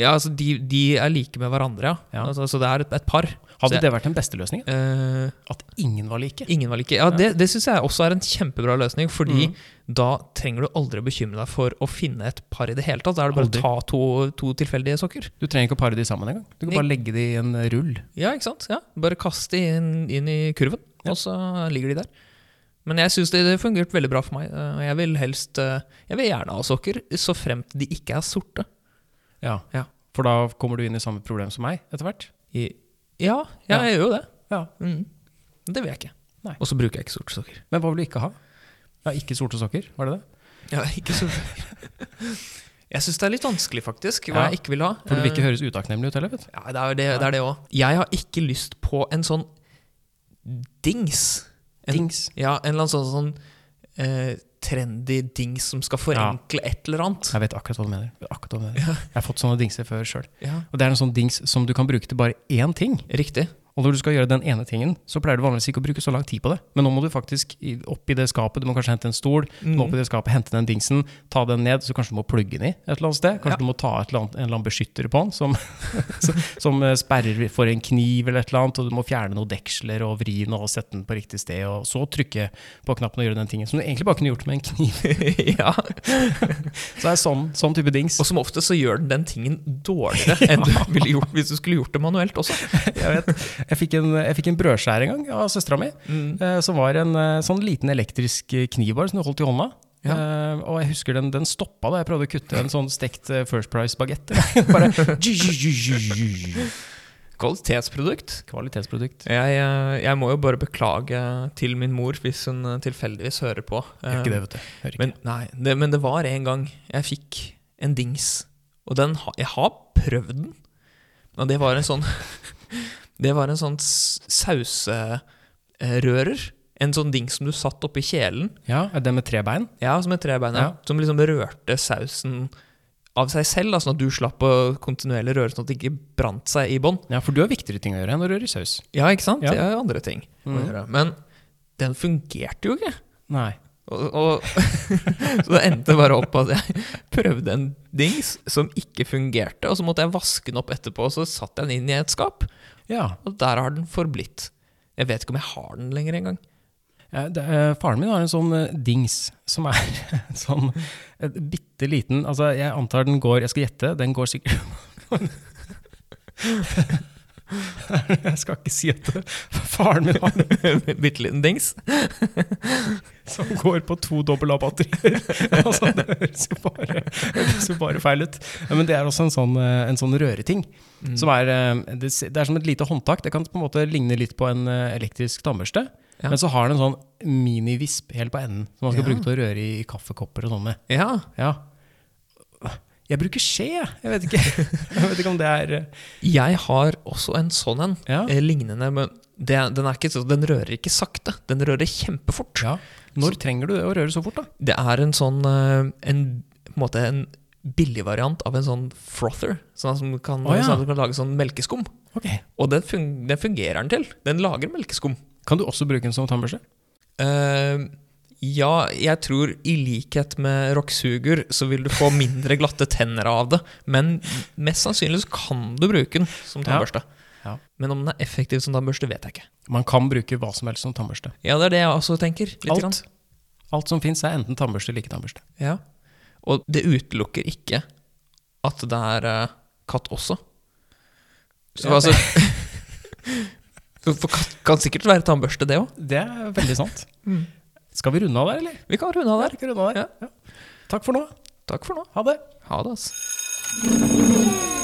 ja, altså de, de er like med hverandre, ja.
Ja.
Altså, så det er et, et par. Så
Hadde
jeg-
det vært den beste løsningen?
Eh,
At ingen var like?
ingen var like. Ja, det, det syns jeg også er en kjempebra løsning,
Mm.
fordi da trenger du aldri å bekymre deg for å finne et par i det hele tatt. Da er det bare
Aldri.
å ta to, to tilfeldige sokker.
Du trenger ikke å pare de sammen engang. Du kan bare legge de i en rull.
Ja, ikke sant? Ja. Bare kaste de inn, inn i kurven,
Ja.
og så ligger de der. Men jeg syns det, det fungerte veldig bra for meg. eh, og Jeg vil helst eh, Jeg vil gjerne ha sokker, så fremt de ikke er sorte.
Ja.
Ja.
For da kommer du inn i samme problem som meg etter hvert.
I, ja, ja,
Ja.
jeg gjør jo det.
Ja.
Mm. Det vil jeg ikke.
Nei.
Og så bruker jeg ikke sorte sokker.
Men hva vil du ikke ha? Ja, ikke sorte sokker, var det det?
Ja, ikke sorte sokker. jeg syns det er litt vanskelig, faktisk,
Ja.
hva jeg ikke vil ha.
For du vil ikke
Eh,
høres utakknemlig ut heller, vet du.
Ja, det er det, det, er det også. Jeg har ikke lyst på en sånn dings. En,
Dings.
Ja, en eller annen sånn, sånn eh, trendy dings som skal forenkle et eller annet.
Jeg vet akkurat hva du mener. Jeg, vet akkurat hva du mener. jeg har fått sånne dingser før sjøl.
Ja,
Og det er en sånn dings som du kan bruke til bare én ting.
Riktig.
Og når du skal gjøre den ene tingen, så pleier du vanligvis ikke å bruke så lang tid på det. Men nå må du faktisk i- opp i det skapet, du må kanskje hente en stol, du må opp
Mm.
i det skapet, hente den dingsen, ta den ned, så kanskje du må plugge den i et eller annet sted. Kanskje
Ja.
du må ta et eller annet, en eller annen beskytter på den, som, som eh, sperrer for en kniv eller et eller annet, og du må fjerne noen deksler og vri den og sette den på riktig sted, og så trykke på knappen og gjøre den tingen som du egentlig bare kunne gjort med en kniv.
ja.
Så det er sånn, sånn type dings.
Og som ofte så gjør den den tingen dårligere enn du ville gjort hvis du skulle gjort det manuelt også.
Jeg, vet, jeg, fikk en, jeg fikk en brødskjær en gang av søstera mi,
Mm.
eh, som var en eh, sånn liten elektrisk eh, kniv bare som du holdt i hånda.
Ja.
Eh, og jeg husker den, den stoppa da jeg prøvde å kutte en sånn stekt eh, First Price-bagett. Bare
Kvalitetsprodukt.
Kvalitetsprodukt.
Jeg, eh, jeg må jo bare beklage til min mor hvis hun eh, tilfeldigvis hører på.
Gjør ikke
Eh,
det, vet du. Hører ikke.
Men, nei, det, men det var en gang jeg fikk en dings. Og den, ha- jeg har prøvd den. Og det var en sånn Det var en sånn sauserører. En sånn dings som du satt oppi kjelen.
ja, er det med tre bein?
Ja, som et trebein.
Ja.
Ja. Som liksom rørte sausen av seg selv. Da, sånn at du slapp å kontinuerlig røre sånn at det ikke brant seg i bånn.
Ja, for du har viktigere ting å gjøre enn å røre i saus.
Ja, ikke sant? Mm.
Ja.
Det er jo andre ting å
Mhm.
gjøre. Men den fungerte jo ikke.
Nei.
Og, og, så det endte bare opp at jeg prøvde en dings som ikke fungerte, og så måtte jeg vaske den opp etterpå, og så satte jeg den inn i et skap,
Ja.
og der har den forblitt. Jeg vet ikke om jeg har den lenger engang.
Eh, det, eh, faren min har en sånn eh, dings, som er en sånn eh, bitte liten Altså, jeg antar den går Jeg skal gjette, den går sikkert Jeg skal ikke si at det- faren min har den
Bitte liten dings.
som går på to dobbel A-batterier. altså, det høres jo bare, høres jo bare feil ut. Ja, Men det er også en sånn, eh, en sånn røreting.
Mm.
Som er, eh, det, s- det er som et lite håndtak. Det kan på en måte ligne litt på en eh, elektrisk tannbørste.
Ja.
Men så har den en sånn minivisp helt på enden, som man skal
Ja.
bruke til å røre i kaffekopper og sånn med.
Ja,
Ja. Jeg bruker skje, jeg. Jeg vet ikke, jeg vet ikke om det er eh,
jeg har også en sånn en,
Ja.
eh, lignende, men det, den, er ikke, så- den rører ikke sakte, den rører kjempefort.
ja. Når trenger du å røre så fort, da?
Det er en sånn, eh, en, på en måte en billig variant av en sånn frother, sånn som kan,
Å, ja.
sånn at du kan lage sånn melkeskum. Og den, fun den fungerer den til. Den lager melkeskum.
Kan du også bruke en sånn tannbørste?
Eh, ja, jeg tror i likhet med rocksuger så vil du få mindre glatte tenner av det. Men mest sannsynlig så kan du bruke den som
Ja.
tannbørste.
Ja.
Men om den er effektiv som tannbørste, vet jeg ikke.
Man kan bruke hva som helst som tannbørste.
Ja, det er det jeg også tenker. Litt Grann.
Alt, alt som fins, er enten tannbørste eller ikke tannbørste.
Ja. Og det utelukker ikke at det er eh, katt også. Så
Ja.
altså For katt kan sikkert være tannbørste, det òg.
Det er veldig sant. Skal vi runde av der, eller?
Mm. Vi kan runde av der.
Skal vi runde av der? Ja. Takk for nå.
Takk for nå.
Ha det.
Ha det, altså.